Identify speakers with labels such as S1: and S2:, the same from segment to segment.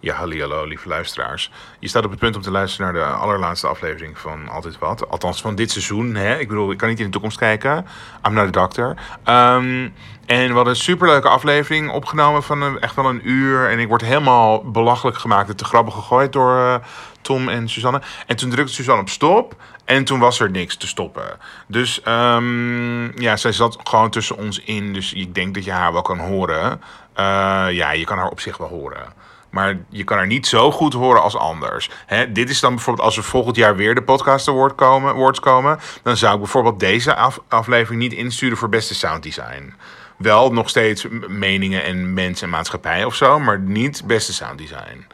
S1: Ja, halli, hallo, lieve luisteraars. Je staat op het punt om te luisteren naar de allerlaatste aflevering van Altijd Wat. Althans, van dit seizoen. Hè? Ik bedoel, ik kan niet in de toekomst kijken. I'm naar de dokter. Ehm, en we hadden een superleuke aflevering opgenomen van een- echt wel een uur. En ik word helemaal belachelijk gemaakt en te grabbel gegooid door eh, Tom en Suzanne. En toen drukte Suzanne op stop. En toen was er niks te stoppen. Dus ehm, ja, zij zat gewoon tussen ons in. Dus ik denk dat je haar wel kan horen. Eh, ja, je kan haar op zich wel horen. Maar je kan haar niet zo goed horen als anders. Hè, dit is dan bijvoorbeeld als we volgend jaar weer de podcast award komen, awards komen. Dan zou ik bijvoorbeeld deze af- aflevering niet insturen voor beste sounddesign. Wel nog steeds m- meningen en mensen en maatschappij of zo. Maar niet beste sounddesign.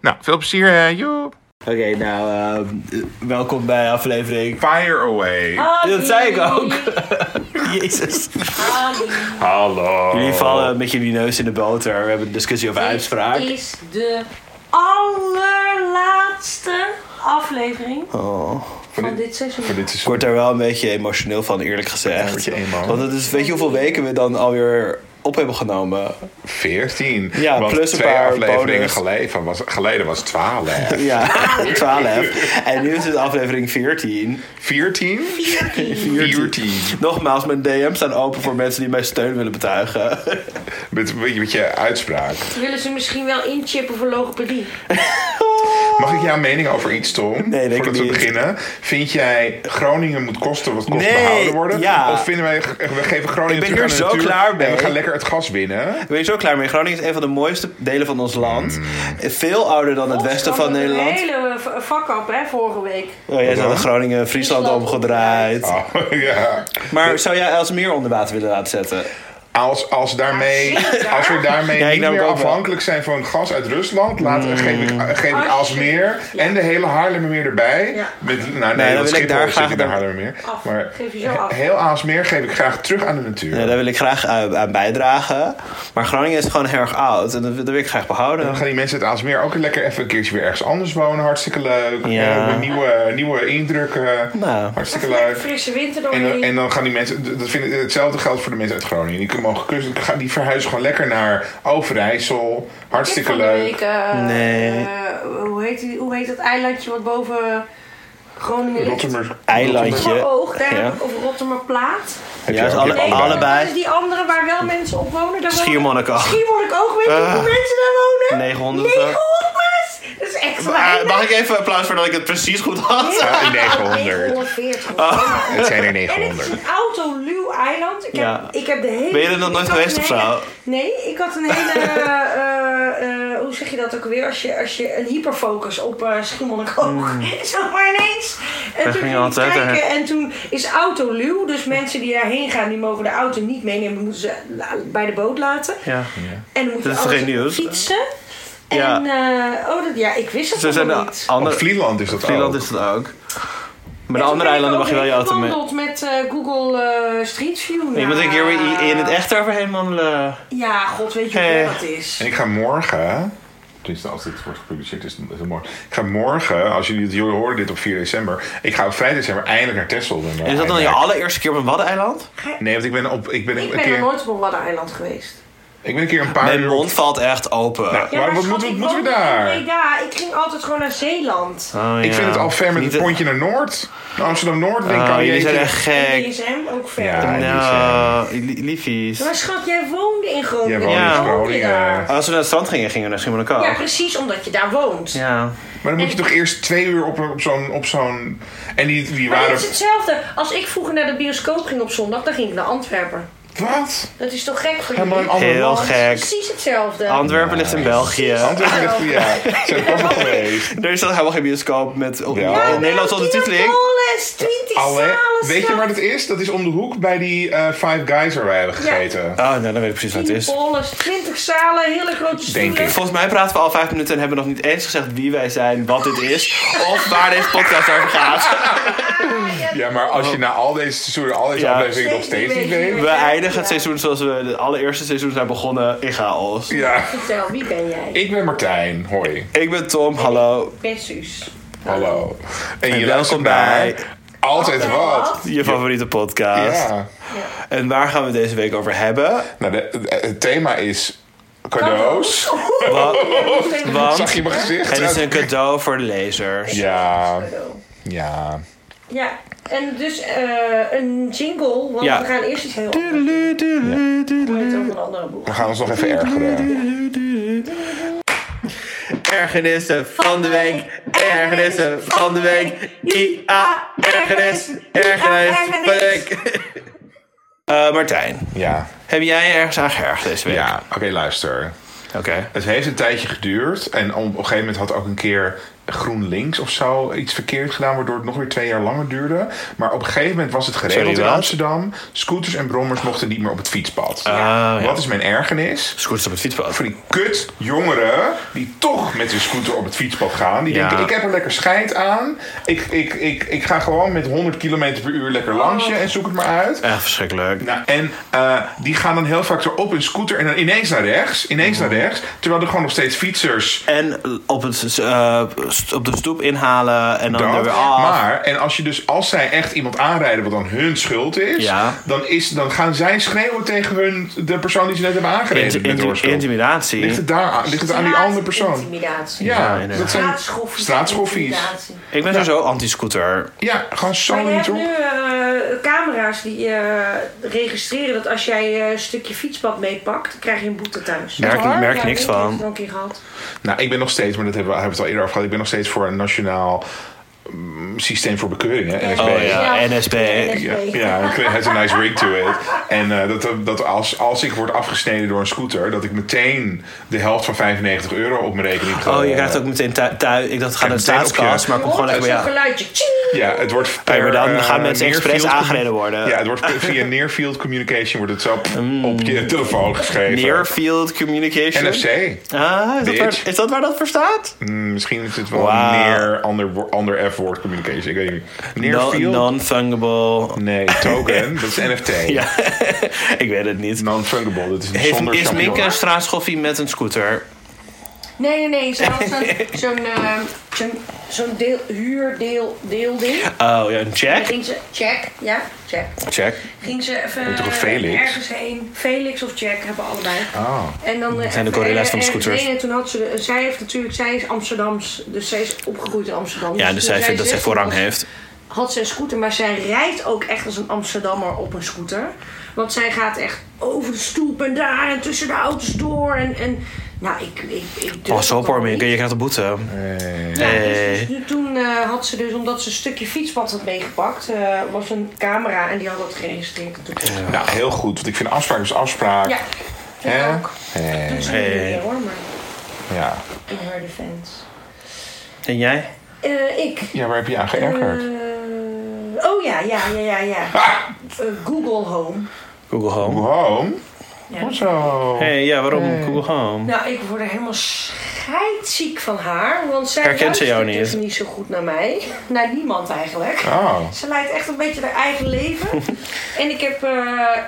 S1: Nou, veel plezier hè. Joep.
S2: Oké, nou, ehm, eh, welkom bij aflevering.
S1: Fire away.
S3: Ah.
S2: Dat zei ik ook. Jezus.
S1: Hallo.
S2: eh, Jullie vallen een beetje die neus in de boter. We hebben een discussie over uitspraak.
S3: Dit is de allerlaatste aflevering
S2: Oh.
S3: van dit seizoen.
S1: Dit is
S2: Ik word daar wel een beetje emotioneel van, eerlijk gezegd.
S1: word je eenmaal.
S2: Want het is, weet je hoeveel weken we dan alweer op hebben genomen?
S4: 14.
S2: Ja,
S4: want
S2: plus een
S4: twee
S2: paar
S4: afleveringen
S2: bonus.
S4: geleden was, geleden was 12. hè?
S2: Ja, 12. En nu is het aflevering 14.
S4: 14? 14.
S2: Nogmaals, mijn DM's staan open voor mensen die mij steun willen betuigen.
S4: Met, met je uitspraak.
S3: Willen ze misschien wel inchippen voor logopedie?
S4: Mag ik jouw mening over iets, Tom?
S2: Nee, denk
S4: Voordat
S2: ik
S4: we
S2: niet.
S4: beginnen. Vind jij Groningen moet kosten wat kost
S2: Nee,
S4: behouden worden?
S2: ja.
S4: Of vinden wij, we geven Groningen
S2: Ik
S4: terug
S2: ben hier
S4: aan de
S2: zo
S4: natuur
S2: klaar mee.
S4: En we gaan lekker het gas winnen.
S2: Ik ben je zo klaar mee. Groningen is een van de mooiste delen van ons land.
S1: Mm.
S2: Veel ouder dan het westen van
S3: Een
S2: Nederland.
S3: hele v- vak op, hè, vorige week.
S2: Oh, jij zat in Groningen, Friesland
S3: Friesland
S2: omgedraaid.
S4: Oh, ja.
S2: Maar zou jij Elsmeer onder water willen laten zetten?
S4: Als, als, daarmee,
S3: Ja, zeker.
S4: als we daarmee
S2: Ja, ik
S4: niet
S2: denk
S4: meer
S2: ook wel. Mm.
S4: afhankelijk zijn van gas uit Rusland, laat, geef ik, geef ik
S3: Als-
S4: Aalsmeer
S3: Ja.
S4: en de hele Haarlemmermeer erbij.
S3: Ja.
S4: Met, nou,
S2: wil
S4: nee,
S2: ik
S4: dat Schiphol
S2: daar
S4: zit
S2: graag
S4: in de
S2: dan-
S4: Haarlemmermeer.
S3: Af.
S4: Maar
S3: Geef je zo af.
S4: heel Aalsmeer geef ik graag terug aan de natuur.
S2: Ja, daar wil ik graag eh, aan bijdragen. Maar Groningen is gewoon heel erg oud. En dat, dat wil ik graag behouden.
S4: Dan gaan die mensen uit Aalsmeer ook lekker even een keertje weer ergens anders wonen. Hartstikke leuk.
S2: Ja.
S4: Eh, met nieuwe, nieuwe indrukken.
S2: Nou.
S4: Hartstikke
S3: Lekker
S4: leuk.
S3: frisse winter
S4: En, dan-
S3: doorheen.
S4: en dan gaan die mensen, d- dat vind ik, hetzelfde geldt voor de mensen uit Groningen. Die kunnen mogen kussen, gaan- die verhuizen gewoon lekker naar Overijssel. Hartstikke
S3: Ik heb van de
S4: leuk.
S3: Week, eh,
S2: Nee.
S3: eh, hoe, heet die, hoe heet dat eilandje wat boven Groningen ligt?
S4: Rotterdam.
S2: Eilandje.
S3: Oog, daar
S2: Ja.
S3: heb ik, of Rottermerplaat.
S4: Heb
S2: Ja,
S4: je
S2: is
S4: ook
S2: alle-
S4: je
S3: Nee,
S4: allebei.
S2: allebei.
S3: dat is die andere waar wel mensen op wonen. Daar wonen-
S2: Schiermonnikoog.
S3: Schiermonnikoog, weet je
S2: Ah.
S3: hoeveel mensen daar wonen?
S2: 900 of zo.
S3: 900! Dat is echt
S2: Eh,
S3: weinig.
S2: Mag ik even applaus voor dat ik het precies goed had?
S4: Ah, 900.
S3: 940.
S2: Oh.
S4: Het zijn er
S3: En het is
S4: 900.
S3: een autoluw eiland. Ik heb,
S2: Ja.
S3: ik heb de hele...
S2: Ben je er nog nooit
S3: ik had
S2: geweest
S3: een
S2: of
S3: hele-
S2: zo?
S3: Nee, ik had een hele... eh, eh, hoe zeg je dat ook weer? Als je, als je een hyperfocus op eh Schiermonnikoog... Zo maar ineens. En toen
S2: Mm. ging
S3: ging ik
S2: altijd, hè?
S3: kijken en toen is autoluw. Dus mensen die daarheen gaan, die mogen de auto niet meenemen. Moeten ze la- bij de boot laten.
S2: Ja.
S3: En dan moet je
S2: Dat is toch
S3: altijd
S2: geen nieuws?
S3: fietsen.
S2: Ja.
S3: En, eh, oh, dat, ja, ik wist het
S2: Ze
S3: nog
S2: zijn
S3: niet.
S2: de
S4: Op
S2: andere...
S4: Vlieland is dat
S2: Vlieland
S4: ook.
S2: is dat ook. Maar de andere eilanden mag je wel je auto mee.
S3: Ik met eh, Google eh, Street View.
S2: Ik moet
S3: naar-
S2: ik hier weer i- in het echt Eh. overheen wandelen.
S3: Ja, god, weet je hoe
S2: Hey.
S3: ver dat is?
S4: En ik ga morgen... Tenminste, als dit wordt gepubliceerd, is het is het morgen. Ik ga morgen, als jullie, jullie horen dit op 4 december... Ik ga op 5 december eindelijk naar Texel. En
S2: Is dat dan je allereerste keer op een waddeneiland?
S4: Nee, want ik ben, op, ik ben,
S3: Ik
S4: een,
S3: ben nog
S4: keer,
S3: nooit op een waddeneiland geweest.
S4: ik ben een keer een paar
S2: Mijn
S4: uur...
S2: mond valt echt open.
S4: Ja, maar wat
S3: schat,
S4: moeten we-
S3: ik
S4: moeten we
S3: woon in
S4: daar?
S3: Breda. Ik ging altijd gewoon naar Zeeland.
S2: Oh,
S4: Ik vind het al ver met het pontje naar Noord. Naar Amsterdam-Noord denk ik al
S2: Nou, jullie
S4: jeetje.
S2: zijn echt
S3: En
S2: gek.
S3: DSM ook ver.
S4: Ja. die
S2: Nou, li- liefies.
S3: Maar schat, jij woonde in Groningen.
S4: Jij woonde
S2: in
S3: Waarom woon je
S4: Groningen.
S3: daar?
S2: Als we naar het strand gingen, gingen we naar Schiermonnikoog.
S3: Ja, precies, omdat je daar woont.
S2: Ja.
S4: Maar dan moet je toch eerst twee uur op, op zo'n... Op zo'n en die, die
S3: Maar
S4: waren...
S3: het is hetzelfde. Als ik vroeger naar de bioscoop ging op zondag, dan ging ik naar Antwerpen.
S4: Wat?
S3: Dat is toch gek voor
S4: Helemaal een
S3: jullie?
S4: ander
S2: Heel
S4: land.
S2: gek.
S3: Precies hetzelfde.
S2: Antwerpen ligt in België.
S4: Antwerpen ligt voor ja. Zijn pas nog geweest.
S2: Er is dan helemaal geen bioscoop met
S4: Ja,
S2: Nederlandse Nederlands ondertiteling.
S3: Alles, 20
S4: Alle,
S3: zalen.
S4: weet je waar dat is? Dat is om de hoek bij die eh, Five Guys waar wij hebben gegeten.
S2: Oh, nou, dan weet ik precies wat het is.
S3: Alles, 20 zalen, hele grote stoelen.
S4: Denk ik.
S2: Volgens mij praten we al vijf minuten en hebben nog niet eens gezegd wie wij zijn, wat dit is, of waar deze podcast over gaat.
S4: Ja, maar als je na al deze seizoenen, al deze
S2: Ja.
S4: afleveringen nog steeds niet weet.
S2: We eindigen het seizoen zoals we het allereerste seizoen zijn begonnen, in chaos.
S4: Ja.
S3: Vertel, wie ben jij?
S4: Ik ben Martijn. Hoi.
S2: Ik ben Tom, hallo.
S3: ben Suus.
S4: Hallo. En, je
S2: welkom
S4: welkom
S2: bij-
S4: bij Altijd Wat.
S2: Je favoriete podcast.
S4: Ja.
S2: En waar gaan we het deze week over hebben?
S4: Nou, de- de- het thema is Cadeaus?
S2: Wat? Wat?
S4: Zag je mijn gezicht?
S2: Het is een cadeau voor de lezers.
S4: Ja, ja.
S3: Ja, en dus eh, een jingle, want
S2: Ja.
S3: we gaan eerst iets heel anders
S2: Tudu, tudu, tudu.
S3: doen, over een andere boek.
S4: We gaan ons nog even ergeren.
S2: Ergernissen van de week. Ergernissen van de week. I-A. Ergernis. Ergernis van de week. Eh, Martijn,
S4: Ja,
S2: heb jij je ergens aan geërgerd deze week?
S4: ja. oké, luister.
S2: Oké.
S4: Het heeft een tijdje geduurd. En op een gegeven moment had ook een keer GroenLinks of zo iets verkeerd gedaan, waardoor het nog weer twee jaar langer duurde. Maar op een gegeven moment was het geregeld
S2: Sorry,
S4: in
S2: wat?
S4: Amsterdam. Scooters en brommers mochten niet meer op het fietspad.
S2: ja.
S4: Wat is mijn ergernis?
S2: Scooters op het
S4: Voor
S2: fietspad.
S4: die kut jongeren die toch met hun scooter op het fietspad gaan. Die
S2: Ja.
S4: denken, ik heb er lekker scheid aan. Ik, ik, ik, ik ga gewoon met 100 km per uur lekker langs
S2: Oh.
S4: je en zoek het maar uit.
S2: Echt verschrikkelijk.
S4: Nou, en eh, die gaan dan heel vaak zo op hun scooter en dan ineens naar rechts, ineens
S2: Oh.
S4: naar rechts. Terwijl er gewoon nog steeds fietsers
S2: En op, het, eh, st- op de stoep inhalen en dan ah. er
S4: dat.
S2: weer af.
S4: Maar, en als, je dus, als zij echt iemand aanrijden wat dan hun schuld is,
S2: Ja.
S4: dan, is dan gaan zij schreeuwen tegen hun, de persoon die ze net hebben aangereden
S2: Inti-
S4: met
S2: inti-
S4: doorschuld.
S2: intimidatie.
S4: Ligt het, daar aan, ligt het aan die andere persoon?
S3: Straatintimidatie.
S4: Ja,
S2: inderdaad.
S4: dat zijn
S3: Straatschoffies.
S4: straatschoffies.
S3: Intimidatie.
S2: Ik ben sowieso anti-scooter.
S4: Ja, gewoon
S3: Maar
S4: zo
S3: je
S4: niet
S3: hebt
S4: op.
S3: nu eh, camera's die eh, registreren dat als jij eh, een stukje fietspad meepakt, dan krijg je een boete thuis.
S2: Merk,
S4: waar?
S2: merk
S3: Ja,
S2: niks
S3: ik heb het
S2: van.
S3: al een keer gehad.
S4: Nou, ik ben nog steeds, maar dat hebben we, hebben we het al eerder over gehad, ik ben nog steeds voor een nationaal mm, systeem voor bekeuringen. NSB.
S2: Oh ja, NSB.
S4: Ja, ja ik vind- het has a nice ring to it. En eh, dat, dat als, als ik word afgesneden door een scooter, dat ik meteen de helft van 95 euro op mijn rekening ga.
S2: Oh, je krijgt ook meteen thuis. Ik dacht, het gaat naar de
S4: meteen op je-
S2: staatskas, maar
S3: Je
S2: kom gewoon
S3: hoort
S2: lekker bij
S3: zo'n
S2: jou.
S3: geluidje. Tjing!
S4: Ja, het wordt
S2: Ja, maar dan
S4: per,
S2: gaan
S4: eh,
S2: mensen
S4: near-field
S2: expres
S4: commu-
S2: aangereden worden. Mm.
S4: Ja, het wordt per- via nearfield communication wordt het zo op je telefoon geschreven.
S2: Nearfield Communication.
S4: NFC.
S2: Ah, is dat,
S4: Bitch.
S2: waar, is dat waar dat voor staat?
S4: Mm, misschien is het wel
S2: Wauw.
S4: near, ander, wo- ander F-woord communication. Ik weet niet.
S2: No-
S4: Nearfield?
S2: Non-fungible.
S4: nee, token. dat is NFT.
S2: Ja, ik weet het niet.
S4: Non-fungible. Dat is een
S2: Heeft,
S4: zonder
S2: is
S4: champignon.
S2: Mink een straatschoffie met een scooter?
S3: Nee, nee, nee. Ze had zo'n- zo'n eh, zo'n- zo'n deel, huurdeel deelding.
S2: Oh ja, een
S3: En
S2: check.
S3: ging ze, check, ja, check.
S2: Check.
S3: Ging ze even
S4: Heet toch een
S3: eh,
S4: Felix?
S3: ergens heen. Felix of Jack hebben allebei.
S4: Ah.
S3: En dan, eh,
S2: zijn de
S3: even
S2: gorilla's van de
S3: ergens
S2: scooters.
S3: heen En toen had ze, de- zij heeft natuurlijk, zij is Amsterdams, dus zij is opgegroeid in Amsterdam.
S2: Ja, dus
S3: toen
S2: zij vindt dat zij
S3: 16
S2: voorrang
S3: was,
S2: heeft.
S3: Had ze een scooter, maar zij rijdt ook echt als een Amsterdammer op een scooter. Want zij gaat echt over de stoep en daar en tussen de auto's door. En, en nou, ik, ik, ik durf
S2: Pas op
S3: dat
S2: hoor,
S3: niet.
S2: Mink, je krijgt een boete.
S3: Ja,
S2: Hey.
S3: dus- dus toen eh, had ze dus, omdat ze een stukje fietspad had meegepakt, eh, was een camera en die had dat geregistreerd. En Toen
S4: Nou, heel goed. Want ik vind afspraak is afspraak.
S3: Ja,
S4: Hè?
S3: ik ook.
S4: Hè?
S3: Doet ze niet
S2: Hey.
S3: meer hoor, maar
S4: Ja.
S3: in haar defense.
S2: En jij?
S3: Eh, ik.
S4: ja, waar heb je aan geërgerd?
S3: Eh, oh ja, ja, ja, ja, ja. Eh, Google Home.
S2: Google Home.
S4: Gewoon.
S3: Ja.
S4: Hoezo?
S2: hey, ja, waarom Google Home?
S3: Nou, ik word er helemaal scheidziek van haar. Want zij
S2: Herkent ze jou
S3: luistert
S2: niet?
S3: dus niet zo goed naar mij. Naar niemand eigenlijk.
S4: Oh.
S3: Ze leidt echt een beetje haar eigen leven. en ik heb eh,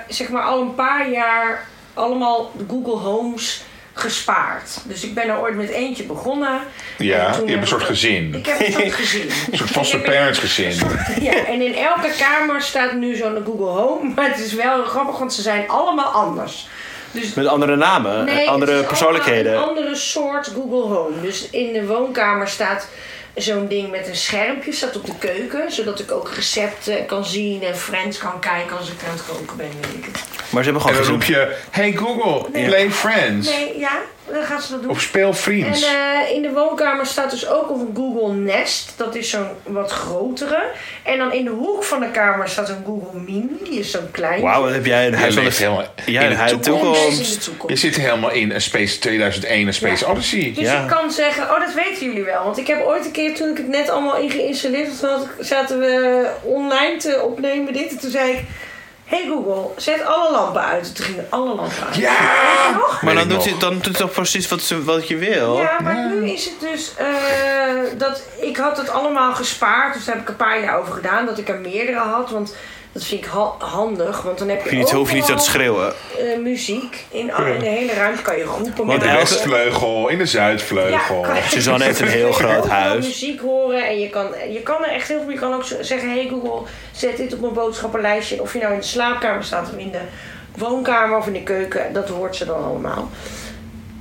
S3: zeg maar al een paar jaar allemaal Google Homes gespaard. Dus ik ben er ooit met eentje begonnen. En
S4: Ja,
S3: toen
S4: je hebt
S3: heb
S4: een soort
S3: ik-
S4: gezin.
S3: Ik heb een soort gezin.
S4: Een soort foster parents gezin.
S2: Oh,
S3: Ja, en in elke kamer staat nu zo'n Google Home. Maar het is wel grappig, want ze zijn allemaal anders. Dus
S2: Met andere namen,
S3: Nee, het
S2: Eh, andere
S3: is
S2: persoonlijkheden.
S3: allemaal Een andere soort Google Home. Dus in de woonkamer staat zo'n ding met een schermpje, staat op de keuken, zodat ik ook recepten kan zien en Friends kan kijken als ik aan het koken ben, weet ik het.
S2: Maar ze hebben
S4: En
S2: gewoon
S4: dan
S2: gezien.
S4: roep je, hey Google, play
S2: Dus
S4: Friends.
S3: Nee, ja, dan gaan ze dat doen.
S4: Of speel
S3: En
S4: Friends.
S3: eh, in de woonkamer staat dus ook een Google Nest. Dat is zo'n wat grotere. En dan in de hoek van de kamer staat een Google Mini. Die is zo'n klein.
S2: Wauw, wat heb jij een
S4: je
S2: huis van
S4: leeft
S2: de...
S4: helemaal
S2: Ja,
S4: in de
S2: hij-
S4: toekomst.
S3: Dat is in de toekomst.
S4: Je zit helemaal in een Space 2001, een Space
S3: Ja.
S4: Odyssey.
S3: Dus
S2: Ja.
S3: ik kan zeggen, oh dat weten jullie wel. Want ik heb ooit een keer, toen ik het net allemaal in geïnstalleerd had, toen had ik- zaten we online te opnemen dit. En toen zei ik, hey Google, zet alle lampen uit. En toen gingen alle lampen uit.
S4: Ja!
S2: Maar
S4: Weet
S2: dan
S4: ik
S2: doet,
S4: nog.
S2: hij, dan doet hij toch precies wat, ze, wat je wil?
S3: Ja, maar nu is het dus eh, dat ik had het allemaal gespaard. Dus daar heb ik een paar jaar over gedaan. Dat ik er meerdere had. Want dat vind ik ha- handig. Want dan heb je,
S2: Hoef je niet, hoef je niet zo te
S3: overal,
S2: schreeuwen.
S3: eh, muziek. In, al- in de hele ruimte kan je groepen
S2: Want
S4: In de
S2: elke-
S4: Westvleugel, in de Zuidvleugel.
S3: kan-
S2: Suzanne heeft een heel
S3: Je kan
S2: groot
S3: overal
S2: huis.
S3: muziek horen en je kan, je kan er echt heel veel. Je kan ook zo- zeggen: Hey Google, zet dit op mijn boodschappenlijstje. Of je nou in de slaapkamer staat of in de woonkamer of in de keuken, dat hoort ze dan allemaal.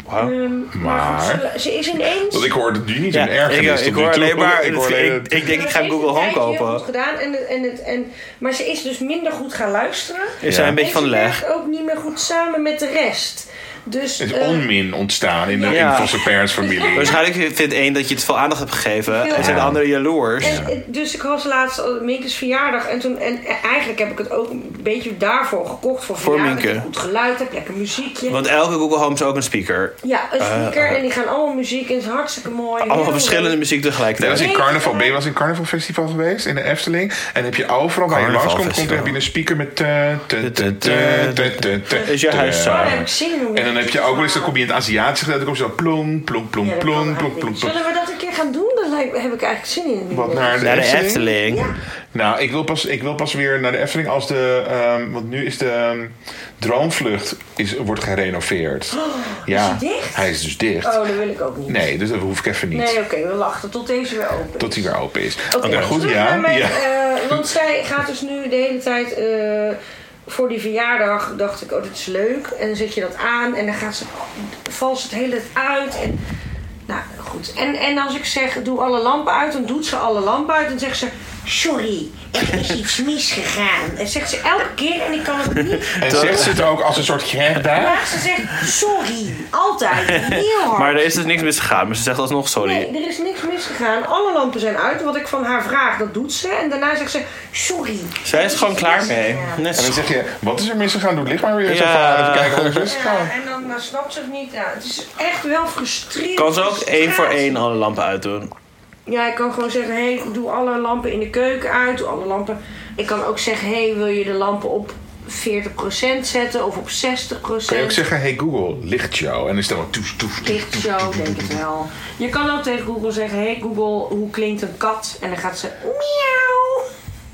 S3: Ehm, maar goed,
S4: Maar-
S3: ze, ze is ineens...
S4: Want ik hoor dat die niet
S2: Ja,
S4: een ergernis
S2: ik,
S4: tot
S2: ik
S4: nu
S2: hoor
S4: toe.
S2: alleen maar.
S4: Ik hoor alleen
S2: ik,
S4: dat-
S2: ik denk, ik
S3: Ze
S2: ga
S3: heeft
S2: Google
S3: een
S2: Home
S3: tijdje heel
S2: kopen.
S3: goed gedaan en het, en het, en, maar ze is dus minder goed gaan luisteren.
S2: Is zij een
S4: Ja.
S2: beetje van de
S3: en ze
S2: leg?
S3: werkt ook niet meer goed samen met de rest. Dus,
S4: Het is
S3: eh,
S4: onmin ontstaan in de
S2: Ja. Dus
S4: in foster parents familie.
S2: Waarschijnlijk vindt één dat je te veel aandacht hebt gegeven.
S3: Veel
S2: En zijn de
S3: aandacht.
S2: anderen jaloers.
S3: En, eh, Dus ik was laatst al Minke's verjaardag en toen en eh, eigenlijk heb ik het ook een beetje daarvoor gekocht voor,
S2: Voor
S3: verjaardag.
S2: Minke.
S3: Dat je Goed geluid, heb lekker muziekje.
S2: Want elke Google Home is ook een speaker.
S3: ja, een speaker en die gaan allemaal muziek en het is hartstikke mooi.
S2: Allemaal
S3: Heel
S2: verschillende
S3: leuk.
S2: muziek
S4: Dat was
S2: tegelijkertijd.
S4: in carnaval. Ben je wel eens in een carnavalfestival geweest? In de Efteling? En heb je overal waar je langskomt, komt,
S2: Carnavalfestival.
S4: heb je een speaker met... te, te, te, te, te, te, te,
S2: Is je
S4: te.
S2: huis saai?
S3: Daar heb ik zin in. om
S4: En dan heb je ook wel eens, dan kom je in het Aziatische gedeelte, dan kom je zo plong, plong, plong,
S3: Ja, dat kan
S4: plong, plong,
S3: eigenlijk
S4: plong,
S3: niet.
S4: plong.
S3: Zullen we dat een keer gaan doen? Daar lijkt- heb ik eigenlijk zin in.
S4: Wat naar de,
S2: Naar de
S4: Efteling?
S2: Efteling.
S4: Nou, ik wil, pas, ik wil pas weer naar de Efteling als de... ehm, want nu is de ehm, droomvlucht is, wordt gerenoveerd. ja,
S3: hij Oh, dicht?
S4: hij is dus dicht.
S3: Oh, dat wil ik ook niet.
S4: Nee, dus dat hoef ik even niet.
S3: Nee, oké, we wachten tot deze weer open. is.
S4: Tot hij weer open is.
S3: Oké,
S4: Maar goed,
S3: terug naar
S4: ja.
S3: mijn,
S4: ja.
S3: eh, want zij gaat dus nu de hele tijd eh, voor die verjaardag. Dacht ik, oh, dit is leuk. En dan zet je dat aan en dan gaat ze, valt ze het hele uit. En, nou goed. En, en als ik zeg, doe alle lampen uit, dan doet ze alle lampen uit. En zegt ze, sorry, er is iets misgegaan. En zegt ze elke keer en ik kan het niet.
S4: En zegt ze het ook als een soort greg bij?
S3: Maar ze zegt, sorry, altijd, heel hard.
S2: Maar er is dus niks misgegaan. Maar ze zegt alsnog sorry.
S3: Nee, er is niks misgegaan. Alle lampen zijn uit. Wat ik van haar vraag, dat doet ze. En daarna zegt ze, sorry.
S2: Zij is
S3: Er
S2: gewoon
S3: iets
S2: klaar mee.
S3: misgegaan.
S2: Net
S4: En dan
S2: zo.
S4: zeg je, wat is er misgegaan? Doe het licht maar weer eens
S2: Ja.
S4: even aan. Even kijken wat er is
S3: Ja,
S4: misgegaan.
S3: en dan, dan snapt ze het niet. Ja, het is echt wel frustrerend.
S2: Kan ze ook één voor
S3: Frustratie.
S2: één alle lampen uitdoen.
S3: Ja, ik kan gewoon zeggen, hé, hey, doe alle lampen in de keuken uit. Doe alle lampen. Ik kan ook zeggen, hé, hey, wil je de lampen op 40% zetten of op 60%?
S4: Kun je ook zeggen, hey Google, licht jou. En dan stel dan toes, toes, toes,
S3: Licht
S4: toes,
S3: zo,
S4: toes,
S3: denk ik
S4: toes.
S3: wel. Je kan ook tegen Google zeggen, hé hey Google, hoe klinkt een kat? En dan gaat ze, miauw.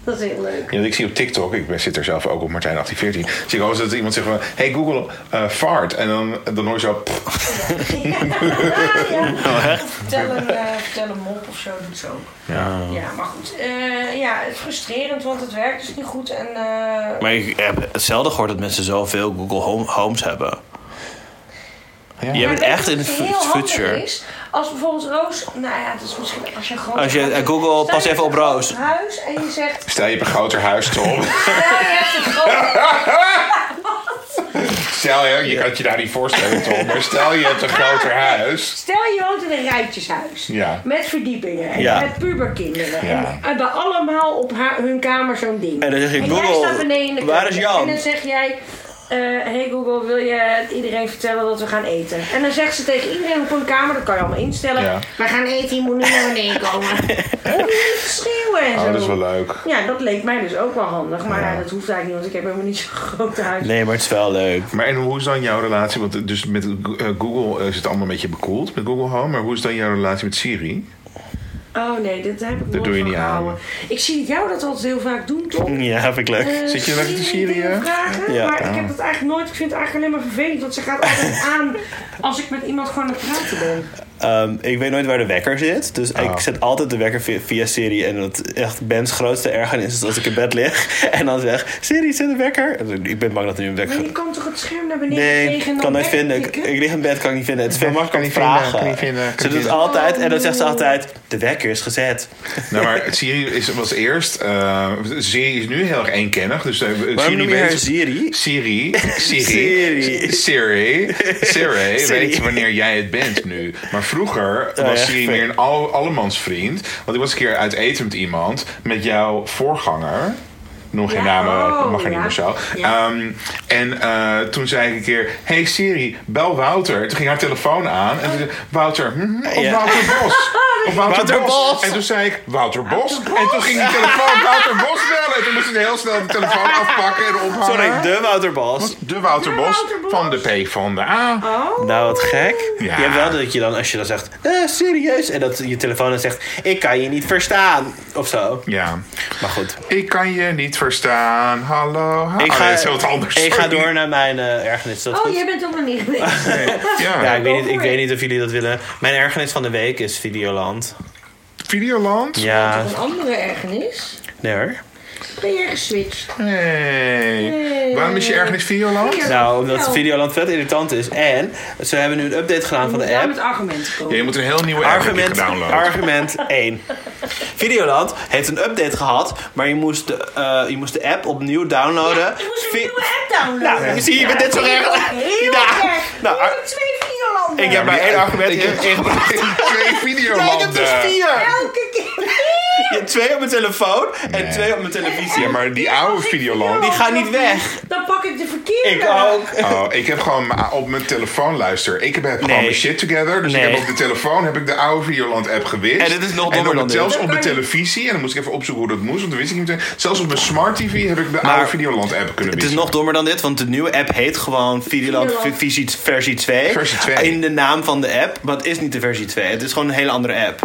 S3: Dat is heel leuk.
S4: Ja, want ik zie op TikTok, ik zit er zelf ook op Martijn 1814, zie ik altijd dat iemand zegt van, hey Google, eh, fart. En dan, dan hoor je zo, pff,
S2: Oh,
S3: ja. Of vertel een, eh, vertel een mop of zo, doet ze ook.
S4: Ja.
S3: Ja, maar goed. Eh, ja, het is frustrerend, want het werkt dus niet goed. En, eh,
S2: Maar ik heb zelden gehoord dat mensen zoveel Google Home, Homes hebben.
S4: Ja.
S2: Je
S3: maar
S2: bent
S3: weet
S2: echt
S3: je
S2: in
S3: wat
S2: het
S3: heel handig
S2: future.
S3: Is, als bijvoorbeeld Roos... Nou ja, dat is misschien als je gewoon...
S2: Als je- eh, Google, pas even op Roos.
S3: huis en je zegt...
S4: stel je hebt een groter huis, Tom.
S3: Ja, je hebt een groot
S4: Stel je, je kan het je daar niet voorstellen, Tom, maar stel je hebt een groter huis.
S3: Stel je woont in een rijtjeshuis.
S4: Ja.
S3: Met verdiepingen. En
S2: Ja.
S3: Met puberkinderen.
S4: Ja.
S3: En hebben allemaal op haar, hun kamer zo'n ding.
S2: En dan zeg je,
S3: jij
S2: Google,
S3: staat beneden in de
S2: waar
S3: keuken.
S2: is Jan?
S3: En dan zeg jij... eh, hey Google, wil je iedereen vertellen dat we gaan eten? En dan zegt ze tegen iedereen op hun kamer, dat kan je allemaal instellen.
S4: Ja.
S3: We gaan eten, je moet nu naar beneden komen. En dan schreeuwen en zo.
S4: Oh, dat is wel leuk.
S3: Ja, dat leek mij dus ook wel handig. Maar ja, dat hoeft eigenlijk niet, want ik heb helemaal niet zo'n groot huis.
S2: Nee, maar het is wel leuk.
S4: Maar en hoe is dan jouw relatie? Want eh, dus met eh, Google eh, is het allemaal een beetje bekoeld met Google Home. Maar hoe is dan jouw relatie met Siri?
S3: Oh nee, dat heb ik nooit
S4: doe je
S3: van
S4: niet aan.
S3: gehouden. Ik zie jou dat altijd heel vaak doen, toch?
S2: Ja, vind ik
S3: Eh.
S2: leuk.
S4: Zit je lekker te
S3: Siri
S4: Syrië?
S3: dingen vragen,
S2: Ja.
S3: maar ik heb dat eigenlijk nooit. Ik vind het eigenlijk alleen maar vervelend, want ze gaat altijd aan als ik met iemand gewoon aan het praten ben.
S2: Ehm, ik weet nooit waar de wekker zit. Dus ik zet altijd de wekker via, via Siri. En dat echt Ben's grootste ergernis is als ik in bed lig. En dan zeg, Siri, zet de wekker. En dan- Ik ben bang dat er nu een wekker
S3: Maar je
S2: gaat.
S3: kan toch het scherm naar beneden
S2: Nee,
S3: vegen en
S2: ik
S3: dan
S2: kan nooit
S3: weg
S2: vinden. Ik,
S3: klikken?
S2: ik lig in bed, kan ik niet vinden. Het is veel
S4: Kan
S2: makkelijker om
S4: niet
S2: te
S4: vinden,
S2: vragen.
S4: kan niet vinden, kan
S2: Ze
S4: niet
S2: doet het
S4: vinden.
S2: altijd. En dan zegt ze altijd, de wekker is gezet.
S4: Nou, maar Siri is, was eerst. eh, Siri is nu heel erg eenkennig. Dus, eh,
S2: Waarom noem je haar
S4: weet-
S2: Siri?
S4: Siri. Siri. Siri.
S2: Siri.
S4: Siri.
S2: Siri. Oh,
S4: Weet wanneer jij het bent nu. Maar vroeger
S2: ja,
S4: was Siri
S2: fair.
S4: meer een al, allemansvriend. Want ik was een keer uit eten met iemand. Met jouw voorganger. Noem geen
S3: Ja,
S4: namen,
S3: oh,
S4: mag geen
S3: ja.
S4: noemen zo.
S3: Ja.
S4: Ehm, en eh, toen zei ik een keer: Hey Siri, bel Wouter. Toen ging haar telefoon aan. En toen zei Wouter, hm, of
S2: Ja.
S4: Wouter Bos. Of Wouter,
S2: Wouter Bos.
S4: Bos. En toen zei ik Wouter Bos. En toen ging die telefoon Wouter Bos bellen. En toen moest ik heel snel de telefoon afpakken en ophangen.
S2: Sorry, de Wouter Bas.
S4: De Wouter
S3: De
S4: Bos
S3: Wouter Bos.
S4: van de P van de A.
S3: Oh,
S2: Nou, wat gek.
S4: Ja.
S2: Je hebt wel dat je dan, als je dan zegt, eh, serieus. En dat je telefoon dan zegt, ik kan je niet verstaan. Of zo.
S4: Ja.
S2: Maar goed.
S4: Ik kan je niet verstaan. Hallo. ha-
S2: Ik
S4: Oh,
S2: ga,
S4: nee, dat is heel wat anders.
S2: ik ga
S4: Sorry.
S2: door naar mijn eh, ergernis. Is dat
S3: oh
S2: goed?
S3: jij bent ook nog niet geweest.
S4: Ja.
S2: Ja, ik weet, niet, ik
S3: Over.
S2: weet niet of jullie dat willen. Mijn ergernis van de week is Videoland.
S4: Videoland.
S2: Ja,
S3: Een andere ergernis.
S2: nee hoor.
S3: Ben jij geswitcht?
S4: Nee. Waarom is je ergernis Videoland?
S3: Ja.
S2: Nou, omdat
S3: Nou.
S2: Videoland vet irritant is. En ze hebben nu een update gedaan van de
S3: Daar
S2: app.
S3: met argumenten komen.
S4: Ja, je moet een heel nieuwe app hebben
S2: Argument,
S4: gedownload.
S2: argument 1. Videoland heeft een update gehad, maar je moest de, eh, je moest de app opnieuw downloaden.
S3: Ik moest een
S2: Vi-
S3: nieuwe app downloaden.
S2: nou, zie je, je bent net zo erg.
S3: Heel
S2: Ja.
S3: erg.
S2: Nou,
S3: Nou,
S2: ar-
S3: twee Videolanden.
S2: ik heb maar één argument in- ingebracht.
S4: Twee
S2: Nee, ik heb dus
S4: Videolanden.
S2: vier.
S3: Elke keer.
S2: Je hebt twee op mijn telefoon en twee op mijn televisie.
S4: Ja, maar die oude Videoland.
S2: Die gaan niet weg.
S3: Dan pak ik de verkeerde.
S2: Ik ook.
S4: Oh, ik heb gewoon m- op mijn telefoon luister. Ik heb gewoon mijn shit together. Dus
S2: Nee.
S4: ik heb op de telefoon heb ik de oude Videoland app gewist.
S2: En dit is nog
S4: En
S2: dommer
S4: op-
S2: dan dit.
S4: Zelfs
S3: Dat
S4: op de
S3: kan niet.
S4: televisie. En dan moest ik even opzoeken hoe dat moest. Want dan wist ik niet meteen. Zelfs op mijn smart TV heb ik de
S2: Maar-
S4: oude Videoland app kunnen
S2: Het is
S4: wissen.
S2: nog dommer dan dit, want de nieuwe app heet gewoon Videoland
S3: Videoland.
S2: versie, versie 2.
S4: Versie 2.
S2: In de naam van de app, maar het is niet de versie 2. Het is gewoon een hele andere app.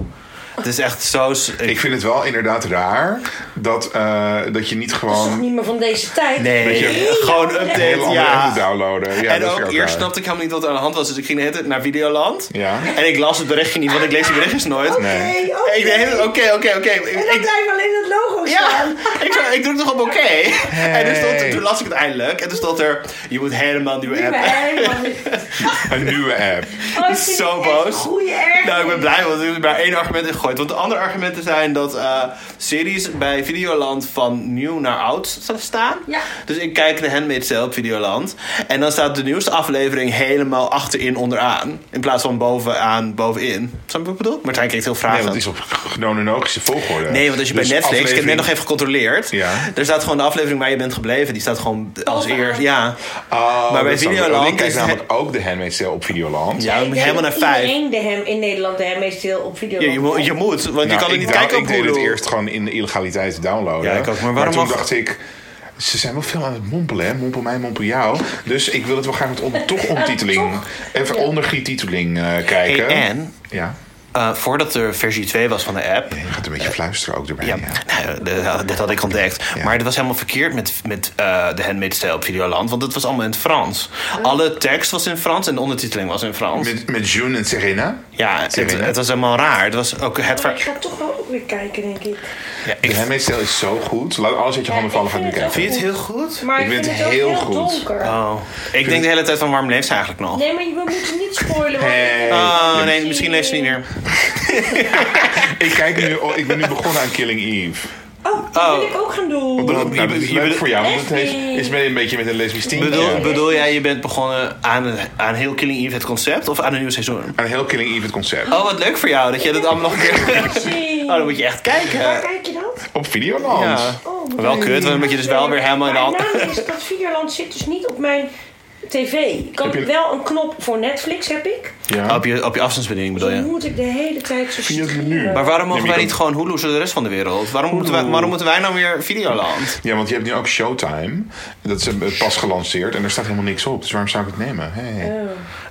S2: Het is echt zo... s-
S4: Ik vind het wel inderdaad raar dat, eh, dat je niet
S3: Dat is toch
S4: gewoon
S3: niet meer van deze tijd?
S2: Nee,
S4: Weet je,
S2: gewoon
S4: een hele
S2: update,
S4: andere app moet
S2: ja.
S4: downloaden. Ja,
S2: en
S4: dat
S2: ook,
S4: is
S2: eerst
S4: raar.
S2: snapte ik helemaal niet wat er aan de hand was. Dus ik ging de hele tijd naar Videoland.
S4: Ja.
S2: En ik las het berichtje niet, want ik lees die berichtjes nooit.
S3: Oké,
S4: Nee.
S3: oké.
S2: En ik deed, oké, oké, oké.
S3: En dan
S2: Ik-
S3: blijft alleen dat logo
S2: Ja,
S3: staan.
S2: ik, zei, ik druk toch op oké. En toen, stond, er- toen las ik het eindelijk. En toen stond er, je moet helemaal een nieuwe
S3: Oh, Ik ben
S2: app.
S3: helemaal niet-
S4: Een nieuwe app.
S3: Oh, ik
S2: Zo
S3: vind het echt
S2: boos.
S3: een goede erg.
S2: Nou, ik ben blij, want er is maar één argument in gegooid. Want de andere argumenten zijn dat eh, series bij Videoland van nieuw naar oud sta- staan.
S3: Ja.
S2: Dus ik kijk de Handmaid's Tale op Videoland. En dan staat de nieuwste aflevering helemaal achterin onderaan. In plaats van bovenaan, bovenin. Snap je wat ik bedoel? Martijn kijkt heel
S4: Nee,
S2: vragen.
S4: want het is op chronologische volgorde.
S2: Nee, want als je
S4: Dus
S2: bij Netflix, ik heb net
S4: aflevering-
S2: nog even gecontroleerd.
S4: Ja.
S2: Er staat gewoon de aflevering waar je bent gebleven. Die staat gewoon als
S3: Bovenaan.
S2: eerst. Ja.
S4: Oh,
S2: Maar bij
S4: dat snap ik.
S2: Videoland
S4: Want Ik kijk
S2: is-
S4: namelijk ook de Handmaid's Tale op Videoland.
S2: ja,
S3: Ik denk
S2: helemaal naar
S3: dat
S2: vijf.
S3: Iedereen de hem in Nederland de hem meestal op video.
S2: Je, je, moet- je moet, want je
S4: Nou,
S2: kan er
S4: ik
S2: niet
S4: dacht-
S2: kijken op
S4: ik deed het
S2: Hulu.
S4: eerst gewoon in de illegaliteit downloaden.
S2: Ja, ik ook. Maar waarom
S4: toen
S2: mag-
S4: dacht ik... Ze zijn wel veel aan het mompelen, hè? Mompel mij, mompel jou. Dus ik wil het wel graag met on, toch omtiteling. Even onder ondergietiteling eh, kijken.
S2: Hey, en?
S4: Ja.
S2: Eh, voordat er versie 2 was van de app.
S4: Je gaat een beetje fluisteren ook erbij.
S2: Ja,
S4: Ja.
S2: nou, dat, dat had ik ontdekt.
S4: Ja.
S2: Maar het was helemaal verkeerd met, met eh, de Handmaid's Tale op Videoland. Want het was allemaal in het Frans. Alle tekst was in Frans en de ondertiteling was in Frans.
S4: Met, met June en Serena.
S2: ja, het,
S4: Serena.
S2: het was helemaal raar. Het was ook het
S3: Maar ik
S2: ver...
S3: ga toch wel ook weer kijken, denk ik.
S2: Ja,
S4: De
S2: ik
S4: Handmaid's Tale is zo goed. Laat alles uit je
S3: Ja,
S4: handen vallen,
S3: ik
S4: ga nu
S3: vind het
S4: kijken.
S2: vind je het heel goed.
S3: Maar ik,
S4: Ik
S3: vind
S4: vind
S3: het ook
S4: het
S3: heel,
S4: heel goed.
S3: donker.
S2: Oh. Ik denk de hele tijd van waarom leeft ze eigenlijk nog?
S3: Nee, maar je- we moeten niet spoilen. want-
S4: Hey.
S2: Oh nee, misschien leeft ze niet meer.
S4: Ik, kijk nu, oh, ik ben nu begonnen aan Killing Eve.
S3: Oh, dat
S2: Oh.
S3: wil ik ook gaan doen.
S4: Nou,
S2: je-
S4: dat is
S2: je-
S4: leuk
S2: je-
S4: voor jou, want het heeft,
S3: Lesbisch.
S4: is een beetje met een lesbisch team.
S2: Bedoel,
S4: Ja.
S2: bedoel jij, je bent begonnen aan, aan heel Killing Eve het concept of aan een nieuw seizoen?
S4: Aan heel Killing Eve het concept.
S2: Oh, wat leuk voor jou dat jij dat allemaal nog een keer...
S3: Jee.
S2: Oh, dan moet je echt kijken.
S3: Waar kijk je dat?
S4: Op Videoland.
S2: Ja.
S3: Oh, moet
S2: Wel kut, want dan moet je dus wel weer helemaal in de hand.
S3: Maar het nadeel is dat Videoland zit dus niet op mijn tv. Ik kan
S4: Heb je- Oh,
S3: wel een knop voor Netflix heb ik.
S4: Ja.
S2: Op je, op je afstandsbediening bedoel
S3: Dan
S2: je?
S3: moet ik de hele tijd zo
S4: Via het
S3: streamen.
S4: menu.
S2: Maar waarom mogen
S4: Nee, maar
S2: wij
S4: je
S2: niet gewoon Hulu zo de rest van de wereld? Waarom moeten wij, waarom moeten wij nou weer Videoland?
S4: ja, want je hebt nu ook Showtime. Dat is eh, pas gelanceerd en er staat helemaal niks op. Dus waarom zou ik het nemen? Hey.
S2: Oh.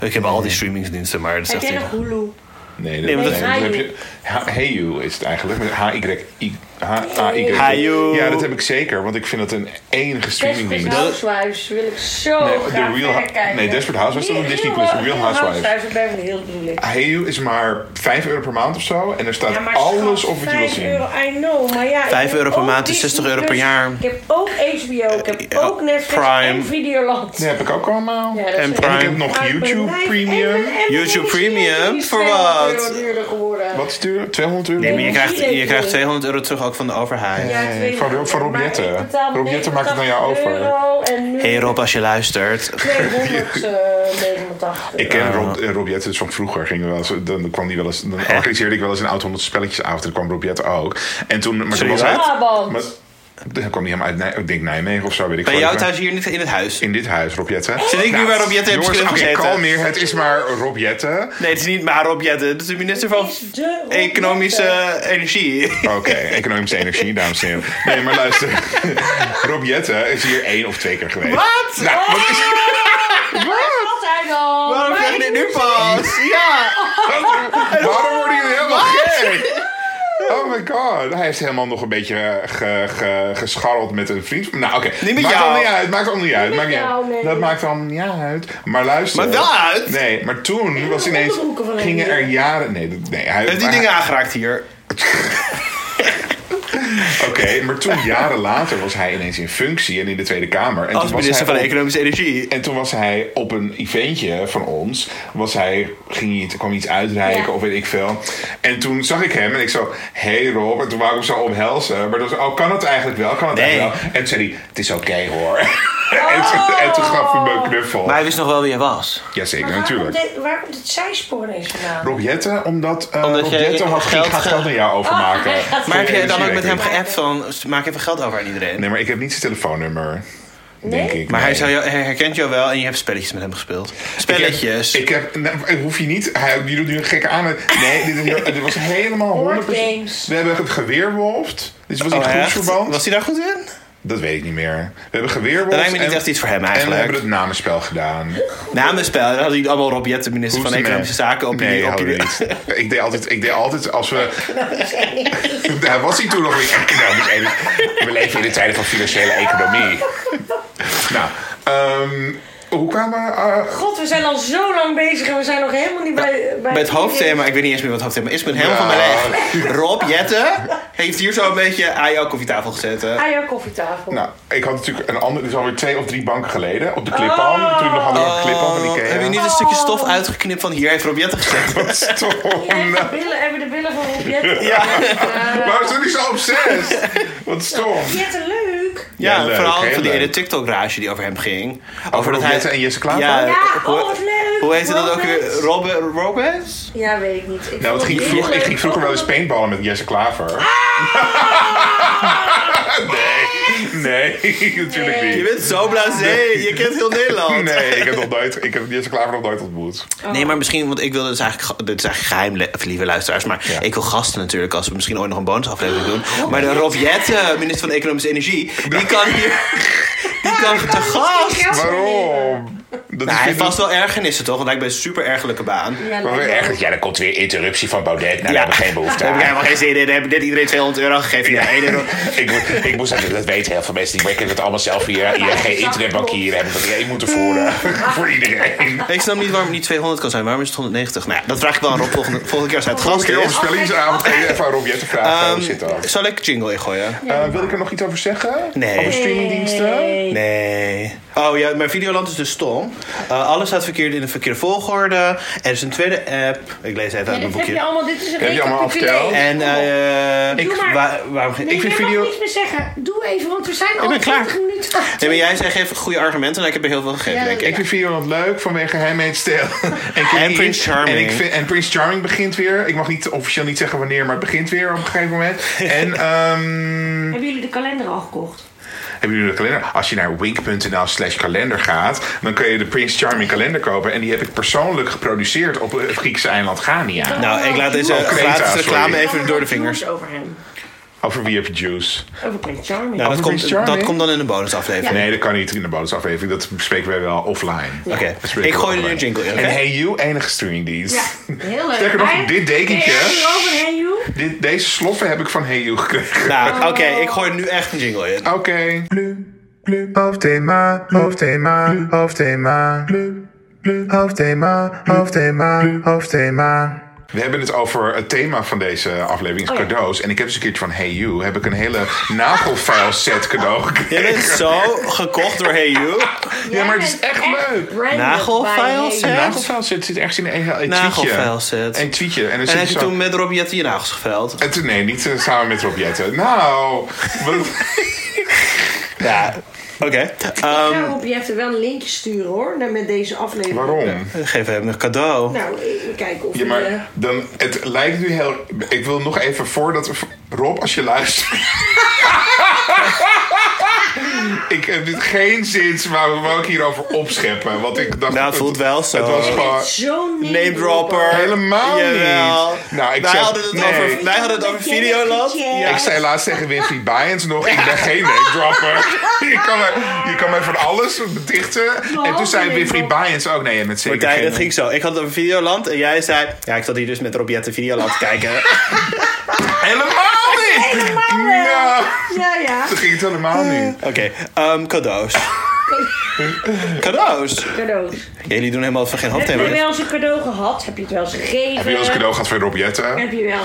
S2: Ik heb al die streamingsdiensten, maar dat
S3: Heb
S2: zegt
S3: jij
S2: hij.
S3: nog Hulu?
S4: Nee, dat,
S2: Nee, want
S4: nee,
S3: dat-
S4: dat heb je. Ha- Hey you is het eigenlijk. Met H-Y. H-A-Y.
S2: Hey you.
S4: Ja, dat heb ik zeker. Want ik vind dat een enige
S3: Desperate
S4: streamingdienst.
S3: Housewives wil ik zo
S4: Nee,
S3: graag
S4: The Real
S3: verder
S4: Hou-
S3: kijken.
S4: nee, Desperate Housewives is op Disney+, Real Housewives.
S3: Housewives, bij de heel bedoel ik.
S4: Hey you is maar 5 euro per maand of zo. En er staat
S3: Ja, maar
S4: Ah, alles
S3: schat,
S4: op wat je wil
S3: 5
S4: zien.
S3: Euro, I know, maar ja, ik
S2: 5
S3: heb
S2: euro per
S3: ook
S2: maand is
S3: Disney
S2: 60 euro per
S3: Plus,
S2: jaar.
S3: Ik heb ook HBO, ik heb
S2: Ja,
S3: ook Netflix
S2: Prime.
S3: en Videoland.
S4: Die heb ik ook allemaal.
S3: Ja, dat
S2: En
S3: is-
S2: Prime.
S4: Ik heb nog
S3: Prime
S4: YouTube
S3: Live en-
S4: Premium.
S3: en- en
S2: YouTube
S3: de
S2: Premium?
S3: serie is
S2: Voor
S3: 200
S2: wat?
S3: euro duurder geworden.
S4: Wat is het? duur? 200 euro?
S2: Nee, maar je
S3: Nee,
S2: krijgt,
S3: die
S2: je
S3: weet
S2: krijgt
S3: ik.
S2: 200 euro terug ook van de overheid.
S3: Ja,
S4: Nee,
S3: 200
S4: van Rob- van
S3: euro, maar
S4: Rob Jetten.
S3: ik betaal
S4: Rob Jetten maakt het aan jou
S3: 89
S4: over.
S3: euro en nu eh,
S2: hey Rob, als je luistert.
S3: 289.
S4: Ik ken Rob, eh, Rob Jetten dus van vroeger. Gingen we wel eens, dan, kwam die wel eens, dan organiseerde ik wel eens een oud 100 spelletjesavond. En dan kwam Rob Jetten ook. En toen, maar toen
S2: Sorry,
S4: was
S2: wat?
S4: hij...
S3: Brabant.
S4: Maar, dan kwam hij helemaal uit, Nij- ik denk Nijmegen of zo, weet ik
S2: Bij
S4: veel.
S2: jou thuis hier niet in het huis.
S4: In dit huis, Rob Jetten.
S2: Zit ik nu waar Rob Jetten heeft
S4: Jongens, oké,
S2: gezeten?
S4: kalm neer. Het is maar Rob Jetten.
S2: Nee, het is niet maar Rob Jetten. Het is de minister van
S3: Het is de Rob
S2: Economische Energie.
S4: Oké, economische energie, dames en heren. Nee, maar luister. Rob Jetten is hier één of twee keer geweest.
S2: Wat?
S3: Oh,
S4: Nou, wat is
S3: Altijd al.
S2: Waarom
S3: Maar
S2: zeg je
S3: ik
S2: dit
S3: moet
S2: nu pas? Ja!
S4: Oh. Waarom worden jullie helemaal gek? Oh my god, hij heeft helemaal nog een beetje eh, ge, ge- gescharreld met een vriend. Nou, oké.
S2: Niet met
S4: maakt
S2: jou.
S4: allemaal niet uit, maakt allemaal niet uit.
S3: Niet met
S4: maakt niet
S3: jou,
S4: uit.
S3: nee.
S4: Dat maakt allemaal niet uit. Maar luister.
S2: Maar wel uit.
S4: Nee, maar toen was
S3: de
S4: ineens.
S3: onderbroeken van hem
S4: Gingen er
S3: hier.
S4: jaren. Nee, dat- nee hij
S2: Heeft die
S4: maar-
S2: dingen aangeraakt hier?
S4: Oké, maar toen, jaren later, was hij ineens in functie en in de Tweede Kamer. En
S2: Als
S4: toen was
S2: minister van
S4: hij op-
S2: Economische Energie.
S4: En toen was hij op een eventje van ons. Was hij, ging hij, iets- kwam iets uitreiken
S3: Ja.
S4: of weet ik veel. En toen zag ik hem en ik zo... hey Rob. En toen wou ik hem zo omhelzen. Maar toen was oh, kan het eigenlijk wel? Kan het
S2: Nee.
S4: eigenlijk wel? En toen zei hij, het is oké hoor. en,
S3: Oh.
S4: toen, en toen gaf hij me een knuffel.
S2: Maar hij wist nog wel wie hij was.
S4: Jazeker,
S3: Maar waar, komt
S4: natuurlijk.
S3: dit, waar komt het zijspoor ineens vandaan?
S4: Rob Jette, omdat, eh
S2: Omdat
S4: Rob
S2: jij
S4: Jette had
S2: geld
S4: geld, gaat
S2: ge-
S4: geld aan jou overmaken.
S3: Oh, hij gaat-
S2: Maar heb jij dan ook met hem
S4: Energierekening.
S2: geappt van maak even geld over aan iedereen?
S4: Nee, maar ik heb niet zijn telefoonnummer. Denk
S3: Nee?
S4: ik.
S2: Maar hij,
S4: nee.
S2: zou jou, hij herkent jou wel en je hebt spelletjes met hem gespeeld. Spelletjes.
S4: Ik heb, ik heb- nou, ik hoef je niet. Hij, die doet nu een gekke aan. Nee, dit, is- dit was helemaal 100%.
S3: games.
S4: We hebben het geweerwolfd. Dus was in
S2: Oh, echt?
S4: groepsverband.
S2: Was hij daar goed in?
S4: Dat weet ik niet meer. We hebben geweerwolfd.
S2: Dat lijkt me niet
S4: en-
S2: echt iets voor hem
S4: En we
S2: eigenlijk.
S4: hebben het namenspel gedaan.
S2: Namenspel, daar hadden jullie allemaal Rob Jette, minister van
S4: Hoefde
S2: Economische
S4: mij.
S2: Zaken, op
S4: nee,
S2: jullie... Op
S4: hadden
S2: jullie.
S4: we niet. ik, deed altijd, ik deed altijd als we... Daar was hij toen nog niet. Nou, dus even, we leven in de tijden van financiële economie. Nou, ehm, hoe kwamen we... eh,
S3: God, we zijn al zo lang bezig en we zijn nog helemaal niet bij...
S2: Bij het hoofdthema, ik weet niet eens meer wat het hoofdthema is, ik ben helemaal van
S4: Ja.
S2: mijn leg. Rob Jette heeft hier zo een beetje aan jouw koffietafel gezeten.
S3: Aan Ah, jouw koffietafel.
S4: Nou, ik had natuurlijk een andere, dus alweer twee of drie banken geleden. Op de clip-on, toen ik nog had een clip-on van Ikea.
S2: Oh, heb je niet een stukje stof uitgeknipt van hier heeft Rob Jette gezeten?
S4: Wat stom.
S3: Jij hebt de billen, hebben de billen van Robjet.
S4: Waarom zijn die zo obsessed? Wat stom.
S3: Jette, leuk.
S2: Ja,
S4: Ja, leuk,
S2: vooral
S4: heel
S2: van die
S4: leuk.
S2: ene TikTok-rage die over hem ging. Over,
S4: Rob Jette en Jesse Klaver?
S2: Ja,
S3: Ja,
S2: Eh, hoe-
S3: oh, wat leuk,
S2: Hoe heette dat ook weer?
S3: Robert.
S2: Robbe, Robes?
S3: Ja, weet ik niet. Ik
S4: Nou, het
S3: vond
S4: ging
S3: het
S4: vroeg,
S3: heel
S4: ik
S3: leuk.
S4: ging vroeger wel eens paintballen met Jesse Klaver. nee, nee, natuurlijk
S2: Je
S4: niet.
S2: bent zo blasé, je kent heel Nederland.
S4: Nee, ik heb, nog nooit, ik heb Jesse Klaver nog nooit ontmoet.
S3: Oh.
S2: Nee, maar misschien, want ik wilde dus eigenlijk, ge- dit is eigenlijk geheim, le- of lieve luisteraars, maar
S4: Ja.
S2: ik wil gasten natuurlijk, als we misschien ooit nog een bonusaflevering doen.
S3: Oh.
S2: Maar de Rob Jette, minister van Economische Energie, die kan hier, die kan te gast.
S3: Geld
S4: Waarom? Dat
S2: Nou, hij heeft
S4: vind ik-
S2: vast wel ergernissen toch, want lijkt bij een super ergelijke baan.
S3: Ja,
S4: Maar weer
S3: leuk.
S4: ergens, ja, dan komt weer interruptie van Baudet. Nou, daar
S2: Ja.
S4: hebben we geen behoefte
S2: Daar heb ik
S4: aan.
S2: helemaal geen zin in, daar heb ik net iedereen 200 euro gegeven. Ja, één euro.
S4: ik, moet- ik moest zeggen, dat weten heel veel mensen. Die werken het allemaal zelf hier. hier geen internetbankieren hebben. Dat één moeten voeren. voor iedereen.
S2: Ik snap niet waarom het niet 200 kan zijn, waarom is het 190? Nou ja, dat vraag ik wel aan Rob volgende, volgende keer als hij het gast
S4: Kun je op
S2: is. Ehm,
S4: spellingsavond even aan Rob Jette vragen? eh, hoe zit dat?
S2: Zal ik jingle ingooien?
S4: Eh, wil ik er nog iets over zeggen?
S2: Nee.
S4: Over streamingdiensten?
S2: Nee. Oh ja, maar Videoland is dus stom. Eh, alles staat verkeerd in de verkeerde volgorde. Er is een tweede app. Ik lees even uit
S3: Ja,
S2: mijn
S3: dit heb je
S2: boekje.
S3: allemaal, dit is een
S4: Heb je allemaal
S3: recapitulatie.
S4: afgeteld?
S2: En eh
S3: Doe
S2: ik,
S3: maar.
S2: waar- waarom,
S3: Nee,
S2: ik vind
S3: jij mag
S2: video...
S3: niks meer zeggen. Doe even, want we zijn al
S2: ben klaar.
S3: 20 minuten.
S2: Nee, maar jij zegt even goede argumenten en ik heb er heel veel gegeven,
S3: Ja,
S2: denk ik.
S4: Ik vind Videoland leuk vanwege Handmaid's Tale. en, Queen.
S2: Prince Charming.
S4: En, ik vind, en Prince Charming begint weer. Ik mag niet officieel niet zeggen wanneer, maar het begint weer op een gegeven moment. En ehm,
S3: Hebben jullie de kalender al gekocht?
S4: Hebben jullie de kalender? Als je naar wink.nl slash kalender gaat, dan kun je de Prince Charming kalender kopen. En die heb ik persoonlijk geproduceerd op het Griekse eiland Chania.
S2: Nou, ik laat deze
S4: Oh, Creta,
S2: gratis reclame
S4: sorry.
S2: even door de vingers.
S3: Nieuws over hem.
S4: Over wie heb je juice?
S3: Over Prince Charming.
S2: Nou, dat,
S4: Prince
S2: komt,
S4: Charming?
S2: dat komt dan in een bonusaflevering.
S4: Nee, dat kan niet in de bonusaflevering. Dat bespreken wij wel offline.
S2: Oké,
S4: Dat bespreken
S2: ik
S4: we
S2: gooi er nu
S4: offline.
S2: een jingle in, oké?
S4: En Hey You, enige streamingdienst.
S3: Ja, heel leuk.
S4: Sterker nog,
S3: Maar-
S4: dit dekentje-
S3: Hey, Heb je over Hey You?
S4: Dit, deze sloffen heb ik van Hey You gekregen.
S2: Nou, oké, ik gooi er nu echt een jingle in.
S4: Oké.
S5: Hoofdthema, hoofdthema, hoofdthema. Hoofdthema, hoofdthema, hoofdthema.
S4: We hebben het over het thema van deze aflevering, is
S3: Oh ja.
S4: cadeaus. En ik heb eens een keertje van Hey You, heb ik een hele nagelfile set cadeau gekregen.
S2: Jij bent zo gekocht door Hey You.
S4: Ja, maar het is echt leuk.
S3: branded
S2: Nagelfiles,
S3: by
S2: hè?
S3: You.
S4: Een nagelfile zit, zit ergens in een, een
S2: Nagelfile
S4: tweetje.
S2: set.
S4: Een tweetje. En, dan
S2: En
S4: zit
S2: heb je
S4: zo-
S2: toen met Rob Jette je nagels geveld?
S4: En toen- nee, niet eh, samen met Rob Jette. Nou, wat-
S2: Ja. Oké.
S3: Ik
S2: Ehm,
S3: ga Rob Jetten wel een linkje sturen hoor, naar- met deze aflevering.
S4: waarom?
S2: geef hem een cadeau.
S3: Nou, ik- kijken of
S4: Ja,
S3: hij, eh,
S4: maar dan, het lijkt nu heel... Ik wil nog even voordat... Rob, als je luistert... ik heb dit geen zin, maar we mogen hierover opscheppen. Want ik dacht...
S2: Nou, voelt wel zo.
S4: Het was gewoon...
S3: Zo'n
S2: Name dropper.
S4: Helemaal
S2: Jawel.
S4: niet. Nou, ik
S2: wij,
S4: zeg-
S2: hadden het
S4: nee.
S2: over, wij hadden het over Videoland. Ja.
S4: Ik zei laatst tegen Winfried Byens nog, ik ben geen name-dropper. je, kan mij- je kan mij van alles betichten. En toen zei Winfried Byens ook, nee, je bent zeker
S2: Martijn,
S4: geen...
S2: dat ging zo. Ik had het over Videoland en jij zei... Ja, ik zat hier dus met Rob Jette Videoland te kijken.
S4: Helemaal niet!
S3: Helemaal Ah, wel.
S4: Nou,
S3: Ja, ja.
S4: toen ging het helemaal niet.
S2: Oké, ehm, cadeaus. Cadeaus!
S3: Cadeaus.
S2: Jullie doen helemaal van geen
S3: Heb je
S2: handtekening.
S3: wel eens een cadeau gehad? Heb je het wel eens gegeven?
S4: Heb je wel eens cadeau gehad van Rob Jetten?
S3: Heb je wel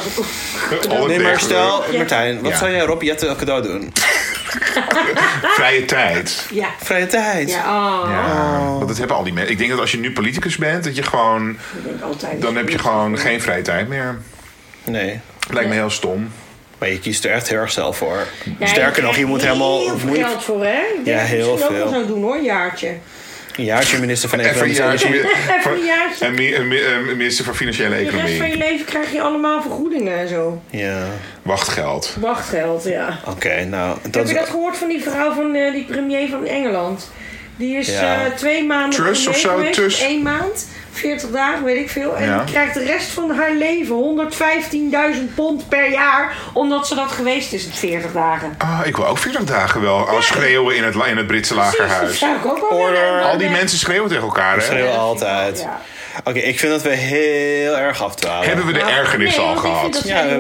S3: eens
S4: Alle
S2: Nee, maar
S4: tegen-
S2: stel, Martijn, wat
S4: Ja.
S2: zou jij Rob Jette een cadeau doen?
S4: Vrije tijd.
S3: Ja.
S2: Vrije tijd.
S3: Ja, oh.
S4: Ja, want dat hebben al die mensen. Ik denk dat als je nu politicus bent, dat je gewoon,
S3: Ik denk altijd.
S4: dan heb je gewoon geen vrije tijd meer.
S2: Nee.
S4: Lijkt me heel stom.
S2: Maar je kiest er echt heel erg zelf voor.
S3: Ja,
S2: Sterker nog, je
S3: krijgt
S2: moet helemaal
S3: Heel veel geld voor, hè? Ik denk
S2: Ja,
S3: dat ik
S2: heel
S3: misschien ook wel
S2: veel.
S3: zou doen, hoor, een jaartje.
S2: een jaartje minister van
S4: Even een
S2: Economische
S4: jaartje.
S2: Energie.
S4: Even
S3: een jaartje.
S4: En mi- en mi- en minister van Financiële
S3: De rest van
S4: Economie.
S3: je leven krijg je allemaal vergoedingen en zo.
S2: Ja,
S4: Wachtgeld.
S3: Wachtgeld, ja.
S2: oké, nou,
S3: Heb
S2: dat
S3: je
S2: is...
S3: dat gehoord van die vrouw van eh, die premier van Engeland? Die is
S2: Ja.
S3: eh, twee maanden
S4: Truss
S3: premier
S4: of zo,
S3: geweest,
S4: Truss.
S3: één maand, 40 dagen, weet ik veel. En
S4: Ja.
S3: die krijgt de rest van haar leven 115.000 pond per jaar, omdat ze dat geweest is in 40 dagen.
S4: Ah, ik wil ook 40 dagen wel. Al schreeuwen in het, la- in het Britse
S3: Precies, dat
S4: lagerhuis.
S3: zou ik ook wel
S2: Order.
S3: willen.
S4: Al die mensen schreeuwen tegen elkaar, hè?
S2: Schreeuwen altijd.
S3: Ja.
S2: Oké, ik vind dat we heel erg afdwalen.
S4: Hebben we de
S3: Nou,
S4: ergernis al
S3: nee, want Ik vind
S4: gehad?
S3: dat
S2: Ja, we-
S3: zij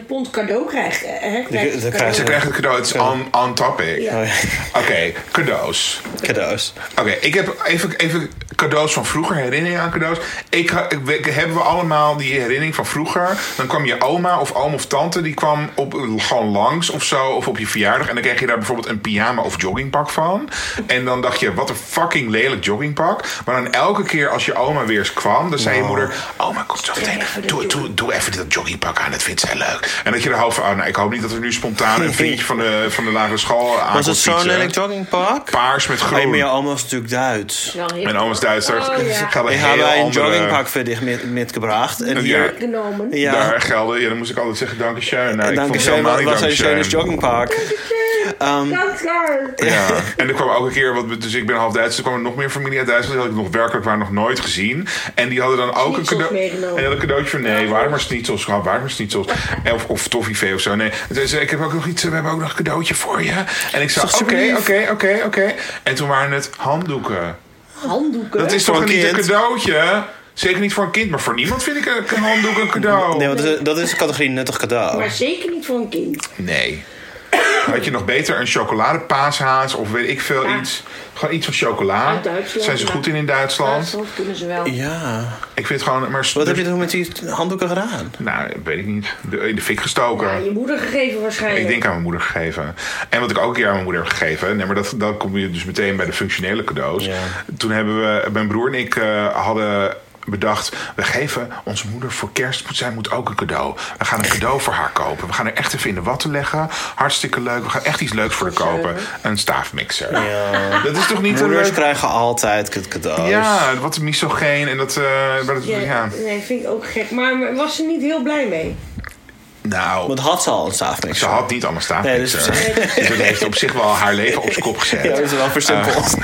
S3: 115.000 pond cadeau krijgt. eh, hè, Hè? Krijgt
S2: dat
S3: ze
S2: krijgt
S4: Ze
S3: cadeau.
S4: krijgen het cadeau, het is on, on topic.
S2: Oh, ja.
S4: Oké, cadeaus.
S2: Cadeaus.
S4: Oké, ik heb even, even cadeaus van vroeger, herinneringen aan cadeaus. Ik, ha- ik, we- hebben we allemaal die herinnering van vroeger? Dan kwam je oma of oom of tante, die kwam op, gewoon langs of zo, of op je verjaardag. En dan kreeg je daar bijvoorbeeld een pyjama of joggingpak van. En dan dacht je, wat een fucking lelijk joggingpak. Maar dan elke keer als je oma weer eens kwam, dan zei je moeder... Oma, kom zo meteen, doe, doe, doe even dat joggingpak aan, dat vindt zij leuk. En dat je er half van, oh, nou, ik hoop niet dat er nu spontaan een vriendje van de, van de lagere school aan
S2: Was het
S4: komt
S2: zo'n
S4: fietsen.
S2: lelijk joggingpak?
S4: Paars met
S2: Oh,
S4: groen.
S2: ja, maar je oma was natuurlijk Duits.
S3: Wel heel
S4: Mijn oom is Duitser.
S3: Oh, ja.
S4: Ik had een
S2: Ik had
S4: heel
S2: een
S4: andere-
S2: joggingpak voor dich met, metgebracht. En
S4: Ja.
S2: hier...
S3: genomen.
S2: Ja,
S4: Daar gelden. Ja, dan moest ik altijd zeggen dankeschön. Nou, ik
S2: dank
S4: vond
S2: je
S4: het helemaal
S2: wel.
S4: niet
S2: Was een schönes
S4: dankeschön.
S2: joggingpak.
S3: Dat is waar.
S2: Ehm,
S4: Ja. En er kwam ook een keer, wat, dus ik ben half Duits, dus er kwam er nog meer familie uit Duitsland. Die had ik nog werkelijk waar nog nooit gezien. En die hadden dan ook een,
S3: Schnitzels
S4: cadeau, en
S3: meegenomen.
S4: die hadden een cadeautje van nee, waar maar schnitzels, gewoon waar maar schnitzels. En Of, of toffee of zo. Nee, En toen zei, ik heb ook nog iets, we hebben ook nog een cadeautje voor je. En ik zei,
S2: toch super
S4: oké,
S2: lief?
S4: oké, oké, oké. En toen waren het handdoeken.
S3: Handdoeken.
S4: Dat is
S2: Voor
S4: toch
S2: een
S4: niet een
S2: kind?
S4: cadeautje? Zeker niet voor een kind, maar voor niemand vind ik een, een handdoek een cadeau.
S2: Nee, want dat is- dat is de categorie nuttig cadeau.
S3: Maar zeker niet voor een kind.
S4: Nee. Had je nog beter een chocoladepaashaas of weet ik veel
S3: Ja.
S4: iets. Gewoon iets van chocola.
S3: Uit Duitsland,
S4: Zijn ze
S3: ja.
S4: goed in in Duitsland?
S3: Dat kunnen ze wel.
S2: Ja.
S4: Ik vind het gewoon... Maar
S2: Wat heb je toen met die handdoeken gedaan?
S4: Nou, weet ik niet. De, in de fik gestoken.
S3: Ja, je moeder gegeven waarschijnlijk.
S4: Ik denk aan mijn moeder gegeven. En wat ik ook een keer aan mijn moeder heb gegeven. Nee, maar dat, dan kom je dus meteen bij de functionele cadeaus.
S2: Ja.
S4: Toen hebben we, mijn broer en ik eh, hadden bedacht, we geven onze moeder voor kerst, moet- zij moet ook een cadeau. We gaan een cadeau voor haar kopen. We gaan er echt even in de watten leggen. Hartstikke leuk. We gaan echt iets leuks voor haar kopen. Een staafmixer. Dat is toch niet een
S2: Moeders
S4: leuk...
S2: krijgen altijd kut cadeaus.
S4: Ja, wat misogeen en dat... eh, maar dat-
S3: Ja,
S4: ja.
S3: Nee, vind ik ook gek. Maar was ze niet heel blij mee?
S4: Nou,
S2: Want had ze al een
S4: ze
S2: staafmixer?
S4: had niet al een
S2: Nee, dus-
S4: staafmixer. Dus dat heeft op zich wel haar leven op zijn kop gezet.
S2: Ja, dat is wel versimpeld.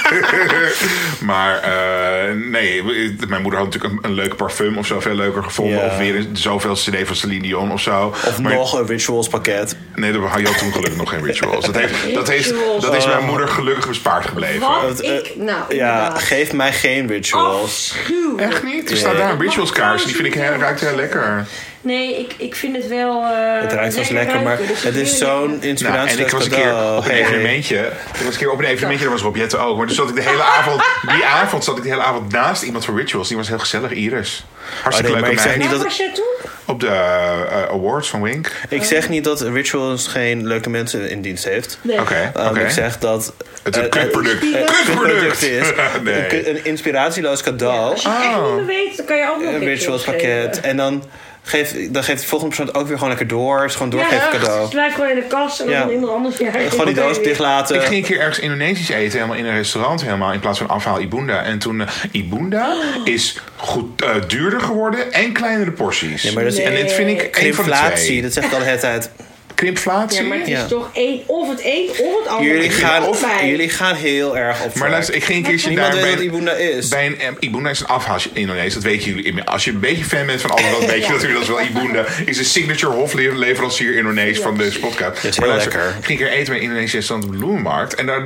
S4: maar eh, nee, w- mijn moeder had natuurlijk een, een leuk parfum of zo veel leuker gevonden.
S2: Ja.
S4: Of weer een- zoveel CD van Celine Dion of zo.
S2: Of
S4: maar,
S2: nog een rituals pakket.
S4: Nee, dat had je had toen gelukkig nog geen rituals. Dat, heeft, dat, heeft,
S3: Rituals.
S4: dat is
S2: Oh.
S4: mijn moeder gelukkig bespaard gebleven.
S3: Wat
S2: eh,
S3: ik... Nou,
S2: Ja,
S3: inderdaad.
S2: geef mij geen rituals.
S3: Afschuw.
S4: Echt niet? Er staat daar een rituals kaars. Die vind ik heel, ruikt heel lekker.
S3: Nee, ik, ik vind het wel... eh,
S2: Het ruikt wel lekker, maar
S3: ruiken, dus
S2: het is
S3: heel
S2: zo'n
S3: lekker.
S4: Nou,
S2: inspiratie.
S4: en ik was een keer op een evenementje. Ik was een keer op een evenementje, daar was Rob Jetten ook. Maar dus zat ik de hele avond, die avond zat ik de hele avond naast iemand van Rituals. Die was heel gezellig, Iris. Hartstikke
S2: Oh, nee,
S4: leuk
S2: maar ik zeg
S4: meid.
S2: niet
S3: Waar
S2: dat-
S3: was jij toen?
S4: Op de eh, awards van Wink.
S2: Ik zeg niet dat rituals geen leuke mensen in dienst heeft.
S3: Nee.
S4: Oké,
S2: Um,
S4: oké.
S2: Ik zeg dat
S4: Het is een
S2: eh, eh,
S4: kutproduct.
S3: eh,
S2: het een
S4: kutproduct!
S2: is. Een,
S4: nee.
S2: ku- een inspiratieloos cadeau.
S3: Als je het echt
S2: Ah.
S3: niet meer weet, dan kan je ook nog
S2: Een rituals pakket. En dan geeft, dan geeft de volgende persoon het ook weer gewoon lekker door. Het is gewoon doorgeven cadeau.
S3: Het lijkt gewoon in de kast en dan
S2: Ja.
S3: in een ander jaar.
S2: Gewoon die doos dicht laten.
S4: Ik ging een keer ergens Indonesisch eten, helemaal in een restaurant helemaal, in plaats van afhaal Ibunda. En toen, eh, Ibunda is goed, eh, duurder geworden en kleinere porties.
S2: Ja, maar dat is-
S4: En dit vind ik een van de
S2: Inflatie,
S4: twee.
S2: dat zegt al de hele tijd.
S4: Krimpflatie?
S3: Ja, maar
S4: maar
S3: het is
S2: Ja.
S3: toch één, of het een of het
S4: Oh,
S3: ander.
S2: Jullie
S3: Ik vind
S2: gaan,
S3: het allebei.
S2: jullie gaan heel erg op track.
S4: luister, ik ging een keertje
S2: Niemand
S4: daar
S2: weet
S4: bij,
S2: wat Ibunda is.
S4: bij een... eh, Ibunda is een afhaal Indonesisch, dat weten jullie. inmiddels. Als je een beetje fan bent van alles, dan weet je natuurlijk dat wel Ibunda is een signature hofleverancier Indonesisch van deze podcast.
S2: is
S4: Maar
S2: heel
S4: luister,
S2: lekker.
S4: Ik ging een keer eten bij een Indonesisch restaurant op de Bloemenmarkt. En daar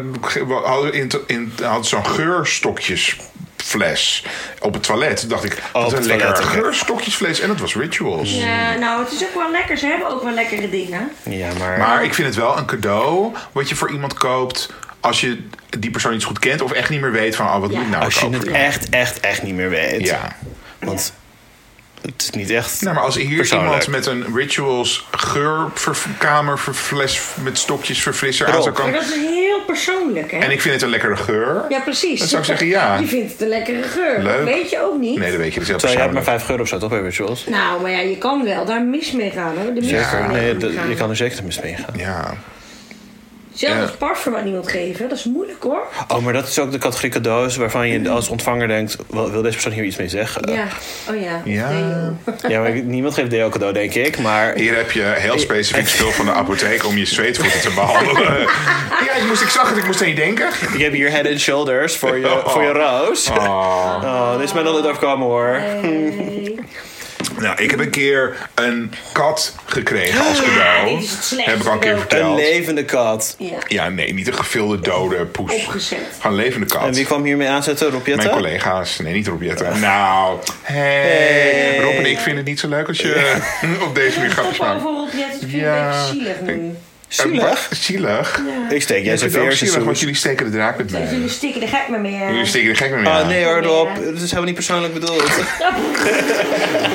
S4: hadden, we in, in, hadden ze zo'n geurstokjesfles op het toilet. Toen dacht ik,
S2: op
S4: wat een
S2: het
S4: lekker
S2: toilet, oké.
S4: geurstokjesfles. En dat was Rituals.
S3: Ja, nou, het is ook wel lekker. Ze hebben ook wel lekkere dingen.
S2: Ja,
S4: Maar ik vind het wel een cadeau wat je voor iemand koopt... als je die persoon iets goed kent of echt niet meer weet van, oh, wat moet ik nou
S2: Als je het
S4: kopen?
S2: echt, echt, echt niet meer weet.
S4: Ja.
S2: Want het is niet echt.
S4: Nou, maar als hier
S2: Persoonlijk.
S4: iemand met een rituals geurkamer fles met stokjes verfrisser aan zou
S2: Erop.
S3: Maar
S4: komen.
S3: dat is heel persoonlijk, hè?
S4: En ik vind het een lekkere geur.
S3: Ja, precies.
S4: Dan zou ik zeggen, ja.
S3: Je vindt het een lekkere geur.
S4: Leuk.
S3: Weet je ook niet.
S4: Nee, dat weet je. Dat is heel
S2: Terwijl jij hebt maar
S4: persoonlijk.
S2: 5 euro op zo, toch bij Rituals?
S3: Nou, maar ja, je kan wel daar mis mee gaan, hoor. De mis
S2: Zeker.
S3: kan
S2: nee,
S3: mee
S2: dat-
S3: gaan.
S2: je kan er zeker mis mee gaan.
S4: Ja.
S3: Zelfs
S4: Ja.
S3: als parfum aan iemand geven, dat is moeilijk, hoor.
S2: Oh, maar dat is ook de categorie cadeaus waarvan je als ontvanger denkt: wel, wil deze persoon hier iets mee zeggen?
S3: Ja. Oh ja.
S4: Eh, Ja.
S3: Nee, joh.
S2: Ja, maar ik- niemand geeft Deo cadeau, denk ik. Maar
S4: Hier heb je heel specifiek spul van de apotheek om je zweetvoeten te behandelen. ja, ik, moest, ik zag het, ik moest aan je denken.
S2: ik heb hier head and shoulders voor je, voor je roos. Oh. dit is mij nog niet overkomen hoor.
S3: Nee.
S4: Nou, ik heb een keer een kat gekregen als cadeau.
S3: Ja, dit Ah, is het slechtste
S4: heb ik al een keer
S3: cadeau.
S2: Een
S4: verteld.
S2: levende kat.
S3: Ja.
S4: Ja, nee, niet een gefilde dode poes.
S3: Opgezet.
S4: Gewoon een levende
S2: En
S4: kat.
S2: wie kwam hiermee aanzetten? Robjette?
S4: Mijn collega's. Nee, niet Rob Jetten. Nou, hey. Rob en ik vinden het niet zo leuk als je op deze manier
S3: Papa
S4: gaat maakt.
S3: bijvoorbeeld, ja, dat vind ik
S4: Ja.
S3: een beetje zielig nu.
S2: Zielig.
S4: Zielig.
S2: Ik steek jij
S4: Ik
S2: zijn
S4: vind het ook
S2: veers
S4: zielig,
S2: in
S4: want
S2: zoen.
S4: jullie steken de draak met
S3: Dus jullie
S4: mij.
S3: stikken de gek met me, hè?
S4: Jullie steken de gek met mij.
S2: Ah,
S4: aan.
S2: nee hoor, Rob. Dat is helemaal niet persoonlijk bedoeld.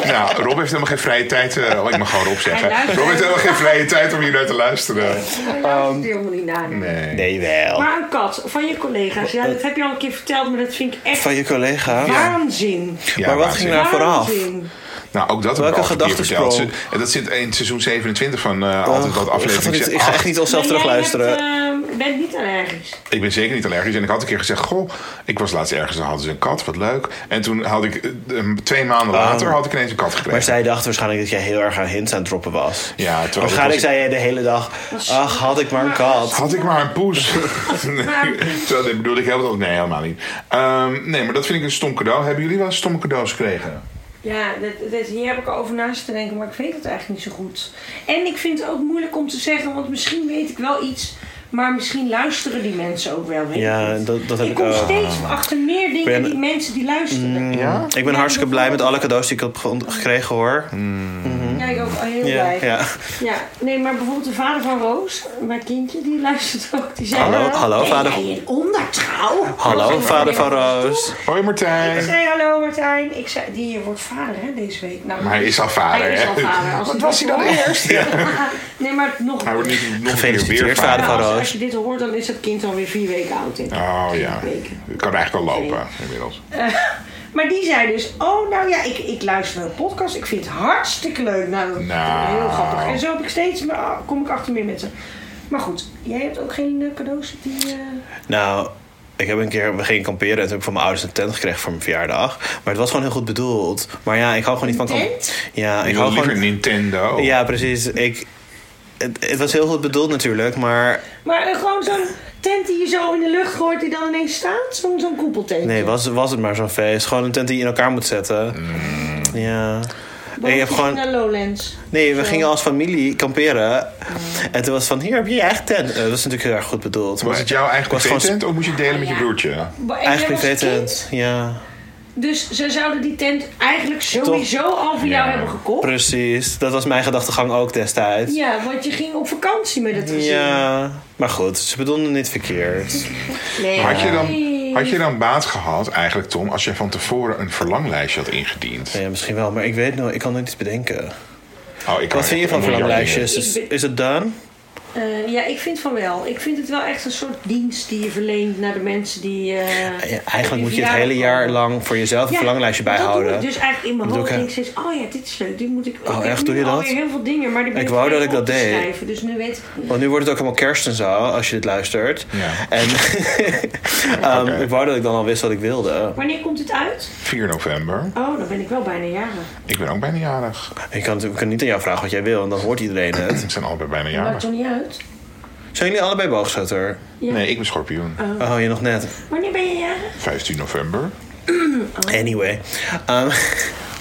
S4: Nou, Rob heeft helemaal geen vrije tijd. eh, laat ik maar gewoon Rob zeggen.
S3: Hij luistert.
S4: Rob heeft helemaal geen vrije tijd om hier naar te luisteren.
S3: Daar luister je helemaal niet naar.
S4: Ehm, Nee. Eh,
S2: Nee, wel.
S3: Maar een kat van je collega's, ja, dat heb je al een keer verteld, maar dat vind ik echt
S2: Van je collega.
S3: waanzin.
S4: Ja,
S2: maar wat
S4: waanzin.
S2: ging daar vooraf?
S3: Waanzin.
S4: Nou, ook dat
S2: Welke
S4: heb ik al een keer
S2: gedachtensprong?
S4: verteld. Ze- En dat zit in seizoen 27 van eh,
S2: Oh,
S4: Altijd Wat
S2: ik ga
S4: aflevering.
S2: niet- ik ga echt niet onszelf
S3: Maar jij
S2: terugluisteren.
S3: hebt, eh, bent niet allergisch.
S4: Ik ben zeker niet allergisch. En ik had een keer gezegd: Goh, ik was laatst ergens en hadden ze een kat, wat leuk. En toen had ik, eh, eh, twee maanden later, had ik ineens een kat
S2: Ah. Maar
S4: gekregen.
S2: zij dacht waarschijnlijk dat jij heel erg aan hints aan het droppen was.
S4: Ja, terwijl
S2: waarschijnlijk
S4: dat was-
S2: zei jij de hele dag... Ach, had ik maar een kat.
S4: Had ik maar een poes. nee, terwijl, dat bedoelde ik helemaal Nee, helemaal niet. Ehm, nee, maar dat vind ik een stom cadeau. Hebben jullie wel eens stomme cadeaus gekregen?
S3: Ja, dat, dat- hier heb ik al over naast te denken, maar ik weet het eigenlijk niet zo goed. En ik vind het ook moeilijk om te zeggen, want misschien weet ik wel iets, maar misschien luisteren die mensen ook wel. Weet ik
S2: Ja,
S3: niet.
S2: dat, dat heb
S3: ik
S2: ik
S3: kom
S2: ook.
S3: steeds achter meer dingen
S2: Ben- Mm-hmm.
S3: die mensen die luisteren.
S4: Ja?
S2: Mm. Ik ben
S3: Ja,
S2: hartstikke
S3: dat-
S2: blij met alle cadeaus die ik heb ge- gekregen hoor.
S3: Ja, ik ook al heel
S2: Ja,
S3: blij.
S2: ja.
S3: Ja, nee, maar bijvoorbeeld de vader van Roos, mijn kindje, die luistert ook. Die zei,
S2: Hallo,
S3: eh,
S2: hallo,
S3: ben
S2: vader.
S3: jij een ondertrouw?
S2: Hallo, vader van Roos.
S4: Hoi
S3: Ik
S4: Martijn.
S3: zei hallo Martijn. Ik zei, die wordt vader hè, deze week. Nou,
S4: Maar hij is al vader.
S3: Hij is
S4: hè?
S3: al vader. Als
S4: Wat was hij dan eerst?
S3: nee, maar nog.
S4: Hij wordt niet nog een keer
S2: Gefeliciteerd,
S4: weer
S2: vader.
S4: vader.
S3: Nou, als,
S2: Roos.
S3: als je dit al hoort, dan is dat kind alweer vier weken oud. denk ik.
S4: Oh ja,
S3: Weken.
S4: het kan eigenlijk al lopen inmiddels.
S3: Maar die zei dus, oh nou ja, ik, ik luister naar een podcast. Ik vind het hartstikke leuk. Nou, dat
S4: Nou.
S3: heel grappig. En zo heb ik steeds, maar ah, kom ik achter meer mensen. Maar goed, jij hebt ook geen eh, cadeaus die... eh,
S2: Nou, ik heb een keer, we gingen kamperen en toen heb ik van mijn ouders een tent gekregen voor mijn verjaardag. Maar het was gewoon heel goed bedoeld. Maar ja, ik hou gewoon niet van kamp-
S3: tent?
S2: Ja,
S4: Ik
S2: ik
S4: wil
S2: hou
S4: liever
S2: gewoon...
S4: Nintendo.
S2: Ja, precies. Ik... Het, het was heel goed bedoeld natuurlijk, maar
S3: Maar eh, gewoon zo'n tent die je zo in de lucht gooit, die dan ineens staat? Zo'n zo'n koepeltent.
S2: nee, was, was het maar zo'n feest. Gewoon een tent die je in elkaar moet zetten.
S4: Mm.
S2: Ja. Ik heb gewoon...
S3: naar Lowlands.
S2: Nee, we
S3: Zo.
S2: gingen als familie kamperen. En toen was het van, hier heb je je eigen tent. Eh, dat was natuurlijk heel erg goed bedoeld.
S4: Was
S2: maar
S4: het jouw eigen
S2: was gewoon
S4: privé-tent of moest je het delen met je
S3: Ja.
S4: broertje?
S3: Maar- en
S2: Eigen
S3: jij was
S2: privé-tent,
S3: kind,
S2: ja.
S3: Dus ze zouden die tent eigenlijk sowieso al voor jou
S4: Ja.
S3: hebben gekocht.
S2: Precies. Dat was mijn gedachtegang ook destijds.
S3: Ja, want je ging op vakantie met het gezin.
S2: Ja, maar goed, ze bedoelden niet verkeerd.
S3: Nee.
S4: Had je, dan, had je dan baat gehad eigenlijk, Tom, als je van tevoren een verlanglijstje had ingediend?
S2: Ja, misschien wel, maar ik weet nog, ik kan nooit iets bedenken.
S4: Oh, ik kan
S2: Wat vind je
S4: echt
S2: van
S4: een miljard
S2: verlanglijstjes?
S3: dingen.
S2: Is, is het done?
S3: Eh, ja, ik vind van wel. Ik vind het wel echt een soort dienst die je verleent naar de mensen die... eh,
S2: Ja, eigenlijk moet je het
S3: Ja,
S2: hele jaar lang voor jezelf een
S3: Ja,
S2: verlanglijstje
S3: Dat
S2: bijhouden.
S3: doe ik dus eigenlijk in mijn
S2: Dat doe
S3: hoofd.
S2: ik,
S3: denk
S2: hè.
S3: ik steeds, oh ja, dit is leuk, dit moet ik... ik heb
S2: echt? Doe
S3: nu
S2: je dat?
S3: alweer heel veel dingen, maar die ben
S2: Ik wou dat
S3: vergeten
S2: ik dat
S3: op te
S2: deed.
S3: schrijven, dus nu weet ik het niet.
S2: Want nu wordt het ook allemaal kerst en zo, als je dit luistert.
S4: Ja.
S2: En ehm,
S4: Oké.
S2: ik wou dat ik dan al wist wat ik wilde.
S3: Wanneer komt dit uit?
S4: 4 november.
S3: Oh, dan ben ik wel bijna jaren.
S4: Ik ben ook bijna jarig.
S2: Ik kan, ik kan niet aan jou vragen wat jij wil, want dan hoort iedereen het.
S4: We zijn allebei bijna
S3: Maar
S4: jarig.
S3: toch niet uit?
S2: Zijn jullie allebei boogschutter?
S3: Ja.
S4: Nee, ik ben schorpioen.
S2: Oh, je nog net.
S3: Wanneer ben je jaren?
S4: 15 november.
S2: Anyway. Ehm,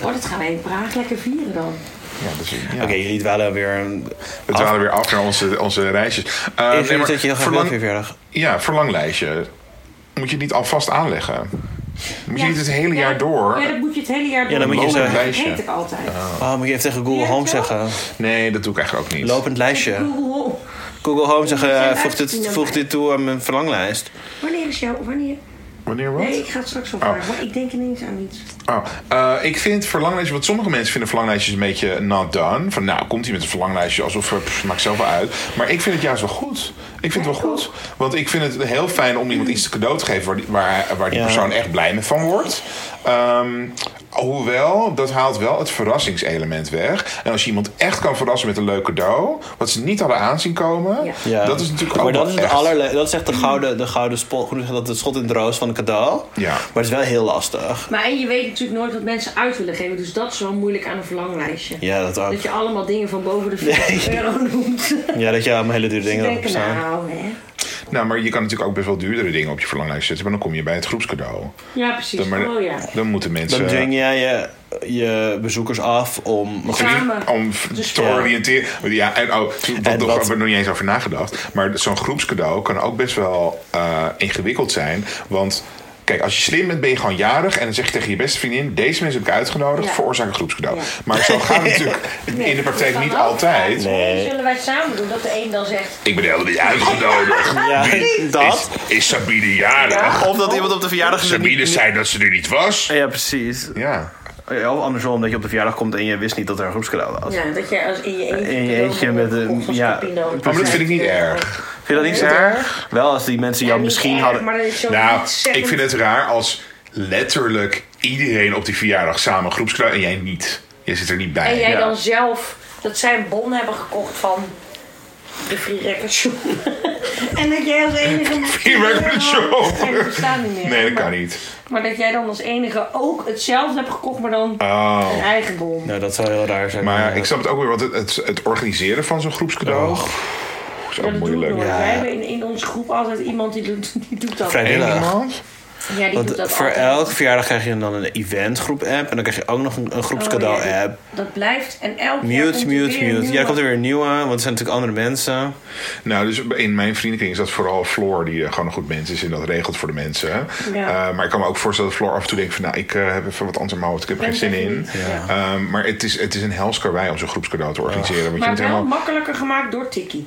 S3: Oh, dat gaan wij in Praag lekker vieren dan.
S4: Ja, dat is, ja.
S2: Oké, jullie dwalen weer een...
S4: We dwalen weer af naar onze, onze reisjes. Eh,
S2: af.
S4: nee,
S2: Ik weet
S4: maar
S2: dat je heel graag
S4: verlang-
S2: wilt voor je verjaardag.
S4: Ja, verlanglijstje. Moet je het niet alvast aanleggen? Moet je
S3: Ja.
S4: niet het hele
S3: Ja,
S4: jaar door?
S3: Ja, dat moet je het hele jaar door.
S2: dan moet je
S3: doen.
S2: zo-
S3: Dat
S4: lijstje.
S3: heet ik altijd.
S2: Oh, moet je even tegen
S3: Ja,
S2: Google
S3: dat
S2: Home
S3: wel.
S2: zeggen.
S4: Nee, dat doe ik eigenlijk ook niet.
S2: Lopend lijstje.
S3: Google.
S2: Google Home zegt, eh,
S3: Zijn
S2: voeg, dit,
S3: uitzien-
S2: voeg dit toe aan mijn verlanglijst.
S3: Wanneer is jouw... Wanneer?
S4: Wanneer wat?
S3: Nee, ik ga het straks op maar ik denk ineens aan iets.
S4: Oh, eh, ik vind verlanglijstjes, wat sommige mensen vinden verlanglijstjes een beetje not done. Van nou, komt hij met een verlanglijstje alsof, eh, pff, maakt zelf wel uit. Maar ik vind het juist wel goed. Ik vind het wel goed. Want ik vind het heel fijn om iemand iets te cadeau te geven waar die, waar, waar die
S2: Ja.
S4: persoon echt blij mee van wordt. Ehm, hoewel, dat haalt wel het verrassingselement weg. En als je iemand echt kan verrassen met een leuk cadeau, wat ze niet hadden aanzien komen,
S3: Ja.
S2: Ja.
S4: dat is natuurlijk ook
S2: maar dat
S4: wel
S2: is, het
S4: echt.
S2: allerle- dat is echt de gouden, de gouden spot, hoe zeg je dat, het schot in de roos van een cadeau.
S4: Ja.
S2: Maar het is wel heel lastig.
S3: Maar en je weet natuurlijk nooit wat mensen uit willen geven. Dus dat is wel moeilijk aan een verlanglijstje.
S2: Ja, dat ook.
S3: Dat je allemaal dingen van boven de 50 euro noemt. Ze
S2: Ja, dat je allemaal hele dure dingen erop
S3: denken,
S2: staan.
S3: nou hè.
S4: Nou, maar je kan natuurlijk ook best wel duurdere dingen op je verlanglijst zetten, maar dan kom je bij het groepscadeau.
S3: Ja, precies.
S4: Dan, maar-
S3: Oh ja.
S4: dan moeten mensen...
S2: Dan dwing jij je, je bezoekers af om...
S3: Samen.
S4: om
S3: Dus-
S4: te
S2: Ja.
S4: oriënteren. Ja, en oh,
S2: En
S4: wat nog,
S2: wat-
S4: we hebben er nog niet eens over nagedacht. Maar zo'n groepscadeau kan ook best wel eh, ingewikkeld zijn. Want kijk, als je slim bent, ben je gewoon jarig. En dan zeg je tegen je beste vriendin: deze mensen heb ik uitgenodigd,
S3: Ja.
S4: veroorzaak een groepscadeau.
S3: Ja.
S4: Maar zo gaat het natuurlijk in de praktijk niet altijd.
S2: Nee.
S3: Zullen wij samen doen dat de een dan zegt...
S4: Ik ben helemaal niet uitgenodigd.
S2: Ja, dat.
S4: Is, is Sabine jarig?
S2: Of dat iemand op de verjaardag...
S4: Sabine zei dat ze er niet was.
S2: Ja, precies.
S4: Ja.
S2: Ja, of andersom, dat je op de verjaardag komt en je wist niet dat er een groepscadeau was.
S3: Ja, dat je als in je eentje...
S2: In je eentje met een- ja,
S4: Oh, Maar dat vind ik niet erg.
S2: Vind je dat niet zo erg? Wel, als die mensen jou misschien hadden...
S3: Maar dat is zo
S4: Nou,
S3: niet zeggend.
S4: ik vind het raar als letterlijk iedereen op die verjaardag samen een groepscadeau en jij niet. Je zit er niet bij.
S3: En jij
S2: Ja.
S3: dan zelf dat zij een bon hebben gekocht van de Free Records Shop. en dat jij als enige...
S4: Free Records Shop.
S3: Nee, dat bestaat niet meer.
S4: Nee, dat
S3: maar,
S4: kan niet.
S3: Maar dat jij dan als enige ook hetzelfde hebt gekocht, maar dan
S4: Oh.
S3: een eigen bon.
S2: Nou, dat zou heel raar zijn.
S4: Maar
S2: Ja.
S4: ik snap het ook weer, want het, het, het organiseren van zo'n groepscadeau
S2: Oh.
S4: is
S3: Ja,
S4: ook
S3: dat doe ik
S4: moeilijk.
S3: nooit.
S2: Ja.
S3: Wij hebben in, in onze groep altijd iemand die doet, die doet dat.
S4: Eén
S2: Vrijwillig.
S4: iemand?
S3: Ja, die doet
S2: Want
S3: dat
S2: voor
S3: altijd.
S2: elk verjaardag krijg je dan een eventgroep-app. En dan krijg je ook nog een, een
S3: Oh, ja,
S2: groepscadeau-app.
S3: dat- Dat blijft. En elk jaar komt
S2: Mute, mute,
S3: er weer een
S2: mute. Ja,
S3: nieuwe.
S2: dan komt er weer een nieuwe, want het zijn natuurlijk andere mensen.
S4: Nou, dus in mijn vriendenkring is dat vooral Floor, die eh, gewoon een goed mens is en dat regelt voor de mensen.
S3: Ja.
S4: Eh, maar ik kan me ook voorstellen dat Floor af en toe denkt van, nou, ik eh, heb even wat anders in mijn hoofd, ik heb er geen
S3: Ben
S4: zin
S3: er
S4: in.
S3: niet, ja.
S4: Ehm, maar het is, het is een helskarwei om zo'n groepscadeau te organiseren. Want je
S3: Maar
S4: moet
S3: wel
S4: helemaal
S3: makkelijker gemaakt door Tiki.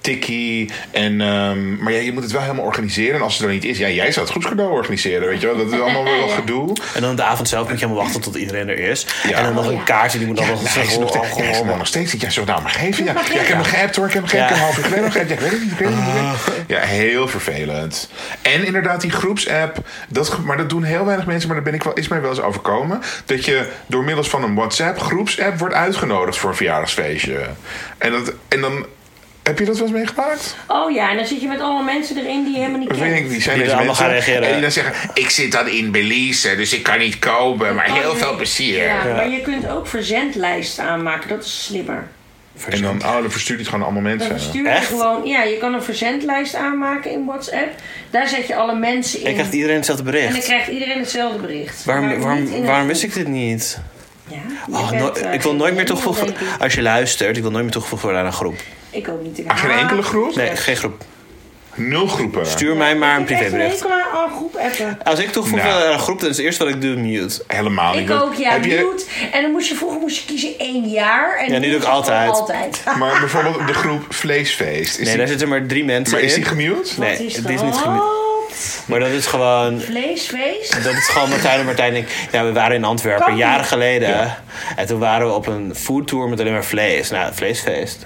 S4: tikkie. En, ehm, maar ja, je moet het wel helemaal organiseren. En als het er niet is, ja, jij zou het groepscadeau organiseren. Weet je wel? Dat is allemaal wel gedoe.
S2: En dan de avond zelf moet je helemaal wachten tot iedereen er is.
S4: Ja.
S2: En dan nog
S3: Oh,
S2: een
S3: ja.
S2: kaartje, die moet dan nog Oh,
S4: Nou, hij is nog steeds- hij is
S2: gewoon.
S4: nog nog steeds niet. Ja, zo nou maar geven. Ja, ja, ik heb hem geappt hoor. Ik heb hem geappt.
S2: Ja.
S4: Ik heb hem half uur geleden nog geappt. Ja, ik weet het niet. Ik weet het niet. ik weet het niet. Ja, heel vervelend. En inderdaad, die groepsapp. Dat, ge- maar dat doen heel weinig mensen. Maar dat ben ik wel, is mij wel eens overkomen. Dat je door middels van een WhatsApp groepsapp wordt uitgenodigd voor een verjaardagsfeestje. En, dat, en dan... Heb je dat wel eens meegemaakt?
S3: Oh ja, en dan zit je met allemaal mensen erin die je helemaal niet
S4: Dat weet ik
S3: kent.
S4: niet. Zijn
S2: Die
S4: deze
S2: er allemaal
S4: mensen?
S2: gaan reageren.
S4: En die dan zeggen, ik zit dan in Belize, dus ik kan niet komen. Maar
S3: Oh,
S4: heel
S3: nee.
S4: veel plezier.
S3: Ja, maar je kunt ook verzendlijsten aanmaken. Dat is slimmer.
S4: En dan, oh, dan verstuurt het gewoon allemaal
S3: Dan
S4: mensen.
S3: verstuur je
S2: Echt?
S3: gewoon... Ja, je kan een verzendlijst aanmaken in WhatsApp. Daar zet je alle mensen in.
S2: En krijgt iedereen hetzelfde
S3: En dan
S2: bericht.
S3: krijgt iedereen hetzelfde bericht. Maar
S2: Waarom,
S3: niet in
S2: waarom,
S3: een
S2: waarom
S3: groep.
S2: wist ik dit niet?
S3: Ja,
S2: Oh,
S3: je
S2: no-
S3: bent, eh,
S2: ik wil nooit meer
S3: geen
S2: toegevoegd
S3: enkel, denk
S2: worden.
S3: ik.
S2: Als je luistert, ik wil nooit meer toegevoegd worden aan een groep.
S3: Ik ook niet. Ik
S4: Ah, geen
S3: haat
S4: enkele groep?
S2: Nee,
S3: Ja.
S2: geen groep.
S4: Nul groepen.
S2: Stuur mij maar een Oh
S3: Ik krijg een
S2: privébericht.
S3: enkel aan een groep appen.
S2: Als ik toegevoegd
S4: Nou.
S2: word aan een groep, dan is het eerste wat ik doe mute.
S4: Helemaal niet.
S3: Ik
S4: want-
S3: ook, ja.
S4: Heb je,
S3: mute. En dan moest je vroeger moest je kiezen één jaar. En
S2: Ja, nu doe ik
S3: is het
S2: altijd.
S3: gewoon Altijd.
S4: maar bijvoorbeeld de groep Vleesfeest. Is
S2: Nee, daar
S4: die,
S2: zitten maar drie mensen
S4: maar
S2: in.
S4: is die gemute?
S2: Nee,
S3: Wat
S2: het is niet
S3: dat?
S2: gemute. Maar dat is gewoon...
S3: Vleesfeest?
S2: Dat is gewoon Martijn en Martijn en ik. Ja, we waren in Antwerpen
S3: Kan niet.
S2: jaren geleden. En toen waren we op een foodtour met alleen maar vlees. Nou, vleesfeest.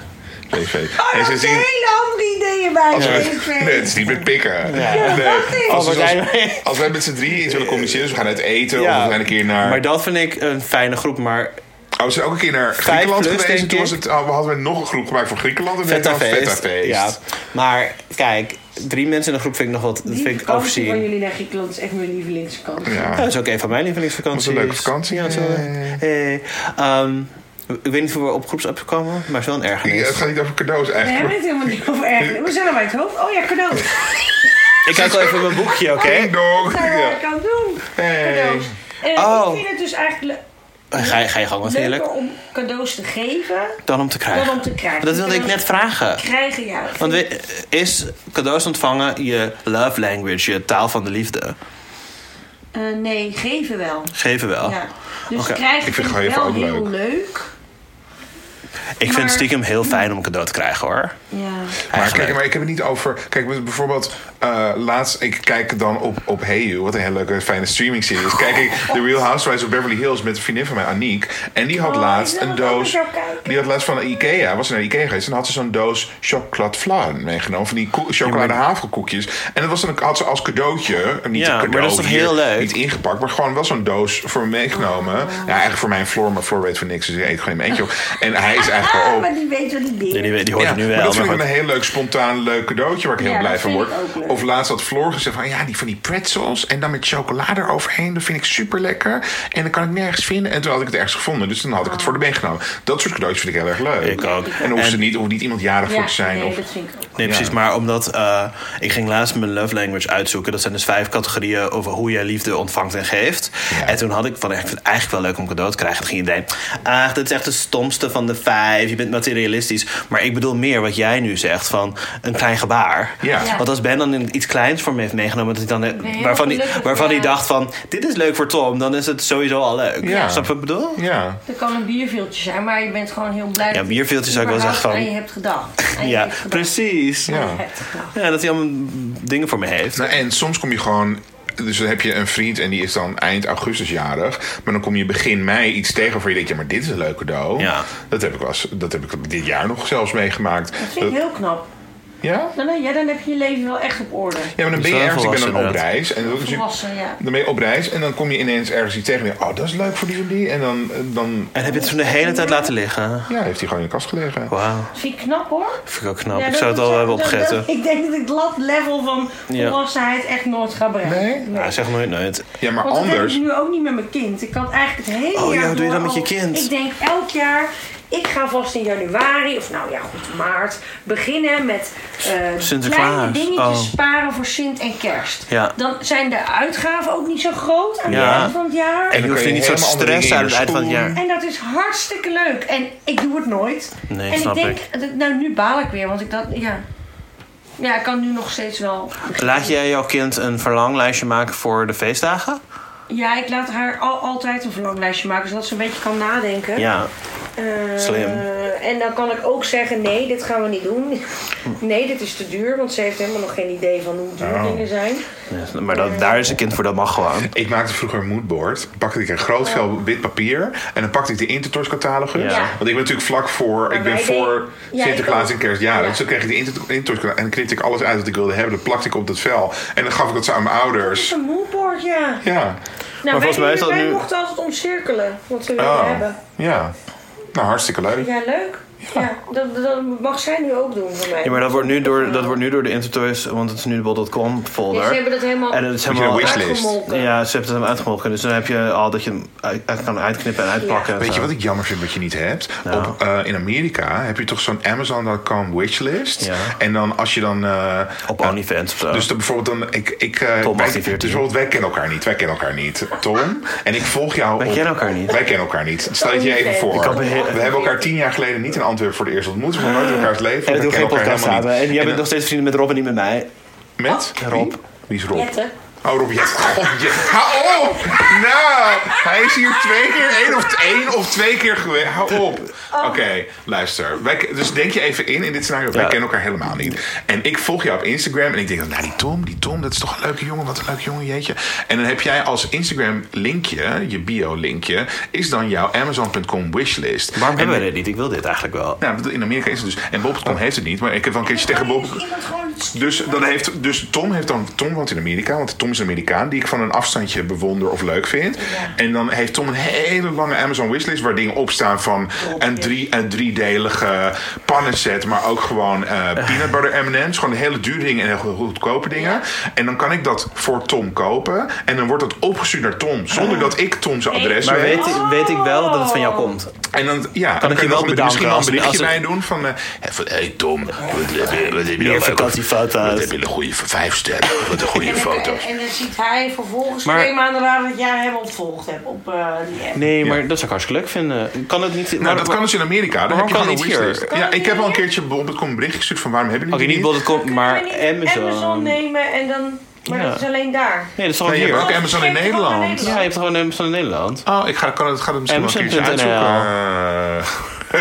S4: Vleesfeest.
S3: Oh,
S4: en
S3: daar
S4: ze
S3: heb je
S4: zien...
S3: hele andere ideeën bij.
S4: Als we,
S3: Vleesfeest.
S4: nee, het is niet meer pikken.
S2: Ja.
S4: Nee.
S3: niet.
S4: Als,
S2: Oh,
S4: we-
S2: Martijn,
S4: als, als wij met z'n drieën iets willen communiceren, dus we gaan uit eten of we gaan een keer naar...
S2: Maar dat vind ik een fijne groep. Maar
S4: Oh, we zijn ook een keer naar Griekenland
S2: plus,
S4: geweest. En
S2: denk
S4: toen was
S2: ik.
S4: het, oh, we hadden we nog een groep gemaakt voor Griekenland. En
S2: feta feest.
S4: feest.
S2: Ja. Maar kijk, drie mensen in een groep vind ik nog wat... Dat
S3: Die
S2: vind ik
S3: vakantie van
S2: overzien.
S3: jullie naar Griekenland is echt mijn lievelingsvakantie.
S2: Ja, dat is ook een van mijn lievelingsvakanties.
S4: Was een leuke vakantie.
S2: Ja, zo.
S4: Hey.
S2: Hey. Ehm, ik weet niet hoe we op groepsapp komen, maar het is wel een
S4: Ja,
S2: ergernis.
S4: het gaat niet over cadeaus
S3: We hebben
S4: eigenlijk.
S3: het helemaal niet over erg. We zijn al bij het hoofd. Oh ja, cadeau.
S2: Ik kijk wel even in mijn boekje, oké?
S4: Ding dong.
S3: Dat zijn
S4: Ja.
S3: wat ik kan doen.
S4: Hey.
S3: Cadeaus. En
S2: Oh.
S3: Ik vind het dus eigenlijk
S2: Ga, je- ga je gang
S3: le-
S2: wat
S3: leuker
S2: heerlijk.
S3: om cadeaus te geven
S2: Dan om te
S3: dan om
S2: krijgen.
S3: te krijgen.
S2: Dat wilde ik net vragen.
S3: Krijgen, ja.
S2: Want we- is cadeaus ontvangen je love language, je taal van de liefde?
S3: Eh, nee, geven wel.
S2: Geven wel.
S3: Ja. Dus
S2: Oké.
S3: krijgen
S4: Ah. Ik vind
S3: vind ik
S4: geven
S3: wel
S4: ook
S3: heel
S4: leuk.
S3: leuk.
S2: Ik vind
S3: Maar-
S2: het stiekem heel fijn om een cadeau te krijgen hoor.
S3: Ja.
S4: Maar,
S2: Eigenlijk.
S4: kijk, maar ik heb het niet over. Kijk, bijvoorbeeld, eh, laatst, ik kijk dan op, op Hey You, wat een hele leuke, fijne streaming series. Kijk ik The Real Housewives of Beverly Hills met een vriendin van mij, Aniek. En die had
S3: Oh,
S4: laatst
S3: ik wil
S4: een
S3: dat ook
S4: doos.
S3: zo kijken.
S4: Die had laatst van Ikea, was ze naar Ikea geweest. En dan had ze zo'n doos chocolade flan meegenomen. Van die ko- chocolade havelkoekjes. En dat was dan, had ze als cadeautje. eh, Niet een
S2: Ja,
S4: cadeau
S2: maar dat is toch
S4: hier,
S2: heel leuk?
S4: Niet ingepakt, maar gewoon wel zo'n doos voor me meegenomen.
S3: Oh.
S4: Ja, eigenlijk voor mijn Floor, maar Floor weet van niks. Dus ik eet gewoon in mijn eentje op. En hij is eigenlijk al
S3: Ah,
S4: op.
S3: maar die weet wat die
S2: Die,
S3: dingen.
S2: die, die hoort er nu wel.
S4: Maar dat
S2: maar
S4: vind ik
S2: goed.
S4: een heel leuk, spontaan, leuk cadeautje waar ik heel
S3: Ja,
S4: blij
S3: dat
S4: van
S3: vind
S4: word.
S3: ik ook leuk.
S4: Of laatst had Floor gezegd van ja, die van die pretzels en dan met chocolade eroverheen. Dat vind ik super lekker. En dan kan ik nergens vinden. En toen had ik het ergens gevonden. Dus dan had ik
S3: Ah.
S4: het voor de been genomen. Dat soort cadeautjes vind ik heel erg leuk.
S2: Ik ook.
S4: En hoeft er niet, hoeft niet iemand jarig voor te zijn.
S3: nee,
S4: of,
S3: dat vind ik ook.
S2: Nee, precies.
S4: Ja.
S2: Maar omdat eh, ik ging laatst mijn love language uitzoeken. Dat zijn dus vijf categorieën over hoe jij liefde ontvangt en geeft.
S4: Ja.
S2: En toen had ik van, ik vind het eigenlijk wel leuk om cadeau te krijgen. Toen ging iedereen, ah, dat is echt de stomste van de vijf. Je bent materialistisch. Maar ik bedoel meer wat jij nu zegt van een klein gebaar.
S4: Ja. Ja.
S2: Want als Ben dan een- iets kleins voor me heeft meegenomen, dat hij dan, eh,
S3: heel
S2: waarvan, hij,
S3: gelukkig,
S2: waarvan hij
S3: ja.
S2: dacht van, dit is leuk voor Tom, dan is het sowieso al leuk.
S4: Ja.
S2: Snap je wat ik bedoel?
S4: ja.
S3: Er kan een bierviltje zijn, maar je bent gewoon heel blij.
S2: Ja,
S3: dat je
S2: bierviltje zou ik wel zeggen
S3: überhaupt
S2: van-
S3: aan je hebt gedacht. Aan je
S2: Ja,
S3: hebt gedacht.
S2: precies.
S4: Ja.
S3: Je hebt gedacht.
S2: Ja, dat hij allemaal dingen voor me heeft.
S4: Nou, en soms kom je gewoon. Dus dan heb je een vriend en die is dan eind augustus jarig. Maar dan kom je begin mei iets tegen waarvan je denkt: ja, maar dit is een leuk cadeau.
S2: Ja.
S4: Dat, heb ik wel eens- dat heb ik dit jaar nog zelfs meegemaakt.
S3: Dat vind ik heel knap.
S4: Ja?
S3: Nou, nou, ja, dan heb je je leven wel echt op orde.
S4: Ja, maar dan
S2: Dus
S4: ben je
S2: wel
S4: ergens, ik ben dan op
S2: volwassen,
S4: reis.
S2: inderdaad.
S4: En dan, dus je-
S3: Volwassen, ja.
S4: dan ben je op reis en dan kom je ineens ergens iets tegen. En je, oh, dat is leuk voor die en die. En dan, dan
S2: En heb je het toen de hele tijd laten liggen?
S4: ja, heeft hij gewoon in de kast gelegen.
S2: Wauw,
S3: Dat vind ik knap hoor.
S2: vind ik ook knap.
S3: Ja,
S2: Nou, ik
S3: dat-
S2: zou het al
S3: dat-
S2: hebben
S3: dat-
S2: opgegeten.
S3: dat- Ik denk dat ik dat level van
S2: Ja.
S3: volwassenheid echt nooit ga brengen.
S4: Nee?
S2: Nou, zeg nooit nooit.
S4: Ja, maar
S3: Want dat heb
S4: anders.
S3: ik nu ook niet met mijn kind. Ik kan eigenlijk het hele
S2: Oh ja,
S3: jaar
S2: hoe doe je dat
S3: door
S2: met je
S3: al-
S2: kind?
S3: Ik denk elk jaar... Ik ga vast in januari, of nou ja, goed, maart... beginnen met eh,
S2: Sinterklaas.
S3: kleine dingetjes
S2: Oh.
S3: sparen voor Sint en Kerst.
S2: Ja.
S3: Dan zijn de uitgaven ook niet zo groot aan
S2: Ja.
S3: het eind van het jaar.
S4: dan
S2: En je hoeft
S4: kun
S2: er
S4: je
S2: niet zo'n
S4: helemaal andere
S2: stress
S4: dingen
S2: aan
S4: in
S2: het
S4: je
S2: eind van het
S4: schoen.
S2: jaar.
S3: En dat is hartstikke leuk. En ik doe het nooit.
S2: Nee,
S3: en
S2: snap
S3: ik denk,
S2: ik.
S3: dat- nou nu baal ik weer, want ik dat, ja. Ja, ik kan nu nog steeds wel.
S2: Laat jij jouw kind een verlanglijstje maken voor de feestdagen?
S3: Ja, ik laat haar al, altijd een verlanglijstje maken, zodat ze een beetje kan nadenken.
S2: Ja.
S3: Eh,
S2: slim.
S3: En dan kan ik ook zeggen, nee, dit gaan we niet doen. Nee, dit is te duur, want ze heeft helemaal nog geen idee van hoe
S4: Oh.
S3: duur dingen zijn.
S2: Ja, Maar dat, daar is een kind voor, dat mag gewoon.
S4: Ik maakte vroeger een moodboard. Pakte ik een
S3: Oh.
S4: groot vel wit papier. En dan pakte ik de Intertoys catalogus.
S2: Ja.
S4: Want ik ben natuurlijk vlak voor. Ik ben
S3: wij
S4: voor
S3: deden- Ja, ik
S4: Sinterklaas
S3: ook.
S4: en Kerst. Ja,
S3: Ja.
S4: dus dan kreeg ik de Inter- Intertoys catalogus. En dan knipte ik alles uit wat ik wilde hebben. Dat plakte ik op dat vel. En dan gaf ik dat ze aan mijn
S3: Het is
S4: ouders.
S3: een moodboard, ja.
S4: Ja.
S3: Nou,
S2: volgens mij
S3: wij,
S2: is dat
S3: wij
S2: nu-
S3: mochten altijd omcirkelen wat ze wilden
S4: Oh.
S3: hebben.
S4: Ja. Nou, hartstikke leuk.
S3: Ja, leuk. Ja, dat, dat mag zij nu ook doen voor mij.
S2: Ja, maar dat wordt nu door, dat wordt nu door de Intertoys, want het is nu de bol.com
S3: Ja, ze hebben
S2: folder.
S3: dat helemaal
S2: En dat is
S4: Moet je een
S2: helemaal...
S4: wishlist.
S3: uitgemolken.
S2: Ja, ze hebben het hem uitgemolken. Dus dan heb je al dat je hem uit, uit kan uitknippen en uitpakken. en
S4: Weet je
S2: zo.
S4: wat ik jammer vind wat je niet hebt?
S2: Nou.
S4: Op, eh, in Amerika heb je toch zo'n Amazon.com wishlist.
S2: Ja.
S4: En dan als je dan. eh,
S2: Op OnlyFans of zo.
S4: dus dan bijvoorbeeld dan. Ik, ik, eh,
S2: Tom
S4: wij, dus
S2: 1814.
S4: bijvoorbeeld, wij kennen elkaar niet. Wij kennen elkaar niet. Tom. En ik volg jou.
S2: Wij
S4: op-
S2: kennen elkaar niet.
S4: Wij kennen elkaar niet. Stel het je even
S3: Ik
S4: voor.
S2: kan
S4: We
S2: me heel-
S4: hebben elkaar tien jaar geleden niet in Antwerpen voor de eerst ontmoet. We hebben nooit in elkaars leven.
S2: en we
S4: we
S2: doen geen
S4: kennen elkaar
S2: podcast
S4: helemaal
S2: samen. En eh, jij
S4: niet.
S2: bent nog steeds vrienden met Rob en niet met mij.
S4: Met?
S2: Rob.
S4: Oh. Wie? Wie is Rob?
S3: Jetten.
S4: Oh, Rob Jetten. God, je... Hou op! Nou, hij is hier twee keer, één of, één of twee keer geweest. Hou op. Oké, luister. Wij, dus denk je even in, in dit scenario. Wij
S2: Ja.
S4: kennen elkaar helemaal niet. En ik volg jou op Instagram en ik denk, nou die Tom, die Tom, dat is toch een leuke jongen. Wat een leuke jongen, jeetje. En dan heb jij als Instagram linkje, je bio linkje, is dan jouw Amazon.com wishlist.
S2: Waarom
S4: En-
S2: hebben we dit niet? Ik wil dit eigenlijk wel.
S4: nou, in Amerika is het dus. En Bob.com heeft het niet, maar ik heb wel een keertje tegen Bob. Dus, dan heeft, dus Tom heeft dan. Tom woont in Amerika, want Tom is een Amerikaan die ik van een afstandje bewonder of leuk vind. En dan heeft Tom een hele lange Amazon wishlist waar dingen op staan van een, drie, een driedelige pannenset, maar ook gewoon eh, peanut butter MM's. Gewoon hele dure dingen en heel goedkope dingen. En dan kan ik dat voor Tom kopen. En dan wordt dat opgestuurd naar Tom, zonder dat ik Tom zijn adres
S2: Maar
S4: weet.
S3: Oh.
S2: weet, weet ik wel dat het van jou komt.
S4: En dan, ja, dan kan
S2: ik je
S4: je
S2: wel
S4: nog een-
S2: bedanken
S4: Misschien wel een
S2: als-
S4: berichtje
S2: als-
S4: bij doen van... eh, van hey Tom, wat heb je, wat heb je nou-
S2: vakantiefoto's.
S4: Wat heb je een goede vijf sterren, wat een goede
S3: En,
S4: foto.
S3: en, en dan ziet hij vervolgens
S2: Maar-
S3: twee maanden later dat jij hem opvolgd hebt op eh, die app.
S2: Nee, maar
S4: Ja.
S2: dat zou ik hartstikke leuk vinden. Kan het niet...
S4: Nou, dat kan dus in Amerika. Dan heb je
S2: waarom
S4: gewoon
S2: kan
S4: een
S2: het hier?
S4: wishlist.
S3: Kan
S4: Ja,
S3: het
S4: ik heb al een
S3: hier?
S4: keertje op het kom bericht gestuurd van waarom hebben
S2: Oké,
S4: jullie die
S2: niet
S4: niet?
S2: bol.com, maar
S3: Kunnen we niet
S2: Amazon.
S3: Amazon
S2: Nee,
S3: nemen en dan... Maar
S2: Ja.
S3: dat is alleen daar.
S2: dat is gewoon
S4: Nee, je
S2: hier.
S4: hebt ook
S3: Oh,
S4: Amazon in
S3: geef het gewoon aan
S4: Nederland.
S2: Ja, je hebt gewoon Amazon in Nederland.
S4: Oh, ik ga, kan het, ga het misschien wel een keertje
S2: Amazon.nl.
S4: uitzoeken. Eh,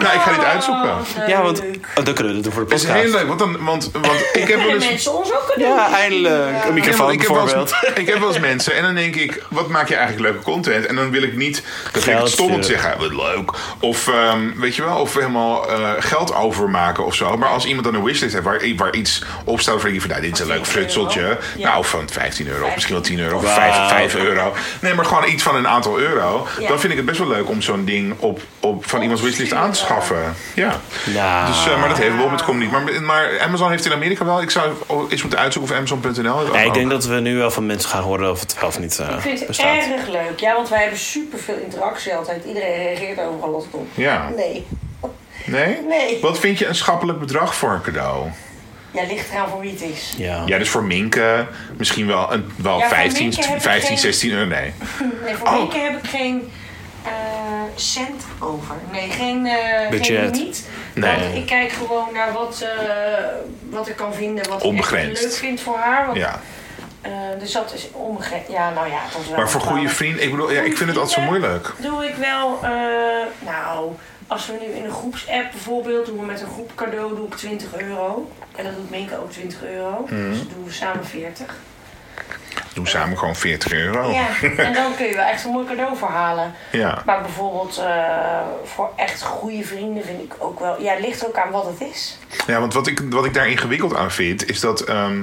S4: nou, ik ga dit uitzoeken.
S3: Oh.
S2: Ja, want oh, dan kunnen we dat doen voor de
S4: Het is heel
S2: podcast.
S4: leuk, want, dan, want, want ik heb wel
S3: Kunnen
S4: eens...
S3: mensen ons ook kunnen
S2: Ja, eindelijk. Een
S4: Ja, want
S2: microfoon
S4: ik, heb wel eens-
S2: bijvoorbeeld.
S4: ik heb wel eens mensen en dan denk ik, wat maak je eigenlijk leuke content? En dan wil ik niet dat ik
S2: Geld
S4: het stommend
S2: sturen.
S4: zeg, "Ah, wat leuk. Of ehm, weet je wel, of helemaal eh, geld overmaken of zo. Maar als iemand dan een wishlist heeft waar, waar iets op staat, van, van nou, dit is een leuk
S3: 15
S4: frutseltje.
S3: euro. Ja.
S4: Nou, van 15 euro, of misschien wel 10 euro, of
S2: Wauw.
S4: 5, euro. Nee, maar gewoon iets van een aantal euro.
S3: Ja.
S4: Dan vind ik het best wel leuk om zo'n ding op, op, van iemands wishlist aan te schaffen. Ja.
S2: Nou.
S4: Dus, eh, maar dat heeft Bob met Comedy. niet. Maar, maar Amazon heeft in Amerika wel. Ik zou eens moeten uitzoeken of Amazon.nl. het
S2: Ja,
S4: ook-
S2: ik denk dat we nu wel van mensen gaan horen of het wel of niet eh,
S3: Ik vind het
S2: bestaat.
S3: erg leuk. Ja, want wij hebben superveel interactie altijd. Iedereen reageert overal wat op.
S4: Ja.
S3: Nee.
S4: Nee?
S3: Nee.
S4: Wat vind je een schappelijk bedrag voor een cadeau?
S3: Ja, ligt eraan voor wie het is.
S2: Ja.
S4: Ja, dus voor Minken misschien wel, een, wel
S3: Ja, voor
S4: 15,
S3: Minken heb ik
S4: 15
S3: geen-
S4: 16 euro. Nee.
S3: Nee, voor
S4: Oh.
S3: Mieke heb ik geen eh, cent over. Nee, geen, eh
S2: Budget.
S3: geen limiet.
S4: Nee.
S3: Want ik kijk gewoon naar wat, eh, wat ik kan vinden. Wat ik
S4: Onbegrensd.
S3: echt leuk vind voor haar. Want,
S4: Ja.
S3: eh, dus dat is onbegrensd. Ja, nou ja, dat is wel
S4: Maar voor goede
S3: bepaalde-
S4: vrienden, ik bedoel, ja, ik vind het altijd zo moeilijk.
S3: Doe ik wel, eh, nou, als we nu in een groepsapp bijvoorbeeld, doen we met een groep cadeau, doe ik 20 euro. En dat doet Minke ook 20 euro.
S2: Mhm.
S3: Dus dat doen we samen 40.
S4: Doe samen gewoon 40
S2: Oh.
S4: euro.
S3: Ja, en dan kun je wel echt een mooi cadeau voor halen.
S4: Ja.
S3: Maar bijvoorbeeld eh, voor echt goede vrienden vind ik ook wel. Ja, het ligt er ook aan wat het is.
S4: Ja, want wat ik, wat ik daar ingewikkeld aan vind, is dat. ehm,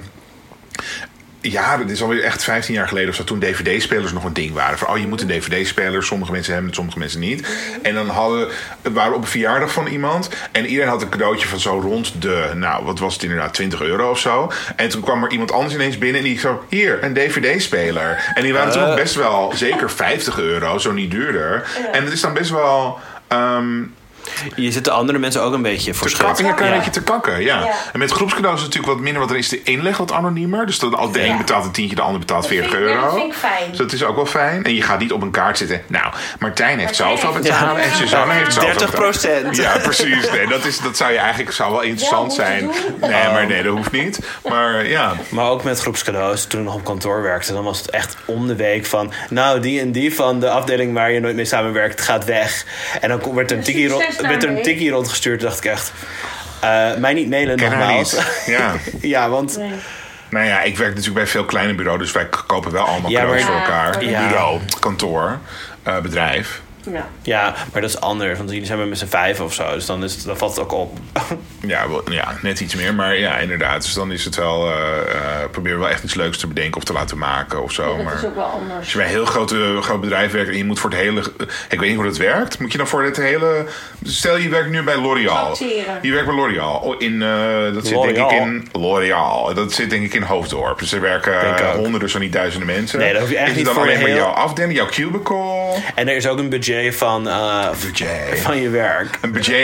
S4: ja, dit is alweer echt 15 jaar geleden of zo. Toen DVD-spelers nog een ding waren. Van, oh, je moet een DVD-speler. Sommige mensen hebben het, sommige mensen niet. En dan hadden, we waren op een verjaardag van iemand. En iedereen had een cadeautje van zo rond de, nou, wat was het inderdaad, 20 euro of zo. En toen kwam er iemand anders ineens binnen. En die zo, hier, een DVD-speler. En die waren toen ook best wel, zeker 50 euro, zo niet duurder. En het is dan best wel. ehm,
S2: Je zit de andere mensen ook een beetje voor
S4: te kakken,
S2: schut.
S4: ja, een klein
S2: Ja.
S4: beetje te kakken, ja.
S3: Ja.
S4: En met groepscadeaus is het natuurlijk wat minder, want dan is de inleg wat anoniemer. Dus dan, als de een
S3: Ja.
S4: betaalt een tientje, de ander betaalt
S3: Dat vind
S4: 40
S3: ik-
S4: euro.
S3: ja, dat vind ik fijn.
S4: Dus dat is ook wel fijn. En je gaat niet op een kaart zitten. Nou, Martijn heeft
S3: Martijn
S4: zoveel
S3: heeft-
S4: betalen
S3: Ja.
S4: en Suzanne heeft zoveel
S2: 30
S4: betalen. Ja, precies. Nee, dat, is, dat zou je eigenlijk zou wel interessant
S3: Wel
S4: zijn.
S3: moeten
S4: Nee, maar nee, dat hoeft niet. Maar ja.
S2: Maar ook met groepscadeaus. Toen ik nog op kantoor werkte, dan was het echt om de week van... Nou, die en die van de afdeling waar je nooit mee samenwerkt gaat weg. En dan kon- werd er
S4: Dus
S2: een tikkie,
S3: Succes
S2: rond, werd er een
S3: daarmee.
S2: tikkie rondgestuurd. dacht ik echt, eh, mij niet mailen
S4: Ken haar
S2: nogmaals.
S4: niet. Ja.
S2: ja, want...
S4: Nou ja, ik werk natuurlijk bij een veel kleiner bureau, dus wij k- kopen wel allemaal
S2: Ja,
S4: cadeaus
S2: maar-
S4: voor elkaar.
S2: Ja.
S4: Bureau, kantoor, eh, bedrijf.
S3: Ja.
S2: Ja, maar dat is anders. Want jullie zijn maar met z'n vijf of zo. Dus dan, is, het- dan valt het ook op.
S4: Ja, wel- ja, net iets meer, maar ja, inderdaad. Dus dan is het wel. eh, eh, probeer wel echt iets leuks te bedenken of te laten maken of zo. maar
S3: Dat is ook wel anders.
S4: als je bij een heel groot, eh, groot bedrijf werkt en je moet voor het hele. eh, Ik weet niet hoe dat werkt. Moet je dan voor het hele. Stel je werkt nu bij L'Oreal.
S3: Tracteren.
S4: Je werkt bij L'Oreal. Oh, In, eh, dat zit denk ik
S2: L'Oreal.
S4: in. L'Oreal. Dat zit denk ik in Hoofddorp. Dus er werken
S2: Denk
S4: eh,
S2: ook.
S4: honderden, zo niet duizenden mensen.
S2: Nee, dat hoef je echt
S4: Is het
S2: niet
S4: dan
S2: voor
S4: alleen
S2: de
S4: maar
S2: heel-
S4: jouw afdeling, jouw cubicle.
S2: En er is ook een budget van, eh,
S4: Budget.
S2: van je werk.
S4: Een budget.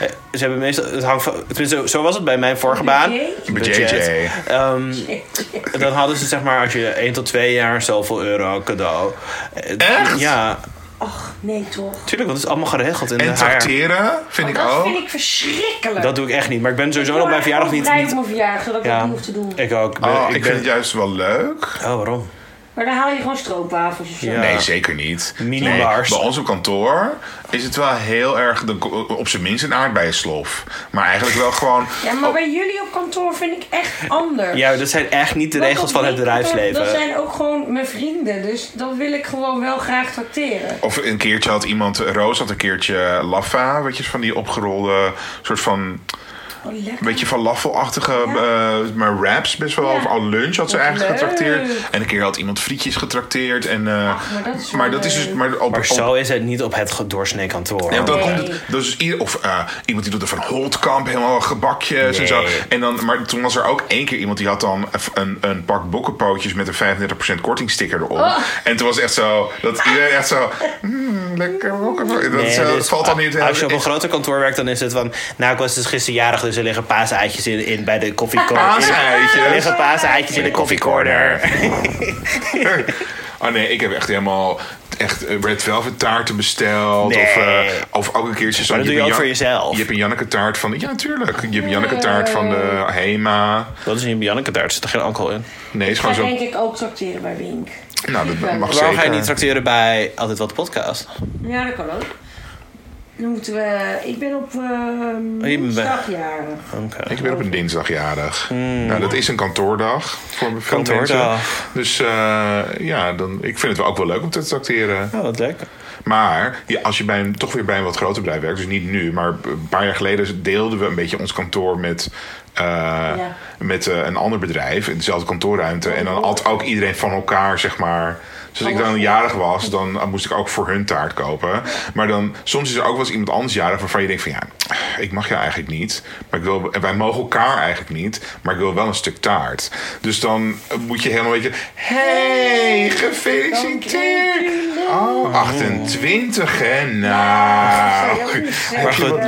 S2: Eh, Ze hebben meestal... Het hangt van, tenminste, zo- zo was het bij mijn vorige baan.
S4: Een budget.
S2: Ehm, dan hadden ze zeg maar als je 1 tot 2 jaar zoveel euro cadeau. Eh,
S4: Echt?
S2: Ja,
S3: Ach, nee toch.
S2: tuurlijk, want het is allemaal geregeld in
S4: En
S2: de HR.
S4: tracteren vind ik
S3: Oh, Dat
S4: ook.
S3: vind ik verschrikkelijk.
S2: Dat doe ik echt niet, maar ik ben sowieso
S3: Ik
S2: op mijn verjaardag niet...
S3: Ik ben op
S2: niet
S3: mijn verjaardag, zodat ik dat
S2: ja,
S3: niet hoef te doen.
S2: ik ook. ben-
S4: Oh, ik,
S2: Eh,
S4: vind
S2: ik ben,
S4: het juist wel leuk.
S2: Oh, waarom?
S3: Maar dan haal je gewoon stroopwafels of zo.
S2: Ja.
S4: Nee, zeker niet.
S2: Minibars.
S4: Nee, bij ons op kantoor is het wel heel erg, dan ko- op zijn minst een aardbeienslof. Maar eigenlijk wel gewoon...
S3: Ja, maar bij jullie op kantoor vind ik echt anders.
S2: Ja, dat zijn echt niet de
S3: Want
S2: regels
S3: op
S2: van het
S3: mijn kantoor,
S2: bedrijfsleven.
S3: Dat zijn ook gewoon mijn vrienden, dus dat wil ik gewoon wel graag tracteren.
S4: Of een keertje had iemand, Roos had een keertje laffa, weet je, van die opgerolde soort van,
S3: Oh, lekker.
S4: beetje van laffelachtige, eh, maar wraps best wel.
S3: Ja.
S4: Of al lunch had ze
S3: Wat
S4: eigenlijk
S3: leuk.
S4: getrakteerd. En een keer had iemand frietjes getrakteerd. En, eh,
S3: maar dat is wel
S4: maar dat is dus,
S3: leuk.
S4: maar op,
S2: Maar
S4: op-
S2: zo is het niet op het doorsnee kantoor.
S4: Ja, want dan
S3: Nee.
S4: komt het, dus ieder, of eh, iemand die doet er van Holtkamp helemaal gebakjes en zo.
S2: Nee.
S4: En dan, maar toen was er ook één keer iemand die had dan een, een pak bokkenpootjes met een 35% kortingsticker erop. En toen was het echt zo, dat iedereen echt zo, "Mm, lekker bokkenpootjes. Dat, is, eh,
S2: Nee,
S4: dat
S2: dus
S4: valt dan niet
S2: Als je op een
S4: helemaal-
S2: groter kantoor werkt, dan is het van... Nou, ik was dus gisteren jarig, dus er liggen paaseitjes in, in bij de koffiecorner.
S4: Paaseitjes?
S2: Er liggen paaseitjes in de koffiecorner.
S4: Oh nee, ik heb echt helemaal echt eh, red velvet taarten besteld.
S2: Nee.
S4: Of, eh, of ook een keertje zo'n...
S2: Maar dat doe je
S4: Jip en
S2: ook voor
S4: Jan-
S2: jezelf.
S4: Jip en Janneke taart van... Ja, natuurlijk. Jip en Janneke taart van de Hema.
S2: Dat is niet bij Janneke daar, er zit er geen alcohol in.
S4: Nee, is
S3: ga
S4: gewoon zo...
S3: denk ik ook tracteren bij Wink.
S4: Nou, dat mag
S3: Waarom
S4: zeker.
S2: Waarom ga je niet tracteren bij Altijd Wat de Podcast?
S3: Ja, dat kan ook. Dan moeten we... Ik ben op ehm
S2: Oh, je bent
S3: woensdagjarig.
S2: Oké.
S4: Ik ben op een dinsdagjarig. Nou, dat is een kantoordag voor veel
S2: Kantoordag.
S4: mensen. Dus eh, ja, dan, ik vind het wel ook wel leuk om te tracteren.
S2: Oh, wat lekker.
S4: Maar ja, als je bij een, toch weer bij een wat groter bedrijf werkt, dus niet nu, maar een paar jaar geleden deelden we een beetje ons kantoor met, eh, met eh, een ander bedrijf in dezelfde kantoorruimte. En dan had ook iedereen van elkaar, zeg maar. Dus als ik dan jarig was, dan eh, moest ik ook voor hun taart kopen. Maar dan, soms is er ook wel eens iemand anders jarig waarvan je denkt van ja, ik mag jou eigenlijk niet. Maar ik wil, en wij mogen elkaar eigenlijk niet, maar ik wil wel een stuk taart. Dus dan moet je helemaal een beetje, hey, gefeliciteerd. Oh, 28 hè, nou.
S3: Dat zou je ook niet zeggen.
S4: Heb je wat
S2: Maar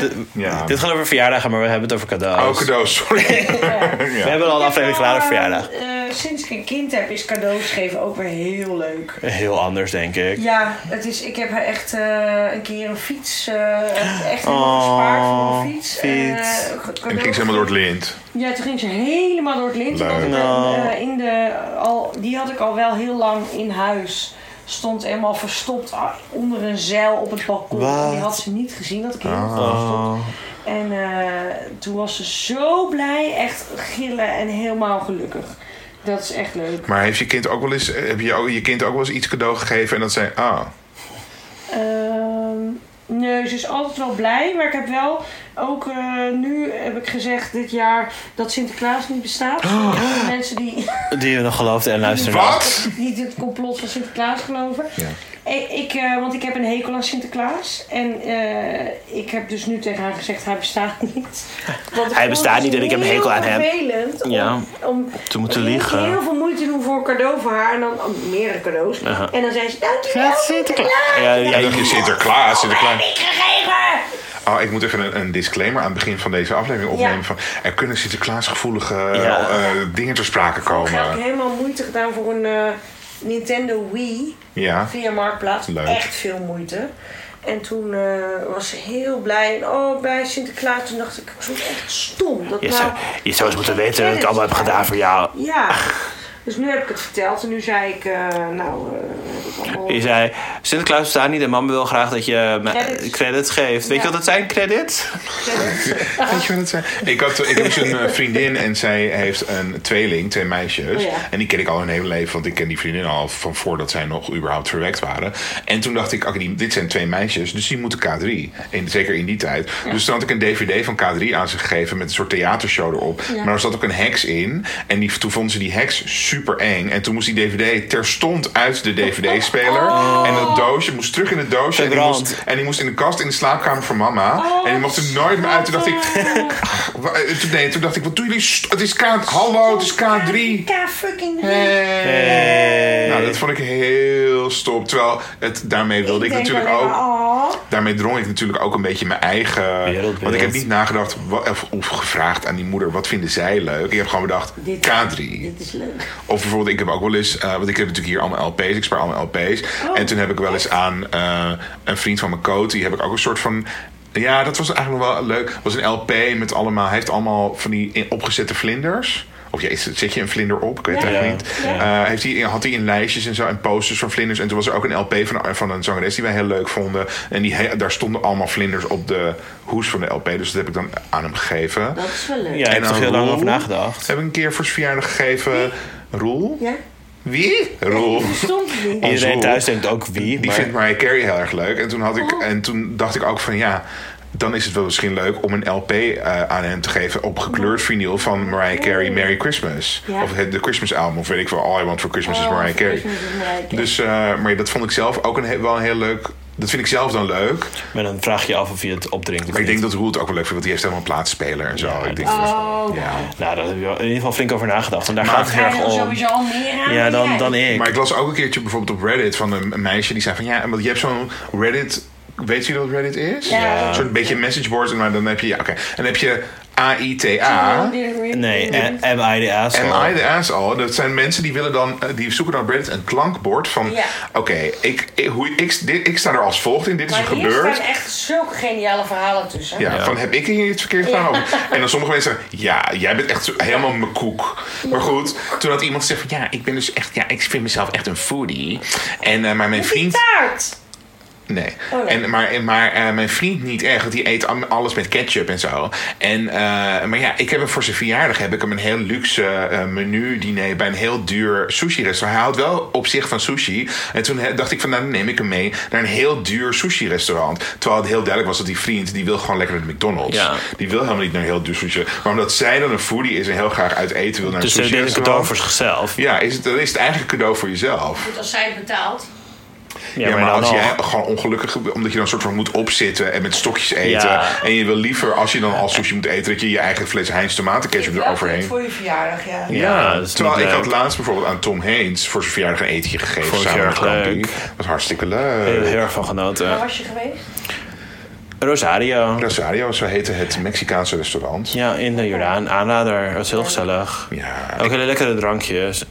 S2: goed.
S4: leuk.
S2: D-
S4: Ja.
S2: Dit gaat over verjaardagen, maar we hebben het over cadeaus.
S4: Oh, cadeau, sorry.
S2: We hebben al een aflevering gedaan over verjaardag.
S3: Eh, sinds ik een kind heb is cadeaus geven ook weer heel leuk.
S2: Heel anders, denk ik.
S3: Ja, het is, ik heb echt eh, een keer een fiets. eh, echt- echt helemaal
S2: Oh,
S3: gespaard voor een fiets.
S2: fiets.
S3: Eh, cadeau-
S4: En ging ze helemaal door het lint.
S3: Ja, toen ging ze helemaal door het lint.
S4: Leuk.
S3: omdat ik, eh,
S2: Nou.
S3: in de, al, die had ik al wel heel lang in huis. Stond helemaal verstopt a- onder een zeil op het balkon.
S2: Wat?
S3: En Die had ze niet gezien dat ik heel verstopt.
S2: Oh.
S3: En eh, toen was ze zo blij. Echt gillen en helemaal gelukkig. Dat is echt leuk.
S4: Maar heeft je kind ook wel eens, eh, heb je ook- je kind ook wel eens iets cadeau gegeven en dat zei, ah,
S3: Ehm, nee, ze is altijd wel blij. Maar ik heb wel ook eh, nu heb ik gezegd dit jaar dat Sinterklaas niet bestaat. Voor Mensen die,
S2: Die we nog geloofden en luisterden.
S4: wat?
S3: die het complot van Sinterklaas geloven. Ik, ik, eh, want ik heb een hekel aan Sinterklaas. En eh, ik heb dus nu tegen haar gezegd, hij bestaat niet. Want ik
S2: Hij
S3: vond
S2: bestaat
S3: het
S2: niet en ik heb een hekel aan hem.
S3: Heel vervelend om,
S2: Ja.
S3: om
S2: Te moeten
S3: ik moest
S2: liegen.
S3: heel veel moeite doen voor een cadeau voor haar. En dan oh, meerdere cadeaus.
S2: Aha.
S3: En dan zei ze, "Nou, dankjewel Sinterklaas.
S2: Uh-huh. Ja, ja,
S4: En dan je Sinterklaas, Sinterklaas.
S3: nou." Oh, Ik gegeven!
S4: Oh, ik moet even een, een disclaimer aan het begin van deze aflevering opnemen.
S3: Ja.
S4: Van, er kunnen Sinterklaas gevoelige
S2: Ja.
S4: dingen ter sprake
S3: Ik heb ook
S2: eh,
S4: komen.
S3: helemaal moeite gedaan voor een eh, Nintendo Wii
S4: Ja.
S3: via Marktplaats.
S4: Leuk.
S3: Echt veel moeite. En toen eh, was ze heel blij. En oh, bij Sinterklaas. Toen dacht ik, ik vond het echt stom. Dat
S2: Je
S3: nou,
S2: zou, je zou eens moeten weten wat ik allemaal heb gedaan voor jou.
S3: Ja. Dus nu heb ik het verteld. En nu zei ik, eh, nou... eh, dat is allemaal-
S2: Je zei, Sinterklaas bestaat niet en mama wil graag dat je me-
S3: Credits.
S2: credits geeft. Weet je wat
S3: Ja.
S2: dat zijn, credits?
S4: Weet je wat het zijn? Ik, had, ik heb dus een eh, vriendin en zij heeft een tweeling, twee meisjes.
S3: Oh ja.
S4: En die ken ik al hun hele leven, want ik ken die vriendin al van voordat zij nog überhaupt verwekt waren. En toen dacht ik, oké, die- dit zijn twee meisjes, dus die moeten K3. En zeker in die tijd. Dus toen had ik een DVD van K3 aan ze gegeven met een soort theatershow erop. Maar er zat ook een heks in. En die, toen vonden ze die heks super eng. En toen moest die DVD terstond uit de DVD-speler.
S3: Oh.
S4: En dat doosje moest terug in het doosje. En die,
S2: Verbrand.
S4: moest, en die moest in de kast in de slaapkamer van mama. en die mocht er nooit meer uit. Toen dacht ik, Wa- eh, Toen, nee, toen dacht ik, wat doen jullie? St- Het is K... Hallo, het is Eh. K3.
S3: K fucking
S4: Hey. Nou, dat vond ik heel stom. Terwijl, het, daarmee wilde ik,
S3: denk
S4: natuurlijk
S3: alleen
S4: ook...
S3: maar, oh.
S4: Daarmee drong ik natuurlijk ook een beetje mijn eigen...
S2: Wereldbeeld.
S4: Want ik heb niet nagedacht wa- of, of gevraagd aan die moeder... wat vinden zij leuk? Ik heb gewoon bedacht,
S3: Dit-
S4: K3.
S3: Dit is leuk.
S4: Of bijvoorbeeld, ik heb ook wel eens, eh, want ik heb natuurlijk hier allemaal LP's, ik spaar allemaal LP's.
S3: Oh,
S4: en toen heb ik wel eens aan eh, een vriend van mijn coach, die heb ik ook een soort van. Ja, dat was eigenlijk nog wel leuk. Was een LP met allemaal, hij heeft allemaal van die in- opgezette vlinders. Of ja, is het- zet je een vlinder op? Ik weet het
S2: Ja.
S4: eigenlijk niet. Eh, heeft hij, had hij in lijstjes en zo en posters van vlinders. En toen was er ook een LP van, van een zangeres die wij heel leuk vonden. En die, he- daar stonden allemaal vlinders op de hoes van de LP. Dus dat heb ik dan aan hem gegeven.
S3: Dat is wel leuk.
S2: Ja, ik heb er
S4: aan
S2: heel lang
S4: Roel
S2: over nagedacht.
S4: Heb ik een keer voor zijn verjaardag gegeven. Roel?
S3: Ja?
S4: Wie? Roel.
S3: Stond het niet.
S4: Ons
S2: Iedereen
S4: Roel.
S2: thuis denkt ook wie,
S4: Oh, Die
S2: maar
S4: vindt Mariah Carey heel erg leuk. En toen, had ik,
S3: Oh.
S4: en toen dacht ik ook van ja, dan is het wel misschien leuk om een LP eh, aan hem te geven op gekleurd vinyl van Mariah Carey Merry Christmas.
S3: Oh. Ja.
S4: Of het- de Christmas album, of weet ik wel. All I Want for Christmas is
S3: Oh,
S4: Mariah Carey.
S3: Christmas is Mariah Carey.
S4: Dus, eh, maar dat vond ik zelf ook een, he- wel een heel leuk... Dat vind ik zelf dan leuk.
S2: maar dan vraag je je af of je het opdrinkt of
S4: Maar ik denk
S2: niet.
S4: dat Roel het ook wel leuk vindt, want die heeft helemaal een plaatsspeler en zo.
S2: Ja,
S4: ik denk,
S2: dat-
S4: dat-
S3: Oh.
S4: ja.
S2: Nou, daar heb je wel in ieder geval flink over nagedacht. Want daar
S4: Maar-
S2: gaat het
S3: Hij
S2: erg
S3: had
S2: om.
S3: sowieso al meer aan
S2: Ja, dan,
S3: jij.
S2: dan ik.
S4: Maar ik las ook een keertje bijvoorbeeld op Reddit van een, een meisje die zei van ja, want je hebt zo'n Reddit. Weet je wat Reddit is?
S3: Ja.
S4: Een soort beetje message boards, maar dan heb je ja, oké. En dan heb je
S3: Oh,
S4: AITA.
S2: Nee, eh, am I the asshole?
S4: Am I the asshole? Dat zijn mensen die willen dan, eh, die zoeken dan op Reddit een klankbord van,
S3: Ja.
S4: oké, ik, ik, hoe- ik, dit- ik sta er als volgt in, dit is
S3: Maar
S4: er
S3: hier
S4: gebeurd.
S3: staan echt zulke geniale verhalen tussen.
S4: Ja, van heb ik hier iets verkeerd gedaan? Of- En dan sommige mensen zeggen, ja, jij bent echt zo- helemaal mijn koek. Maar goed, toen had iemand gezegd van, ja, ik ben dus echt, ja, ik vind mezelf echt een foodie. En, eh, maar mijn vriend...
S3: Taart!
S4: Nee.
S3: Oh, nee.
S4: En, maar maar eh, mijn vriend niet echt, want die eet am- alles met ketchup en zo. En, eh, maar ja, ik heb hem voor zijn verjaardag heb ik hem een heel luxe eh menu diner bij een heel duur sushi restaurant. Hij houdt wel op zich van sushi. En toen eh, dacht ik van nou dan neem ik hem mee naar een heel duur sushi restaurant. Terwijl het heel duidelijk was dat die vriend die wil gewoon lekker naar de McDonald's.
S2: Ja.
S4: Die wil helemaal niet naar een heel duur sushi. Maar omdat zij dan een foodie is en heel graag uit eten wil naar
S2: Dus
S4: een
S2: dit
S4: sushi
S2: is een cadeau
S4: restaurant.
S2: voor zichzelf.
S4: Ja, is het, dan is het eigenlijk een cadeau voor jezelf.
S6: Goed, als zij het betaalt.
S2: Ja,
S4: Ja, maar,
S2: dan
S4: als
S2: nog.
S4: jij gewoon ongelukkig, omdat je dan soort van moet opzitten en met stokjes eten.
S2: Ja.
S4: En je wil liever, als je dan al sushi moet eten, dat je je eigen fles Heinz tomatenketchup
S6: Wel goed
S4: eroverheen.
S6: Voor je verjaardag, ja.
S2: Ja, dat is
S4: Terwijl
S2: niet
S4: ik had
S2: leuk.
S4: laatst bijvoorbeeld aan Tom Heens voor zijn verjaardag een etentje gegeven.
S2: Vond ik
S4: samen
S2: heel
S4: met
S2: erg
S4: Kampie.
S2: leuk.
S4: Dat was hartstikke leuk.
S2: Heel heel erg van genoten.
S6: Waar was je geweest?
S2: Rosario.
S4: Rosario, zo heette het Mexicaanse restaurant. Ja.
S2: Ja, in de Jordaan. Aanrader. Dat was heel gezellig. Ook hele lekkere drankjes.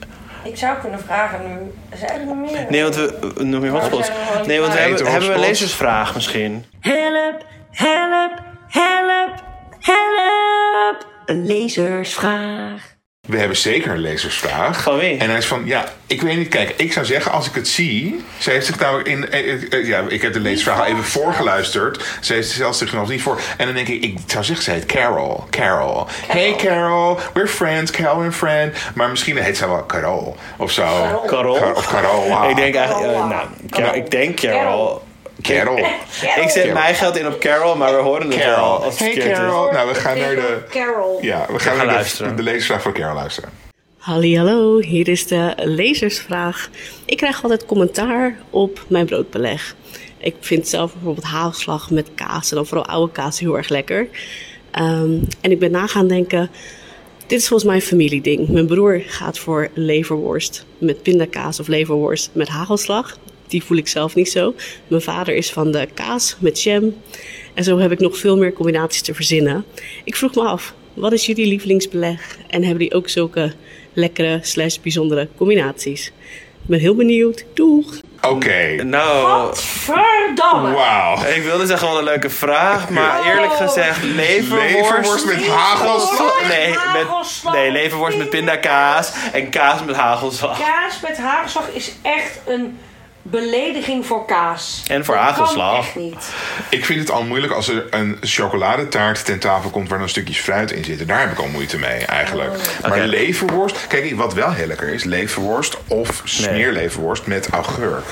S6: Ik zou kunnen vragen. Zijn er nog meer?
S2: Nee, want we... Noem je
S6: Oh,
S2: wat spots? Nee, want we hebben, hebben we een lezersvraag misschien.
S7: Help, help, help, help. Een lezersvraag.
S4: We hebben zeker een lezersvraag.
S2: Van wie?
S4: En hij is van, ja, ik weet niet. Kijk, ik zou zeggen, als ik het zie... Ze heeft zich namelijk in... eh, eh, eh, ja, ik heb de lezersvraag al even voorgeluisterd. Ze heeft zelfs zich nog niet voor... En dan denk ik, ik zou zeggen, ze heet Carol. Carol. Hey Carol, we're friends. Carol and friend. Maar misschien heet zij wel Carol of zo.
S2: Carol?
S4: Car- ah, Of Carola.
S2: Ik denk
S6: Oh,
S2: eigenlijk... eh, nou, Carol- ik denk Carol.
S4: Carol.
S2: Ik zet
S4: Carol.
S2: mijn geld in op Carol, maar we horen het wel
S4: Carol.
S2: als het
S4: Hey
S2: verkeerd is.
S4: Carol. Nou, we gaan naar de...
S3: Carol.
S4: Ja, we gaan naar de,
S2: luisteren.
S4: de lezersvraag van Carol luisteren.
S8: Halli, hallo, hier is de lezersvraag. Ik krijg altijd commentaar op mijn broodbeleg. Ik vind zelf bijvoorbeeld hagelslag met kaas en dan vooral oude kaas heel erg lekker. Ehm, en ik ben na gaan denken, dit is volgens mij een familieding. Mijn broer gaat voor leverworst met pindakaas of leverworst met hagelslag. Die voel ik zelf niet zo. Mijn vader is van de kaas met jam. En zo heb ik nog veel meer combinaties te verzinnen. Ik vroeg me af, wat is jullie lievelingsbeleg? En hebben die ook zulke lekkere slash bijzondere combinaties? Ik ben heel benieuwd. Doeg!
S4: Oké.
S2: Nou,
S3: Verdamme.
S4: Oh. Wauw.
S2: ik wilde zeggen wel een leuke vraag, maar eerlijk gezegd, leverworst...
S4: Leverworst met hagelslag.
S2: Nee, met,
S3: Hagelslag.
S2: nee, leverworst met pindakaas en kaas met hagelslag.
S3: Kaas met hagelslag is echt een belediging voor kaas.
S2: En voor
S3: Dat kan
S2: hagelslag.
S3: echt niet.
S4: Ik vind het al moeilijk als er een chocoladetaart ten tafel komt waar dan stukjes fruit in zitten. Daar heb ik al moeite mee eigenlijk.
S3: Oh.
S4: Maar leverworst, kijk wat wel heel lekker is: leverworst of smeerleverworst met augurk.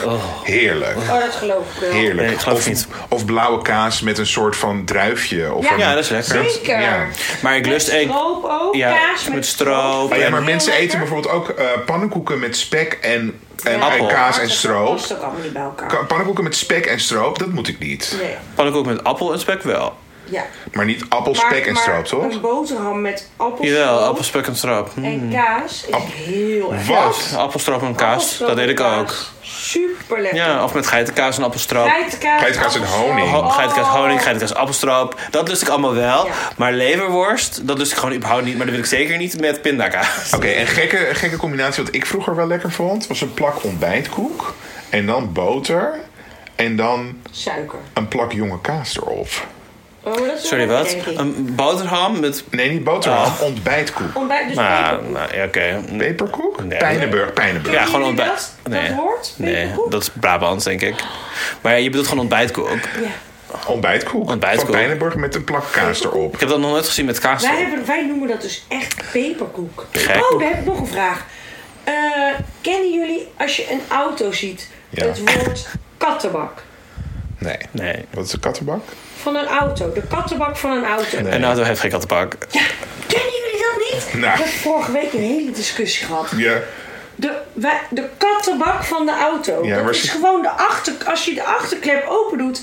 S4: Heerlijk.
S3: Oh, dat geloof ik wel.
S4: Heerlijk.
S2: Nee, ik geloof
S4: of,
S2: het niet.
S4: of blauwe kaas met een soort van druifje. Of
S3: Ja.
S4: een-
S2: Ja, dat is lekker.
S3: Zeker.
S4: Ja.
S2: Maar ik lust... Ik,
S3: Stroop ook,
S2: ja,
S3: kaas met,
S2: met stroop.
S4: Oh ja, maar
S3: Heel
S4: mensen
S3: lekker.
S4: eten bijvoorbeeld ook eh, pannenkoeken met spek en, en,
S2: Ja.
S4: en kaas en
S3: Dat
S4: stroop.
S3: past ook allemaal niet bij elkaar.
S4: Ka- Pannenkoeken met spek en stroop, dat moet ik niet.
S3: Nee.
S2: Pannenkoek met appel en spek wel.
S3: Ja.
S4: Maar niet appel, spek en
S3: maar
S4: stroop, toch?
S3: Een boterham met
S2: Jawel,
S3: appelstroop
S2: appelspek en stroop. Hm.
S3: en kaas is heel erg.
S4: Wat?
S2: Appelstroop en kaas, dat deed ik ook.
S3: Super lekker.
S2: Ja, of met geitenkaas en appelstroop.
S3: Geitenkaas,
S4: Geitenkaas en
S3: appelstroop.
S4: honing.
S2: Ho- Geitenkaas honing, geitenkaas appelstroop. Dat lust ik allemaal wel.
S3: Oh. Ja.
S2: Maar leverworst, dat lust ik gewoon überhaupt niet. Maar dat wil ik zeker niet met
S3: Oh,
S2: pindakaas.
S4: Oké, een gekke, een gekke combinatie wat ik vroeger wel lekker vond... was een plak ontbijtkoek en dan boter en dan
S3: Suiker.
S4: een plak jonge kaas erop.
S3: Oh, dat is
S2: Sorry,
S3: wel
S2: wat?
S3: lekker, denk ik.
S2: Een boterham met...
S4: Nee, niet boterham,
S2: Ah.
S4: ontbijtkoek.
S3: Ontbijt dus
S2: Nou,
S3: peper-
S2: nou ja, oké.
S4: Peperkoek?
S2: Nee.
S4: Pijnenburg, Pijnenburg.
S2: Ja, gewoon
S3: Jullie
S2: ontbijt.
S3: dat? Dat hoort?
S2: Nee,
S3: Peperkoek?
S2: dat is Brabants, denk ik. Maar ja, je bedoelt gewoon ontbijtkoek.
S4: Ontbijtkoek.
S2: Ontbijtkoek.
S4: Van Pijnenburg met een plak kaas erop.
S2: Ik heb dat nog nooit gezien met kaas.
S3: Wij, hebben, wij noemen dat dus echt peperkoek.
S2: Gek.
S3: Oh, daar heb ik nog een vraag. Eh, kennen jullie als je een auto ziet
S4: Ja.
S3: het woord kattenbak?
S4: Nee.
S2: Nee.
S4: Wat is een kattenbak?
S3: Van een auto, de kattenbak van een auto.
S2: Een auto heeft geen kattenbak.
S3: Ja, kennen jullie dat niet?
S4: Nou.
S3: Ik heb vorige week een hele discussie gehad.
S4: Ja.
S3: De, wij- de kattenbak van de auto.
S4: Ja,
S3: dat
S4: maar
S3: is
S4: ze-
S3: gewoon de achter... Als je de achterklep open doet,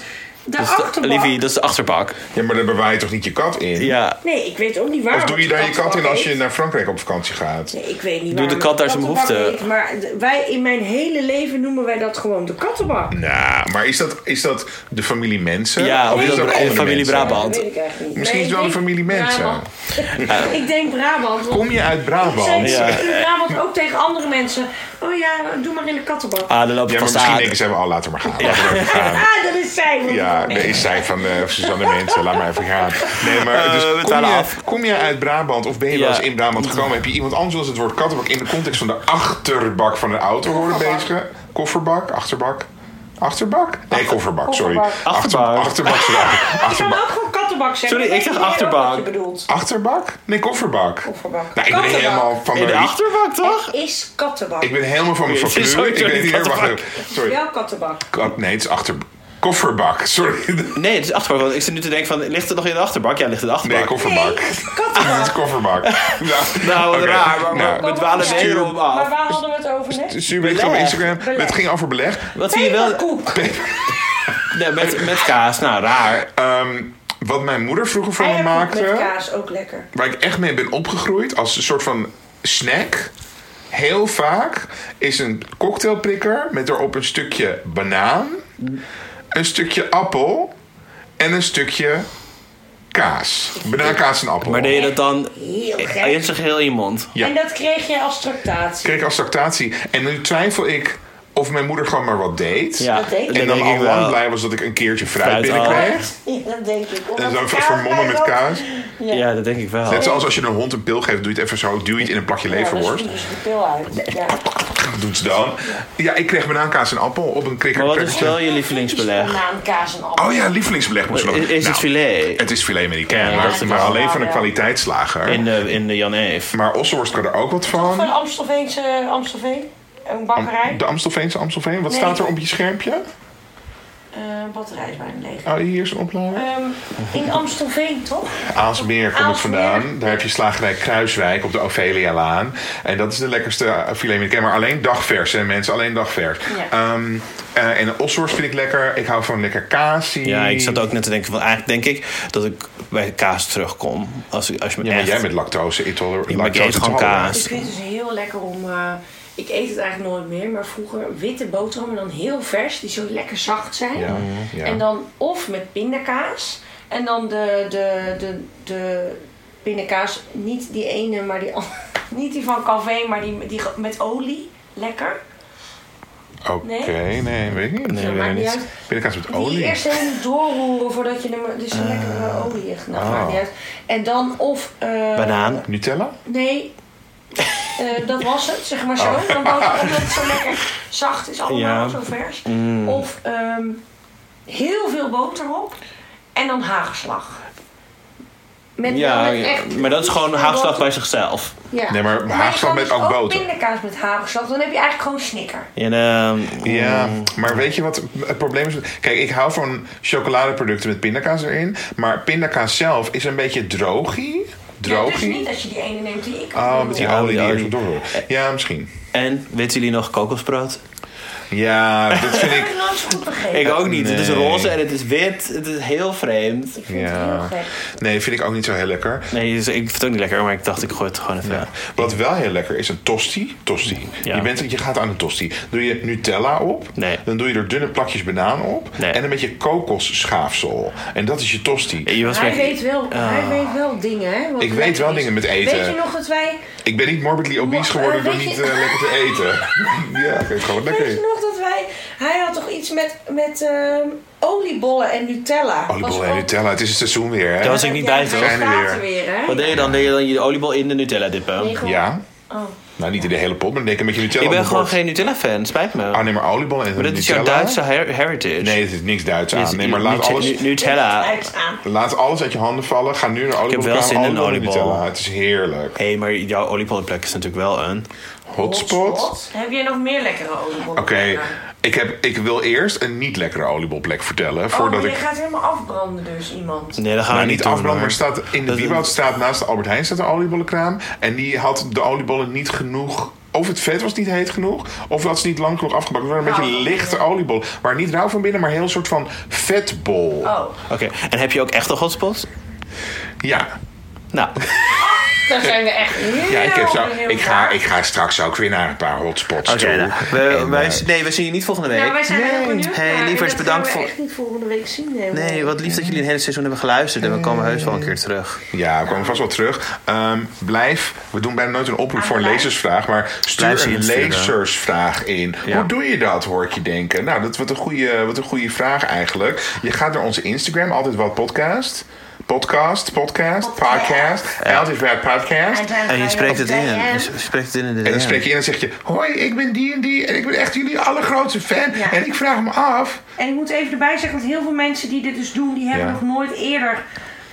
S3: de
S2: Dat is Dus de-
S3: achterbak...
S2: Livie, dat is de achterbak.
S4: ja, maar daar bewaar je toch niet je kat in?
S2: Ja.
S3: Nee, ik weet ook niet waar.
S4: Of doe
S3: want
S4: je daar je kat in
S3: kattenbak
S4: als je
S3: heet.
S4: naar Frankrijk op vakantie gaat?
S3: Nee, ik weet niet
S2: Doe
S3: waar
S2: de kat daar zijn
S3: kattenbak
S2: behoefte.
S3: heet, maar d- wij in mijn hele leven noemen wij dat gewoon de kattenbak.
S4: Nou, maar is dat, is dat de familie mensen?
S2: Ja, of is dat
S4: ook
S2: de
S4: andere
S2: familie
S4: mensen?
S2: Brabant?
S3: Dat weet ik eigenlijk niet.
S4: Misschien is
S3: Nee,
S4: het wel
S3: ik
S4: de
S3: denk
S4: familie mensen.
S3: Brabant. ik denk Brabant. want
S4: Kom je uit
S3: zij-
S4: Brabant?
S3: Ik
S2: Ja.
S3: in Brabant ook tegen andere mensen. Oh ja, doe maar in de kattenbak.
S2: Ah, dan lopen
S4: Ja, maar
S2: vast
S4: misschien
S2: aan.
S4: denken ze wel, oh, laten we maar gaan. Laten we even gaan.
S3: Ah, dat is zij. want-
S4: Ja, nee, is zij van eh Suzanne Mensen, laat maar even gaan. Nee, maar dus
S2: Eh, we
S4: kom,
S2: talen
S4: je,
S2: af.
S4: kom je uit Brabant of ben je wel eens
S2: Ja.
S4: in Brabant gekomen? Heb je iemand anders als het woord kattenbak in de context van de achterbak van een auto horen bezigen? Kofferbak, achterbak? Achterbak? Nee, kofferbak, sorry.
S3: Kofferbak.
S4: Achterbak. Achterbak. Achterbak.
S3: Je kan
S4: Achterbak.
S3: ook gewoon kattenbak zeggen.
S2: Sorry,
S3: Dan
S2: ik
S3: weet
S2: zeg
S3: iedereen ook
S2: achterbak.
S3: Wat je bedoelt.
S4: Achterbak? Nee, kofferbak.
S3: Kofferbak.
S4: Nou, ik ben
S3: Kattenbak.
S4: helemaal van
S2: In de
S4: mijn...
S2: achterbak, toch?
S3: Het is kattenbak.
S4: Ik ben helemaal van mijn
S2: Het is
S4: folklore. Ik
S2: sowieso
S4: weet
S2: niet
S4: niet meer... Wacht
S2: achterbak.
S4: even.
S3: Het is
S4: Sorry.
S3: wel kattenbak.
S4: Kat- Nee, het is achter... Kofferbak, sorry.
S2: Nee, het is achterbak. Want ik zit nu te denken van, ligt het nog in de achterbak? Ja, ligt het in de achterbak.
S4: Nee,
S3: Nee,
S4: kofferbak. Het is
S3: kattenbak.
S4: kofferbak. Nou,
S2: Nou, wat
S4: oké.
S2: raar. Maar
S4: Nou,
S2: we dwalen
S4: stuur-
S2: weer om
S9: Maar
S2: af.
S9: waar hadden we het over net?
S4: Stuur bericht op
S2: Beleg.
S4: Instagram.
S3: Beleg.
S4: Het ging over beleg.
S2: Wat zie je wel?
S3: Peperkoek.
S2: Nee, met, met kaas. Nou, raar.
S4: Ehm, wat mijn moeder vroeger voor me
S3: Eierkoek met
S4: maakte,
S3: kaas, ook lekker.
S4: waar ik echt mee ben opgegroeid, als een soort van snack, heel vaak, is een cocktailprikker met erop een stukje banaan, een stukje appel en een stukje kaas. Banaan, kaas en appel.
S2: Maar deed je dat dan
S3: Heel
S2: in
S3: gek.
S2: zijn geheel in je mond?
S4: Ja.
S3: En dat kreeg je als tractatie.
S4: Kreeg ik als tractatie. En nu twijfel ik of mijn moeder gewoon maar wat deed.
S2: Ja,
S3: Dat denk ik.
S4: En dan
S2: denk
S4: al
S2: ik
S4: lang
S2: wel.
S4: blij was dat ik een keertje fruit
S2: Fruit
S4: binnenkreeg.
S3: Ja, dat denk ik.
S4: En zo
S3: Omdat
S4: even
S3: kaas
S4: vermommen met
S3: bij dat-
S4: kaas.
S2: Ja, dat denk ik wel.
S4: Net zoals als je een hond een pil geeft, doe je het even zo, duw je het in een plakje
S3: Ja, dan
S4: leverworst.
S3: spoelen ze de pil uit. Ja.
S4: Doet ze dan. Ja, ik kreeg banaankaas en appel op een krikker.
S2: Maar wat is wel je lievelingsbeleg?
S9: Banaan, kaas en appel.
S4: Oh ja, lievelingsbeleg moest
S2: Is,
S4: nog.
S2: is het
S4: Nou,
S2: filet?
S4: Het is filet
S2: Ja,
S4: Amerikaan,
S2: dat is
S4: maar, maar
S9: wel
S4: alleen
S9: waar,
S4: van een
S9: ja.
S4: kwaliteitsslager.
S2: In de, in de Jan Eef.
S4: Maar ossenworst kan er ook wat
S3: Van
S4: van.
S3: Amstelveense Amstelveen. Een bakkerij.
S4: De Amstelveense Amstelveen. Wat staat er op je schermpje?
S3: Eh, batterij is bijna leeg.
S4: Oh, hier is een oplader.
S3: Ehm, in Amstelveen, toch?
S4: Aalsmeer komt het
S3: Aalsmeer.
S4: vandaan. Daar heb je slagerij Kruiswijk op de Ovelia-laan. En dat is de lekkerste eh, filet Amerikaan. Maar alleen dagvers, hè mensen. Alleen dagvers.
S3: Ja.
S4: Ehm, eh, en de ossenworst vind ik lekker. Ik hou van lekker kaasie.
S2: Ja, ik zat ook net te denken van eigenlijk denk ik dat ik bij kaas terugkom. Als, ik- als je me
S4: Ja, maar
S2: echt...
S4: jij bent lactose intolerant.
S2: Ja, maar ik eet gewoon
S3: Ik
S2: kaas.
S3: vind het dus heel lekker om. eh, ik eet het eigenlijk nooit meer, maar vroeger witte boterhammen dan heel vers, die zo lekker zacht zijn.
S4: Ja, ja.
S3: En dan of met pindakaas. En dan de, de, de, de pindakaas, niet die ene, maar die andere. Niet die van Calvé, maar die, die ge- met olie. Lekker.
S4: Oké, nee. weet ik niet.
S2: Nee,
S3: maakt
S2: weet ik
S3: niet
S2: niet.
S3: uit.
S4: Pindakaas met
S3: Die
S4: olie. Ah.
S3: eerst helemaal doorroeren voordat je hem... Dus een lekkere olie echt. Nou, maakt niet uit. En dan of... eh,
S2: Banaan.
S4: Nutella?
S3: Nee. Eh, dat was het, zeg maar zo. Dan boter, omdat het zo lekker zacht is allemaal,
S2: Oh. Ja. Mm.
S3: zo vers. Of ehm, heel veel boter op en dan haagslag. Met,
S2: Ja,
S3: met echt
S2: maar dat is gewoon
S3: veel
S2: haagslag
S3: boter.
S2: bij zichzelf.
S3: Ja.
S4: Nee, maar haagslag
S3: je kan
S4: met
S3: dus
S4: ook boter.
S3: pindakaas met haagslag, dan heb je eigenlijk gewoon snicker.
S2: En, ehm,
S4: Ja, maar weet je wat het probleem is? Kijk, ik hou van chocoladeproducten met pindakaas erin. Maar pindakaas zelf is een beetje droogie.
S3: Ja, dus
S4: Droogie.
S3: niet als je die ene neemt die ik
S4: Oh, met die
S2: Ja,
S4: olie die
S2: die
S4: eerst
S2: olie.
S4: moet doorroeren. Ja, misschien.
S2: en weten jullie nog kokosbrood?
S4: Ja, dat vind ik...
S3: Ik heb het nooit zo goed begrepen.
S2: Ik ook niet. Het is
S4: Nee.
S2: roze en het is wit. Het is heel vreemd.
S3: Ik vind
S4: Ja.
S3: het heel gek.
S4: Nee, vind ik ook niet zo heel lekker.
S2: Nee, dus ik vind het ook niet lekker, maar ik dacht ik gooi het gewoon even.
S4: Ja. Wat wel heel lekker is, een tosti. tosti.
S2: Ja.
S4: Je, bent, je gaat aan een tosti. Doe je Nutella op,
S2: Nee.
S4: dan doe je er dunne plakjes banaan op
S2: Nee.
S4: en een beetje kokosschaafsel. En dat is je tosti.
S2: Je was
S3: Hij
S2: weg-
S3: weet, wel,
S2: Ah.
S3: hij weet wel dingen, hè? wat
S4: Ik weet
S3: lekker
S4: wel
S3: is.
S4: dingen met eten.
S3: Weet je nog dat wij
S4: Ik ben niet morbidly
S3: Mo-
S4: obese
S3: eh,
S4: geworden door
S3: weet
S4: niet
S3: je-
S4: eh, lekker te eten. ja, ik eet gewoon lekker.
S3: Weet je nog dat wij... Hij had toch iets met, met ehm, oliebollen en Nutella? Was
S4: Oliebol en
S3: ook-
S4: Nutella, het is het seizoen weer, hè?
S2: Dat was ik niet
S3: Ja,
S2: bij,
S3: hij
S2: toch?
S4: Zijn er
S3: staat
S4: weer.
S3: er weer, hè?
S2: Wat deed je dan? Deed je dan je oliebol in de Nutella dippen?
S3: Nee, gewoon-
S4: Ja.
S3: Oh.
S4: Nou, niet in de hele pot, maar denk een beetje Nutella
S2: ik ben
S4: op
S2: gewoon
S4: mijn bord.
S2: geen Nutella-fan, spijt me.
S4: Ah, nee, maar oliebol en
S2: maar dit is
S4: Nutella.
S2: jouw Duitse her- heritage.
S4: Nee, het is niks Duits aan.
S2: Dit-
S4: Nee, maar laat
S2: Nut-
S4: alles,
S2: Nu- Nutella. Hé,
S3: Kijk aan.
S4: laat alles uit je handen vallen. Ga nu naar oliebol.
S2: heb wel
S4: gaan,
S2: zin in
S4: oliebol en
S2: oliebol.
S4: Nutella. Het is heerlijk.
S2: hey, maar jouw oliebollenplek is natuurlijk wel een...
S4: Hotspot.
S3: Heb jij nog meer lekkere oliebollen?
S4: Oké, ik, heb- ik wil eerst een niet lekkere oliebolplek vertellen. Voordat
S3: oh, maar
S4: ik
S3: je gaat helemaal afbranden dus, iemand.
S2: Nee, dat gaan
S4: Nou,
S2: we
S4: niet
S2: niet doen,
S4: afbranden,
S2: hoor.
S4: maar staat in de
S2: Dat-
S4: Wieboudstraat naast de Albert Heijn staat een oliebollenkraam. En die had de oliebollen niet genoeg... Of het vet was niet heet genoeg, of dat ze niet lang genoeg afgebakken. Het waren een
S3: Nou,
S4: beetje lichte oliebollen. Maar niet rauw van binnen, maar heel soort van vetbol.
S3: Oh,
S2: Oké, en heb je ook echt een hotspot?
S4: Ja.
S2: Nou,
S3: daar zijn we echt heel
S4: Ja, ik, heb zo,
S3: benieuwd
S4: ik, ga,
S3: naar.
S4: ik ga straks ook weer naar een paar hotspots
S2: oké.
S4: toe.
S2: nou, we,
S4: En,
S2: wij-
S4: eh,
S2: nee, we zien je niet volgende week.
S3: Nou, wij zijn er heel benieuwd
S2: Hey,
S3: naar. En
S2: lievers,
S3: dat
S2: bedankt
S3: gaan we
S2: voor-
S3: echt niet volgende week zien. Nee,
S2: Nee, wat lief dat jullie een hele seizoen hebben geluisterd. En we komen heus wel een keer terug.
S4: eh, Ja, we komen vast wel terug. Ehm, blijf, we doen bijna nooit een oproep voor een lezersvraag, maar
S2: Blijf
S4: stuur
S2: ze
S4: een
S2: insturen.
S4: lezersvraag in.
S2: Ja.
S4: Hoe doe je dat, hoor ik je denken? Nou, dat wat een goede, wat een goede vraag eigenlijk. Je gaat naar onze Instagram, altijd wat podcast. podcast, podcast, podcast. En altijd weer podcast.
S2: En je spreekt het in. Je s- spreekt het in in de
S4: En dan
S2: DM.
S4: spreek je in en zeg je: Hoi, ik ben die en die. En ik ben echt jullie allergrootste fan.
S3: Ja.
S4: En ik vraag me af.
S3: En ik moet even erbij zeggen dat heel veel mensen die dit dus doen, die hebben
S4: Ja.
S3: nog nooit eerder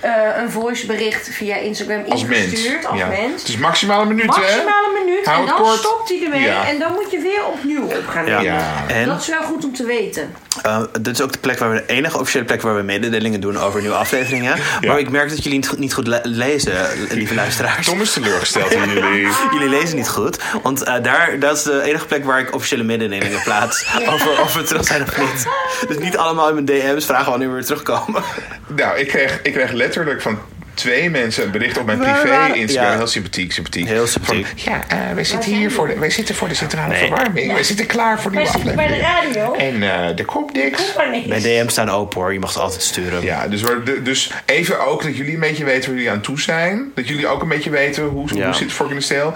S3: eh, een voicebericht via Instagram
S4: Als mens.
S3: ingestuurd als
S4: Ja.
S3: mens.
S4: Het is maximaal een minuut, hè?
S3: Maximaal een minuut
S4: Hou
S3: en
S4: het
S3: dan
S4: kort.
S3: stopt hij ermee
S4: Ja.
S3: en dan moet je weer opnieuw op gaan
S2: Ja.
S3: nemen.
S4: Ja.
S2: En
S3: Dat is wel goed om te weten.
S2: eh, dit is ook de plek waar we de enige officiële plek waar we mededelingen doen over nieuwe afleveringen. Maar ik merk dat jullie niet goed, niet goed le- lezen, lieve luisteraars.
S4: Tom is teleurgesteld in jullie.
S2: Jullie lezen niet goed, want eh, daar, dat is de enige plek waar ik officiële mededelingen plaats. Over of we terug zijn of niet. Dus niet allemaal in mijn DM's vragen wanneer we weer terugkomen.
S4: Nou, ik kreeg, ik kreeg letterlijk van twee mensen een bericht op mijn
S2: Waar
S4: privé
S2: waren-
S4: Instagram.
S2: Ja.
S4: Heel sympathiek, sympathiek.
S2: Heel sympathiek.
S4: Van, ja, eh, wij zitten hier voor de, wij zitten voor de centrale
S2: Nee.
S4: verwarming. Wij zitten klaar voor
S3: Wij
S4: nieuwe
S3: zitten bij de
S4: aflevering.
S3: radio.
S4: En eh, er komt niks.
S3: Maar niks.
S2: Mijn DM's staan open hoor, je mag ze altijd sturen.
S4: Ja, dus, we- de- dus even ook dat jullie een beetje weten waar jullie aan toe zijn. Dat jullie ook een beetje weten hoe,
S2: Ja.
S4: hoe zit het voor in de stijl.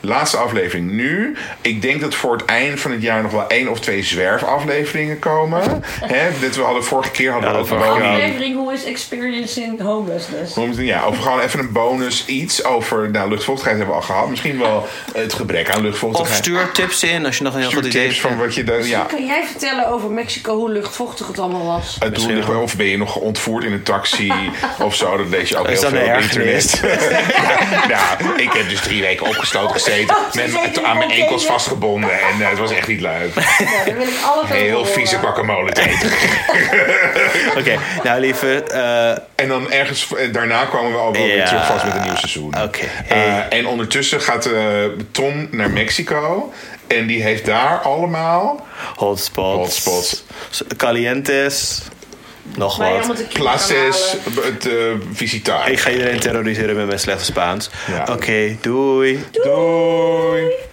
S4: Laatste aflevering nu. Ik denk dat voor het eind van het jaar nog wel één of twee zwerfafleveringen komen. Hè, dit, we hadden vorige keer hadden we
S2: Ja,
S4: ook
S2: dat
S4: een
S2: waren-
S4: bonus.
S3: Aflevering Hoe is Experiencing Homelessness?
S4: Hoe moet het- Ja, of gewoon even een bonus iets over nou, luchtvochtigheid hebben we al gehad. Misschien wel het gebrek aan
S2: Of
S4: luchtvochtigheid.
S2: stuur tips in als je nog een heel
S4: Stuur
S2: goed idee
S4: tips
S2: hebt.
S4: van wat je daar... Ja,
S3: Kan jij vertellen over Mexico hoe luchtvochtig het allemaal was?
S4: het doel ligt- of ben je nog ontvoerd in een taxi of zo. Dat lees je ook
S2: Is
S4: heel
S2: dat
S4: veel
S2: een
S4: op
S2: ergernis?
S4: internet. ja, nou, ik heb dus drie weken opgesloten gezeten.
S3: Oh,
S4: Met,
S3: ze zijn
S4: aan mijn
S3: hier
S4: enkels
S3: ook, hè?
S4: vastgebonden. En eh, het was echt niet leuk.
S3: Ja, daar wil ik alles over
S4: Heel
S3: horen.
S4: vieze guacamole te eten.
S2: Oké, nou lieve, eh,
S4: En dan ergens eh, daarna kwamen we al wel weer
S2: Ja.
S4: terug vast met een nieuw seizoen.
S2: Oké.
S4: Eh, en ondertussen gaat eh, Tom naar Mexico. En die heeft daar allemaal
S2: hotspots.
S4: Hotspots.
S2: Calientes. Nog
S3: Waar je
S2: wat.
S3: allemaal te kiezen kan
S4: places,
S3: halen.
S4: het eh, visitaar.
S2: Ik ga iedereen terroriseren met mijn slechte Spaans.
S4: Ja.
S2: Oké, doei.
S4: Doei.